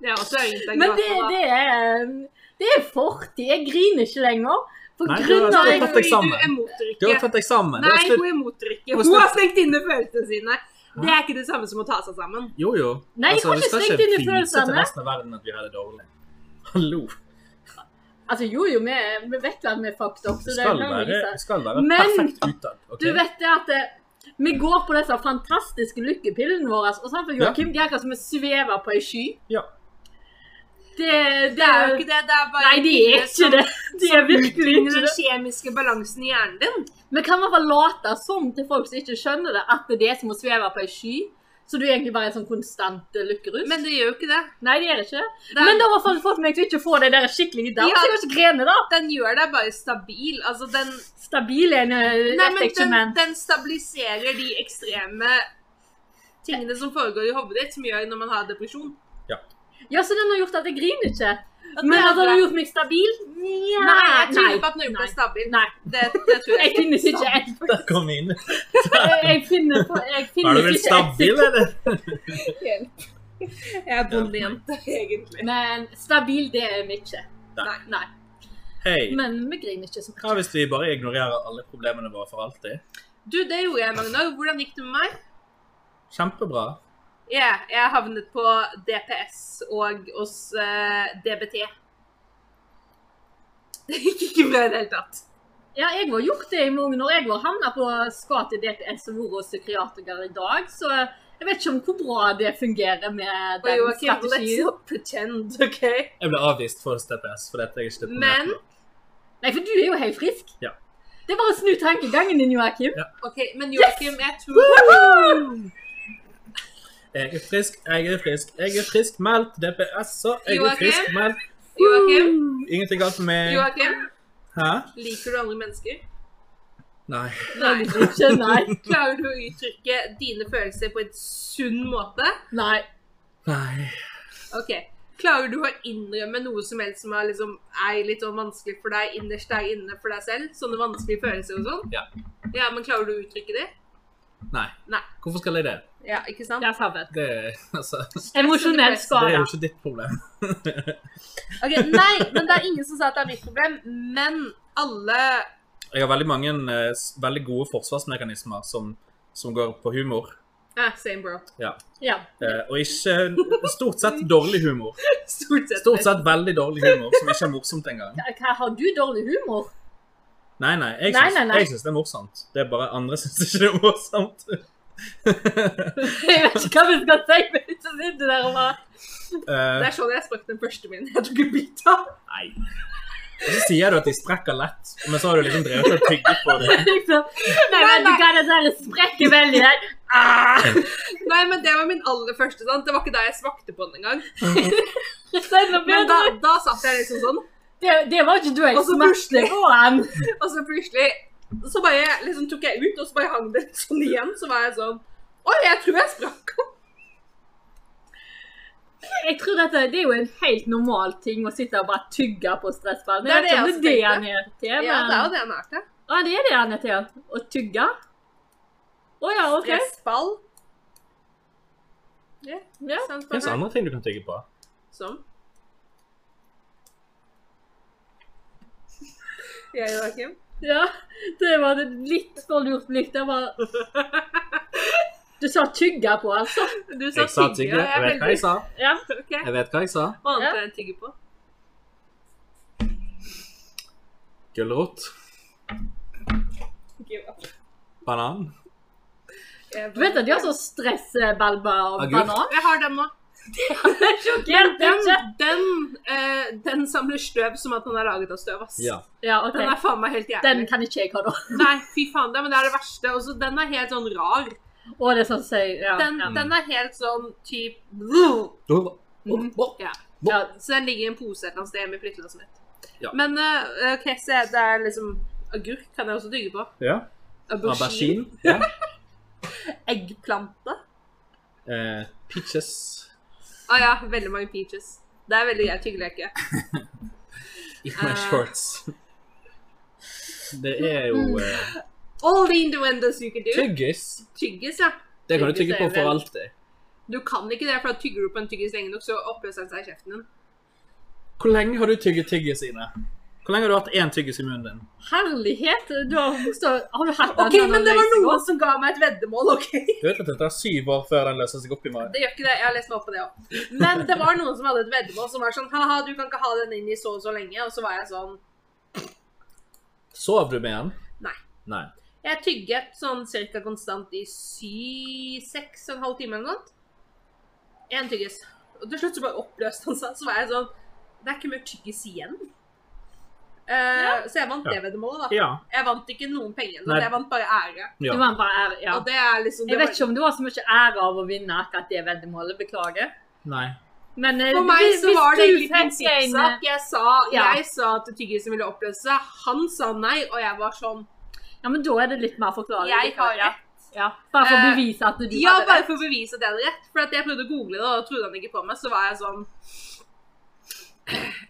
B: det er også egentlig
D: Men
B: glad
D: det,
B: for, da.
D: det er um, Det er fortid. Jeg griner ikke lenger. På
C: Nei,
D: grunn
C: det var-
D: av
B: Nei,
C: Du har tatt
B: fordi
C: eksamen.
B: du er motorikke.
C: Du har tatt deg sammen. Det
B: Nei,
C: er slutt.
B: hun er motorikke.
C: Hun
B: Hun har
C: snak-
B: stengt inne følelsene sine. Det er ikke det samme som å ta seg sammen.
C: Jo, jo.
D: Nei, jeg har
C: vi
D: ikke
C: skal
D: slengt inn
C: vise
D: i
C: til
D: følelsene.
C: resten av verden at vi har det dårlig. Hallo.
D: Altså, jo, jo, vi, vi vet hva vi er fucked up.
C: Det
D: Så det
C: skal
D: kan vi
C: være,
D: vise.
C: det skal være
D: Men-
C: perfekt utad. ok?
D: Du vet det at eh, vi går på disse fantastiske lykkepillene våre, og samtidig
C: Ja.
D: Joakim, de er akkurat som vi svever på ei sky.
C: Ja.
D: Det,
B: Det er jo ikke det. Det er bare
D: Nei, de er ikke det. De er virkelig
B: Inni
D: ikke
B: den
D: det.
B: kjemiske balansen i hjernen din.
D: Vi kan i hvert fall late som til folk som ikke skjønner det, at det er som å sveve på ei sky. Så du er egentlig bare en sånn konstant eh, lykkerus.
B: Men det gjør jo ikke det.
D: Nei, det er det ikke.
B: det er,
D: Men det har i hvert fall fått meg til ikke å få de der skikkelig down.
B: Ja.
D: Så jeg har ikke grene, da.
B: den gjør deg bare stabil. Altså, den
D: Stabil er en
B: Nei,
D: eh, vet
B: men
D: jeg ikke,
B: den,
D: men
B: den stabiliserer de ekstreme tingene som foregår i hodet ditt, som gjør når man har depresjon.
D: Ja, så den har gjort at jeg griner ikke.
B: At
D: Men
B: det er
D: at den
B: bra.
D: har gjort meg stabil? Nja.
B: Nei, jeg tror ikke
D: Nei.
B: at den har gjort deg
D: Nei.
B: stabil.
D: Nei.
B: Det, det tror
D: Jeg
B: jeg ikke.
D: finnes ikke ett
C: Der kom vi inn.
D: Jeg jeg finner på- jeg
C: Er du
D: finnes
C: vel
D: ikke ett sekund.
C: stabil, eller?
B: Jeg er bondejente, egentlig.
D: Men stabil, det er vi ikke.
C: Nei.
D: Nei.
C: Hei,
D: Men vi griner ikke som
C: hva hvis vi bare ignorerer alle problemene våre for alltid?
B: Du, det gjorde jeg, Magnar. Hvordan gikk det med meg?
C: Kjempebra.
B: Ja, jeg havnet på DPS og hos eh, DBT. Det gikk ikke bra i det hele tatt.
D: Ja, jeg har gjort det i mange år. Jeg har havna på skal til DPS og vært hos psykiatriker i dag, så jeg vet ikke om hvor bra det fungerer med
B: Og
D: den
B: Joakim, let's
D: strategien.
B: not pretend, OK?
C: Jeg ble avvist for DPS fordi at jeg ikke deponerte
B: Men
C: noe.
D: Nei, for du er jo helt frisk.
C: Ja.
D: Det er bare å snu tankegangen din, Joakim.
B: OK, men Joakim, jeg tror
C: Jeg er frisk, jeg er frisk, jeg er friskmeldt. DPS, så jeg er
B: Joakim?
C: friskmeldt.
B: Joakim,
C: Ingenting galt med meg.
B: Joakim,
C: Hæ?
B: liker du andre mennesker?
C: Nei.
D: Nei.
B: Nei.
D: Ikke, nei.
B: Klarer du å uttrykke dine følelser på en sunn måte?
D: nei.
C: Nei.
B: Ok. Klarer du å innrømme noe som helst som er, liksom, er litt sånn vanskelig for deg innerst der inne for deg selv? Sånne vanskelige følelser og sånn?
C: Ja.
B: Ja, Men klarer du å uttrykke det?
C: Nei.
B: Nei.
C: Hvorfor skal jeg det?
B: Ja, ikke sant?
D: Det er sabbat.
C: Det, altså,
D: Emosjonell
C: det er
D: skade.
C: jo ikke ditt problem.
B: Ok, Nei, men det er ingen som sa at det er mitt problem. Men alle
C: Jeg har veldig mange eh, s- veldig gode forsvarsmekanismer som, som går på humor.
B: ah, Same, bro.
D: Ja.
C: Eh, og ikke Stort sett dårlig humor.
B: Stort sett.
C: Stort sett veldig dårlig humor som ikke er morsomt engang.
D: Hva- hva- Har du dårlig humor?
C: Nei, nei, jeg
D: Nei,
C: syns,
D: nei, nei.
C: jeg syns det er morsomt. Det er bare andre syns ikke det er morsomt.
D: Jeg vet ikke hva vi skal si, men så sitter der og bare
B: Det
C: Eh,
B: er sånn jeg sprakk den første min. Jeg tok en bit av.
C: nei. Og så sier du at de sprekker lett, men så har du liksom drevet og tygget på det.
D: liksom, Nei, vet du hva, det der sprekker veldig der. Ah!
B: Nei, men det var min aller første, sant? Det var ikke da jeg smakte på den engang.
D: Det, er enda
B: Men da,
D: bedre.
B: da satt jeg liksom sånn,
D: det, det var ikke du jeg
B: Og så
D: smakte på han.
B: og så plutselig så bare liksom tok jeg ut, og så bare hang det sånn igjen. Så var jeg sånn Oi, jeg tror jeg sprakk den.
D: Jeg tror dette, Det er jo en helt normal ting å sitte og bare tygge på stressballen.
B: Det er
D: Jeg vet ikke om
B: det
D: Det
B: jeg
D: er det han er til. Men...
B: Ja, det er jo det jeg nærte.
D: ah, det er det han er til. Å tygge? Å ja, OK.
B: Stressball.
D: Ja.
B: sant, Sånn.
C: Det finnes
B: bare-
C: andre ting du kan tygge på.
B: Som Ja, Joakim.
D: ja. Det var et litt for lurt blikk. Det var Du sa tygge på, altså?
B: Du sa,
C: Jeg sa
B: tygge.
C: tygge. Jeg vet hva jeg sa.
D: Ja.
B: Ok,
C: Jeg vet hva jeg sa.
B: Hva annet
D: Ja.
B: er det en tygger på?
C: Gulrot. Banan.
B: Jeg-
D: Du vet at de har sånn stressbalber og
C: Agurk.
D: banan?
B: Jeg har den nå.
D: Sjokkert,
B: Den,
D: ikke?
B: den, eh, den samler støv som at den er laget av støv, ass.
C: Ja.
D: Ja, OK.
B: Den er faen meg helt
D: Den
B: jævlig.
D: kan ikke jeg ha, da.
B: Nei, fy faen, det, men det er det verste. Også, den er helt sånn rar.
D: Å, det er sånn som sier ja,
B: Den,
D: ja.
B: den er helt sånn typ
C: Oh,
B: ja.
D: ja.
B: Så den ligger i en pose et eller annet sted hjemme i flyttelasset mitt.
C: Ja.
B: Men eh, ok, se, det er liksom agurk kan jeg også tygge på.
C: Ja. Aubergine. Ja.
B: Eggplante.
C: Eh, peaches.
B: Å Ah, ja, veldig mange peaches. Det er veldig greit tyggeleke.
C: I my
B: Eh.
C: shorts. Det er jo eh,
B: All the innuendos you can do.
C: tyggis.
B: Tyggis, ja.
C: Det kan du tygge på
D: Tyggis er
C: for
D: vel-
C: alltid.
B: Du kan ikke det, for at tygger du på en tyggis lenge nok, så oppløser den seg i kjeften din.
C: Hvor lenge har du tygget tyggis, Ine? Hvor lenge har du hatt én tyggis i munnen din?
D: Herlighet! Du har, så, har du hatt
B: Ok, men det var noen som ga meg et veddemål, ok?
C: Du vet at det tar syv år før den løser seg opp i magen.
B: Det gjør ikke det, jeg har lest meg opp på det også. Men det var noen som hadde et veddemål som var sånn, haha, du kan ikke ha den inn i så og så lenge, og så var jeg sånn,
C: Sov du med den?
B: Nei.
C: Nei.
B: jeg tygget sånn cirka konstant i sy, seks og en halv time eller noe. sånt. En tyggis. Og til slutt så bare oppløste han seg, så var jeg sånn, det er ikke mer tyggis igjen. Eh, Så jeg vant det veddemålet da.
C: Ja.
B: Jeg vant ikke noen penger,
C: Nei.
B: sånn. jeg vant bare ære.
C: ja.
D: Du var bare ære, ja.
B: Og det er liksom det
D: Jeg vet
B: var-
D: ikke om det var så mye ære av å vinne akkurat det veddemålet. Beklager.
C: Nei.
D: Men eh,
B: For meg
D: hvis-
B: så
D: hvis
B: var det
D: du
B: egentlig
D: fikk en,
B: prinsippsak.
D: eh,
B: Jeg sa,
D: Ja.
B: jeg sa at tyggisen ville oppløse seg. Han sa nei, og jeg var sånn
D: Ja, men da er det litt mer forklaring.
B: Jeg har
D: ja.
B: rett.
D: Ja. Bare for å
B: Eh,
D: bevise at du
B: Ja,
D: hadde
B: bare
D: rett.
B: for å bevise at jeg hadde rett. For at jeg prøvde å google det, og da trodde han ikke på meg. Så var jeg sånn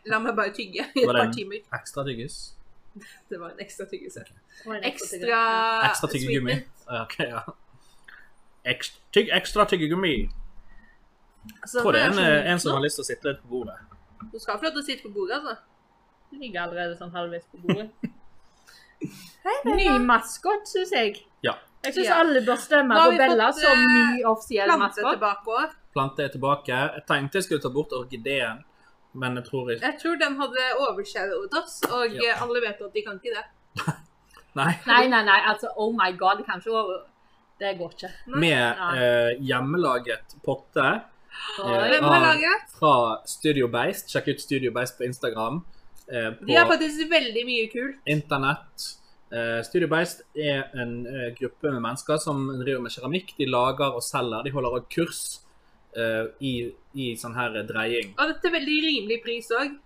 B: La meg bare tygge i et
C: Var det
B: par
C: en-
B: timer.
C: Ekstra tyggis.
B: Det var en ekstra tyggelse.
D: Å, jeg er rett på det.
B: Ekstra
C: Ekstra tyggegummi.
B: sweeten.
C: Ah, Ja, Ok, ja. Ekst, tygg, ekstra tyggegummi.
B: Så
C: Jeg tror det er
B: nå
C: en, eh,
B: jeg sånn,
C: en som har lyst til å sitte på bordet.
B: Du skal få lov til å sitte på bordet, altså.
D: Den ligger allerede sånn halvveis på bordet. ny maskot, syns jeg.
C: Ja.
D: Jeg syns
B: Ja.
D: alle bør stemme
B: Nå har
D: på
B: vi
D: Bella
B: fått,
D: som
B: eh,
D: ny offisiell
B: Plante
D: maskot.
B: tilbake òg.
C: Plante er tilbake. Jeg tenkte jeg skulle ta bort orkideen, men jeg tror ikke
B: Jeg tror den hadde overshadowet oss, og
C: Ja.
B: eh, alle vet at de kan ikke det.
C: Nei.
D: Nei, nei, nei. Altså, oh my god. Det kan ikke over... Det går ikke.
C: Med
D: Nei.
C: eh, hjemmelaget potte
D: Oi.
B: Hvem har
C: Ah.
B: laget?
C: fra Studio Beist. Sjekk ut Studio Beist på Instagram. eh,
B: De har
C: på
B: faktisk veldig mye kult.
C: internett. Eh, Studio Beist er en eh, gruppe med mennesker som driver med keramikk. De lager og selger. De holder også kurs eh, i, i sånn her dreying.
B: Og dette er veldig rimelig pris òg.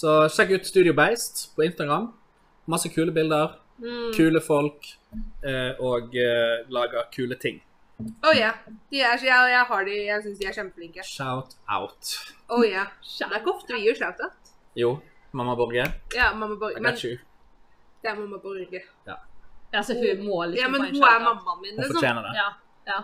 C: Så sjekk ut Studio Beist på Instagram. Masse kule bilder,
B: Mm.
C: kule folk, eh, og eh, lager kule ting.
B: Oh, ja. De er, så- jeg, jeg har de, jeg syns de er kjempeflinke.
C: Shout out.
B: Oh, ja. Det er ikke ofte vi gir shout-out.
C: Jo, mamma Borge,
B: Ja, mamma
C: I
B: Borge. Men
C: got you.
B: det er mamma Borge.
D: Altså, hun må liksom
B: Ja, men
D: få en
B: hun er
D: shout-out.
B: mammaen min,
C: Hun
B: liksom.
C: fortjener det.
D: Ja.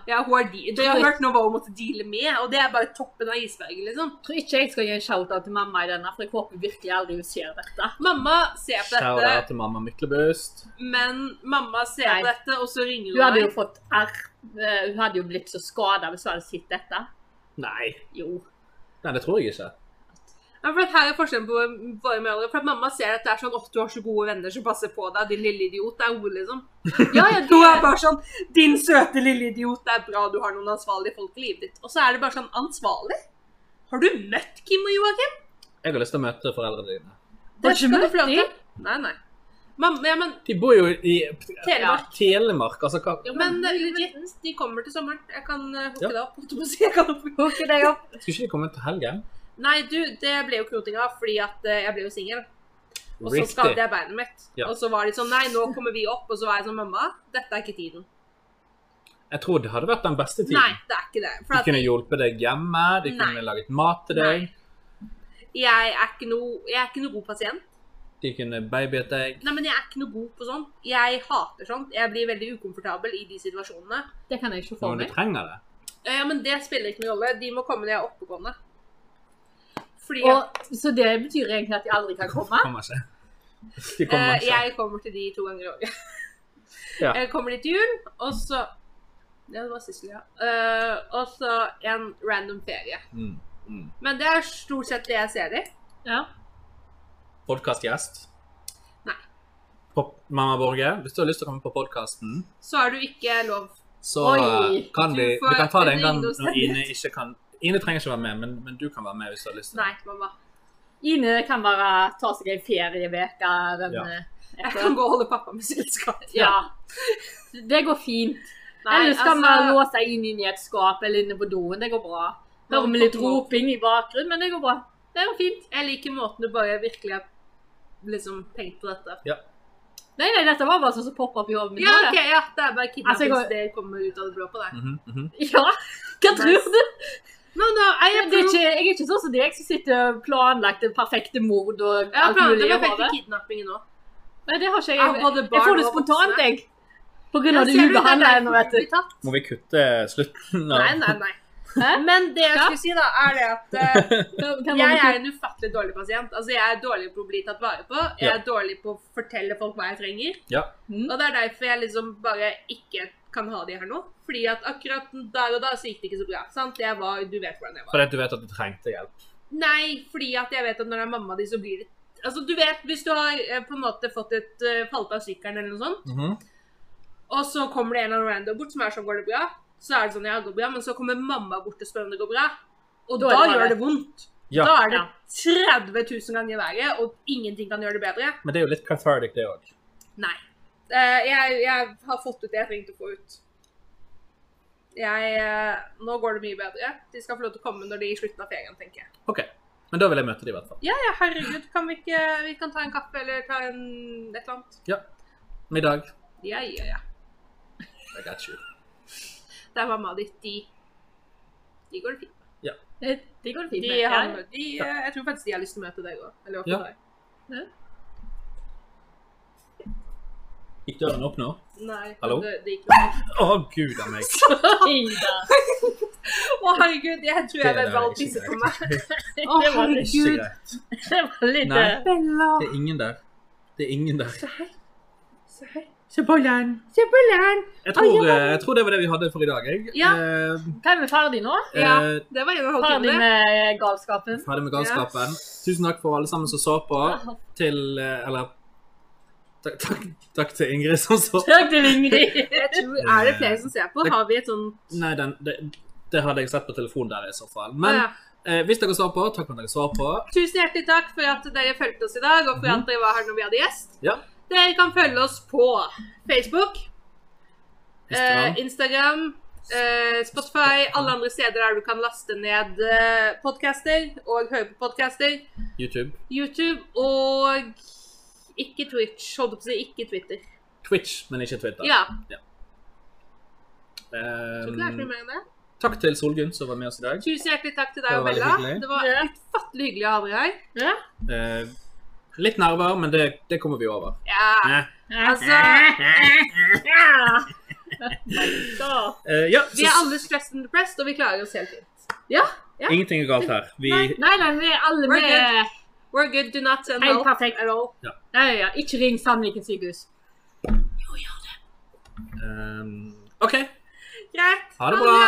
B: Ja, hun er de. Det jeg har hørt nå, hva hun måtte deale med, og det er bare toppen av isberget, liksom.
D: Jeg tror ikke jeg skal gi en shout-out til mamma i denne, for jeg håper virkelig aldri hun ser dette.
B: Mamma ser på
C: Shout out
B: dette,
C: til mamma Myklebust.
B: men mamma ser
D: Nei.
B: på dette, og så ringer
D: Hun hadde
B: hun
D: jo
B: meg.
D: fått R. Eh, Hun hadde jo blitt så skada hvis hun hadde sett dette.
C: Nei,
D: Jo.
C: nei, det tror jeg ikke.
B: Ja, for at her er forskjellen på våre mødre. For at mamma ser at det er sånn åh, du har så gode venner som passer på deg, din lille idiot. Det er hun, liksom.
D: Ja, ja,
B: Hun
D: det-
B: er bare sånn Din søte lille idiot, det er bra du har noen ansvarlige folk i livet ditt. Og så er det bare sånn Ansvarlig? Har du møtt Kim og Joakim?
C: Jeg har lyst til å møte foreldrene dine.
D: Har
B: Det
D: ikke
B: skal du
D: møtt
B: få lov til.
D: de?
B: Nei, nei. Mamma, ja, men
C: De bor jo i
B: Telemark.
C: Telemark. Altså, hva
B: Jo, men eh, legit, de kommer til sommeren. Jeg kan eh, hooke det opp. holdt jeg på å si. Jeg kan hooke
D: Hooke deg opp.
C: Skulle ikke de komme til helgen?
B: Nei, du, det ble jo knoting av fordi at eh, jeg ble jo singel. Og så
C: Riktig.
B: skadet jeg beinet mitt.
C: Ja.
B: Og så var de sånn Nei, nå kommer vi opp. Og så var jeg sånn Mamma, dette er ikke tiden.
C: Jeg tror det hadde vært den beste tiden.
B: Nei, det er ikke det. For
C: De
B: at
C: kunne hjulpet deg hjemme, de
B: Nei.
C: kunne laget mat til deg,
B: Nei. jeg er ikke noe Jeg er ikke noe god pasient.
C: de kunne babyet deg.
B: Nei, men jeg er ikke noe god på sånt. Jeg hater sånt. Jeg blir veldig ukomfortabel i de situasjonene.
D: Det kan jeg ikke få
C: Når du
D: med.
C: trenger det.
B: Eh, Ja, men det spiller ikke noen rolle. De må komme når jeg er oppegående. Fordi at,
D: Og, så det betyr egentlig at de aldri kan komme?
C: Kommer ikke. De
B: eh,
C: kommer ikke.
B: jeg kommer til de to ganger i året.
C: Ja.
B: Jeg kommer dit til jul, og så Ja, det var Sissel, ja. Eh, og så en random ferie.
C: Mm. Mm.
B: Men det er stort sett det jeg ser de.
D: Ja.
C: Podcastgjest?
B: Nei.
C: Pop- Mamma Borge, hvis du har lyst til å komme på podkasten,
B: Så er du ikke lov.
C: så
D: Oi,
C: eh, kan
B: du
C: vi,
B: får
C: vi kan ta det en gang
B: en
C: når
B: ringdosen.
C: Ine ikke kan Ine trenger ikke være med, men, men du kan være med hvis du har lyst til
B: Nei, mamma.
D: Ine kan bare ta seg en ferieuke den
C: Ja.
D: eh,
B: Jeg
D: etter.
B: kan gå og holde pappa med selskap.
D: Ja. Det går fint.
B: Nei,
D: Eller skal
B: altså,
D: vi låse inn inn i et skap eller inne på doen. Det går bra. Hører vi litt roping i bakgrunnen, men det går bra. Det går fint.
B: Jeg liker måten du bare virkelig har liksom, tenkt på dette.
D: Nei, nei, dette var bare sånn som popper opp i hodet mitt.
B: Ja,
D: nå,
B: ok,
D: det.
B: ja, det er bare kidnappings
D: Altså, jeg går-
B: det kommer ut av det blå på deg.
C: Mhm, mhm.
D: ja. Hva tror du?
B: No, no, jeg,
D: Det
B: jeg,
D: er
B: jeg,
D: ikke, jeg er ikke sånn som deg som sitter og planlagt det perfekte mord og
B: jeg har
D: alt
B: planlagt
D: mulig i
B: den perfekte
D: hodet.
B: kidnappingen nå.
D: Nei, det har ikke
B: Av
D: jeg.
B: både
D: Jeg
B: barn
D: får det
B: og
D: spontant,
B: voksne.
D: jeg. På grunn
B: Ja,
D: av det
B: ser du, det er
D: ubehandla
B: derfor
D: ennå, vet
B: vi blir
D: du.
B: tatt.
C: Må vi kutte slutten? av-
B: Nei, nei, nei.
D: Hæ?
B: Men det jeg
D: Ja.
B: skulle si, da, er det at eh,
D: Kan- kan
B: jeg
D: man-
B: er en ufattelig dårlig pasient. Altså, jeg er dårlig på å bli tatt vare på. Jeg er dårlig på å fortelle folk hva jeg trenger.
C: Ja.
D: Mm.
B: Og det er derfor jeg liksom bare ikke kan ha de her nå. Fordi at akkurat der og da så gikk det ikke så bra. Sant? Jeg var, du vet hvordan jeg var.
C: Fordi at du vet at du trengte hjelp.
B: Nei, fordi at jeg vet at når det er mamma di, så blir det Altså, du vet, hvis du har eh, på en måte fått et eh, falt av sykkelen eller noe sånt,
C: Mhm.
B: og så kommer det en eller annen random bort som er sånn, går det bra? Så er det sånn, ja, det går bra, men så kommer mamma bort og spør om det går bra. Og
D: Da
B: da,
D: er det verre.
B: gjør det vondt.
C: Ja.
B: Da er det
D: Ja.
B: 30 000 ganger verre, og ingenting kan gjøre det bedre.
C: Men det er jo litt cathartic, det òg.
B: Nei. Eh, jeg, jeg har fått ut det jeg trengte å få ut. Jeg, eh, nå går det mye bedre. De skal få lov til å komme når de er i slutten av ferien, tenker jeg.
C: OK. Men da vil jeg møte dem, i hvert fall.
B: Ja, ja, herregud. Kan vi ikke Vi kan ta en kaffe eller ta en et eller annet.
C: Middag.
B: Ja, ja, ja.
C: I got you.
B: Det er mamma ditt. De De går det fint.
D: Det det går fint.
B: De,
D: med.
B: har,
D: Ja.
B: de, eh, jeg tror faktisk de har lyst til å møte deg òg. Eller
C: Ja.
B: hva deg.
C: Gikk døren opp nå?
B: Nei.
C: Hallo?
B: Det, det gikk ikke.
C: Å, gud a meg.
D: Ida.
B: Å, herregud. Jeg tror jeg
C: Det
B: ble
C: der er
B: valgt
C: ikke
B: disse på meg.
C: greit.
D: Det
B: Å,
D: var
C: Det er
D: litt,
C: ikke
B: herregud.
C: greit.
D: det var litt
C: Nei.
D: eh,
B: Bella.
C: Det er ingen der. Det er ingen der.
B: Se her. Se her.
C: Se på den.
B: Se på læreren.
C: Jeg tror, eh, jeg tror det var det vi hadde for i dag. Jeg.
B: Ja.
C: Eh,
D: Hva er vi ferdig nå?
B: Ja.
C: eh,
B: Det var en og en halv
D: Ferdig
B: time.
D: med galskapen?
C: ferdig med galskapen. Tusen takk for alle sammen som så på. Til eh, Eller takk, takk, takk til Ingrid som så.
D: Takk til Ingrid.
B: Jeg tror, er det flere som ser på? Har vi et sånn
C: Nei, den, det, det hadde jeg sett på telefonen der i så fall.
B: Å,
C: Men
B: ja.
C: eh, hvis dere så på, takk for at dere så på.
B: Tusen hjertelig takk for at dere fulgte oss i dag, og for at dere var her når vi hadde gjest.
C: Mhm. Ja.
B: Dere kan følge oss på Facebook,
C: Instagram.
B: eh, Instagram eh, Spotify, alle andre steder der du kan laste ned eh, podcaster og høre på podcaster.
C: YouTube.
B: YouTube og ikke Twitch, holdt jeg på å si, ikke Twitter.
C: Twitch, men ikke Twitter.
B: Ja.
C: Eh,
B: tror ikke det er flere mer enn det.
C: takk til Solgunn som var med oss i dag.
B: Tusen hjertelig takk til
C: Det
B: deg og
C: var veldig
B: Bella.
C: hyggelig.
B: Det var
D: Ja.
B: ufattelig hyggelig å ha dere her.
D: Ja.
C: Eh, litt nerver, men det, det kommer vi over.
B: Ja.
C: Eh,
D: Altså
C: eh, ja,
B: Vi er
C: så-
B: alle stressed and depressed, og vi klarer oss helt fint.
D: Ja.
C: Ingenting er galt her. Vi,
D: Nei, nei, vi er alle
B: We're
D: med
B: We're good, do not send
D: helt
B: help.
D: perfekt. Ja, ja, ja. Ikke ring Sandviken sykehus.
C: ehm, OK.
B: Greit.
C: eh, Ha det bra.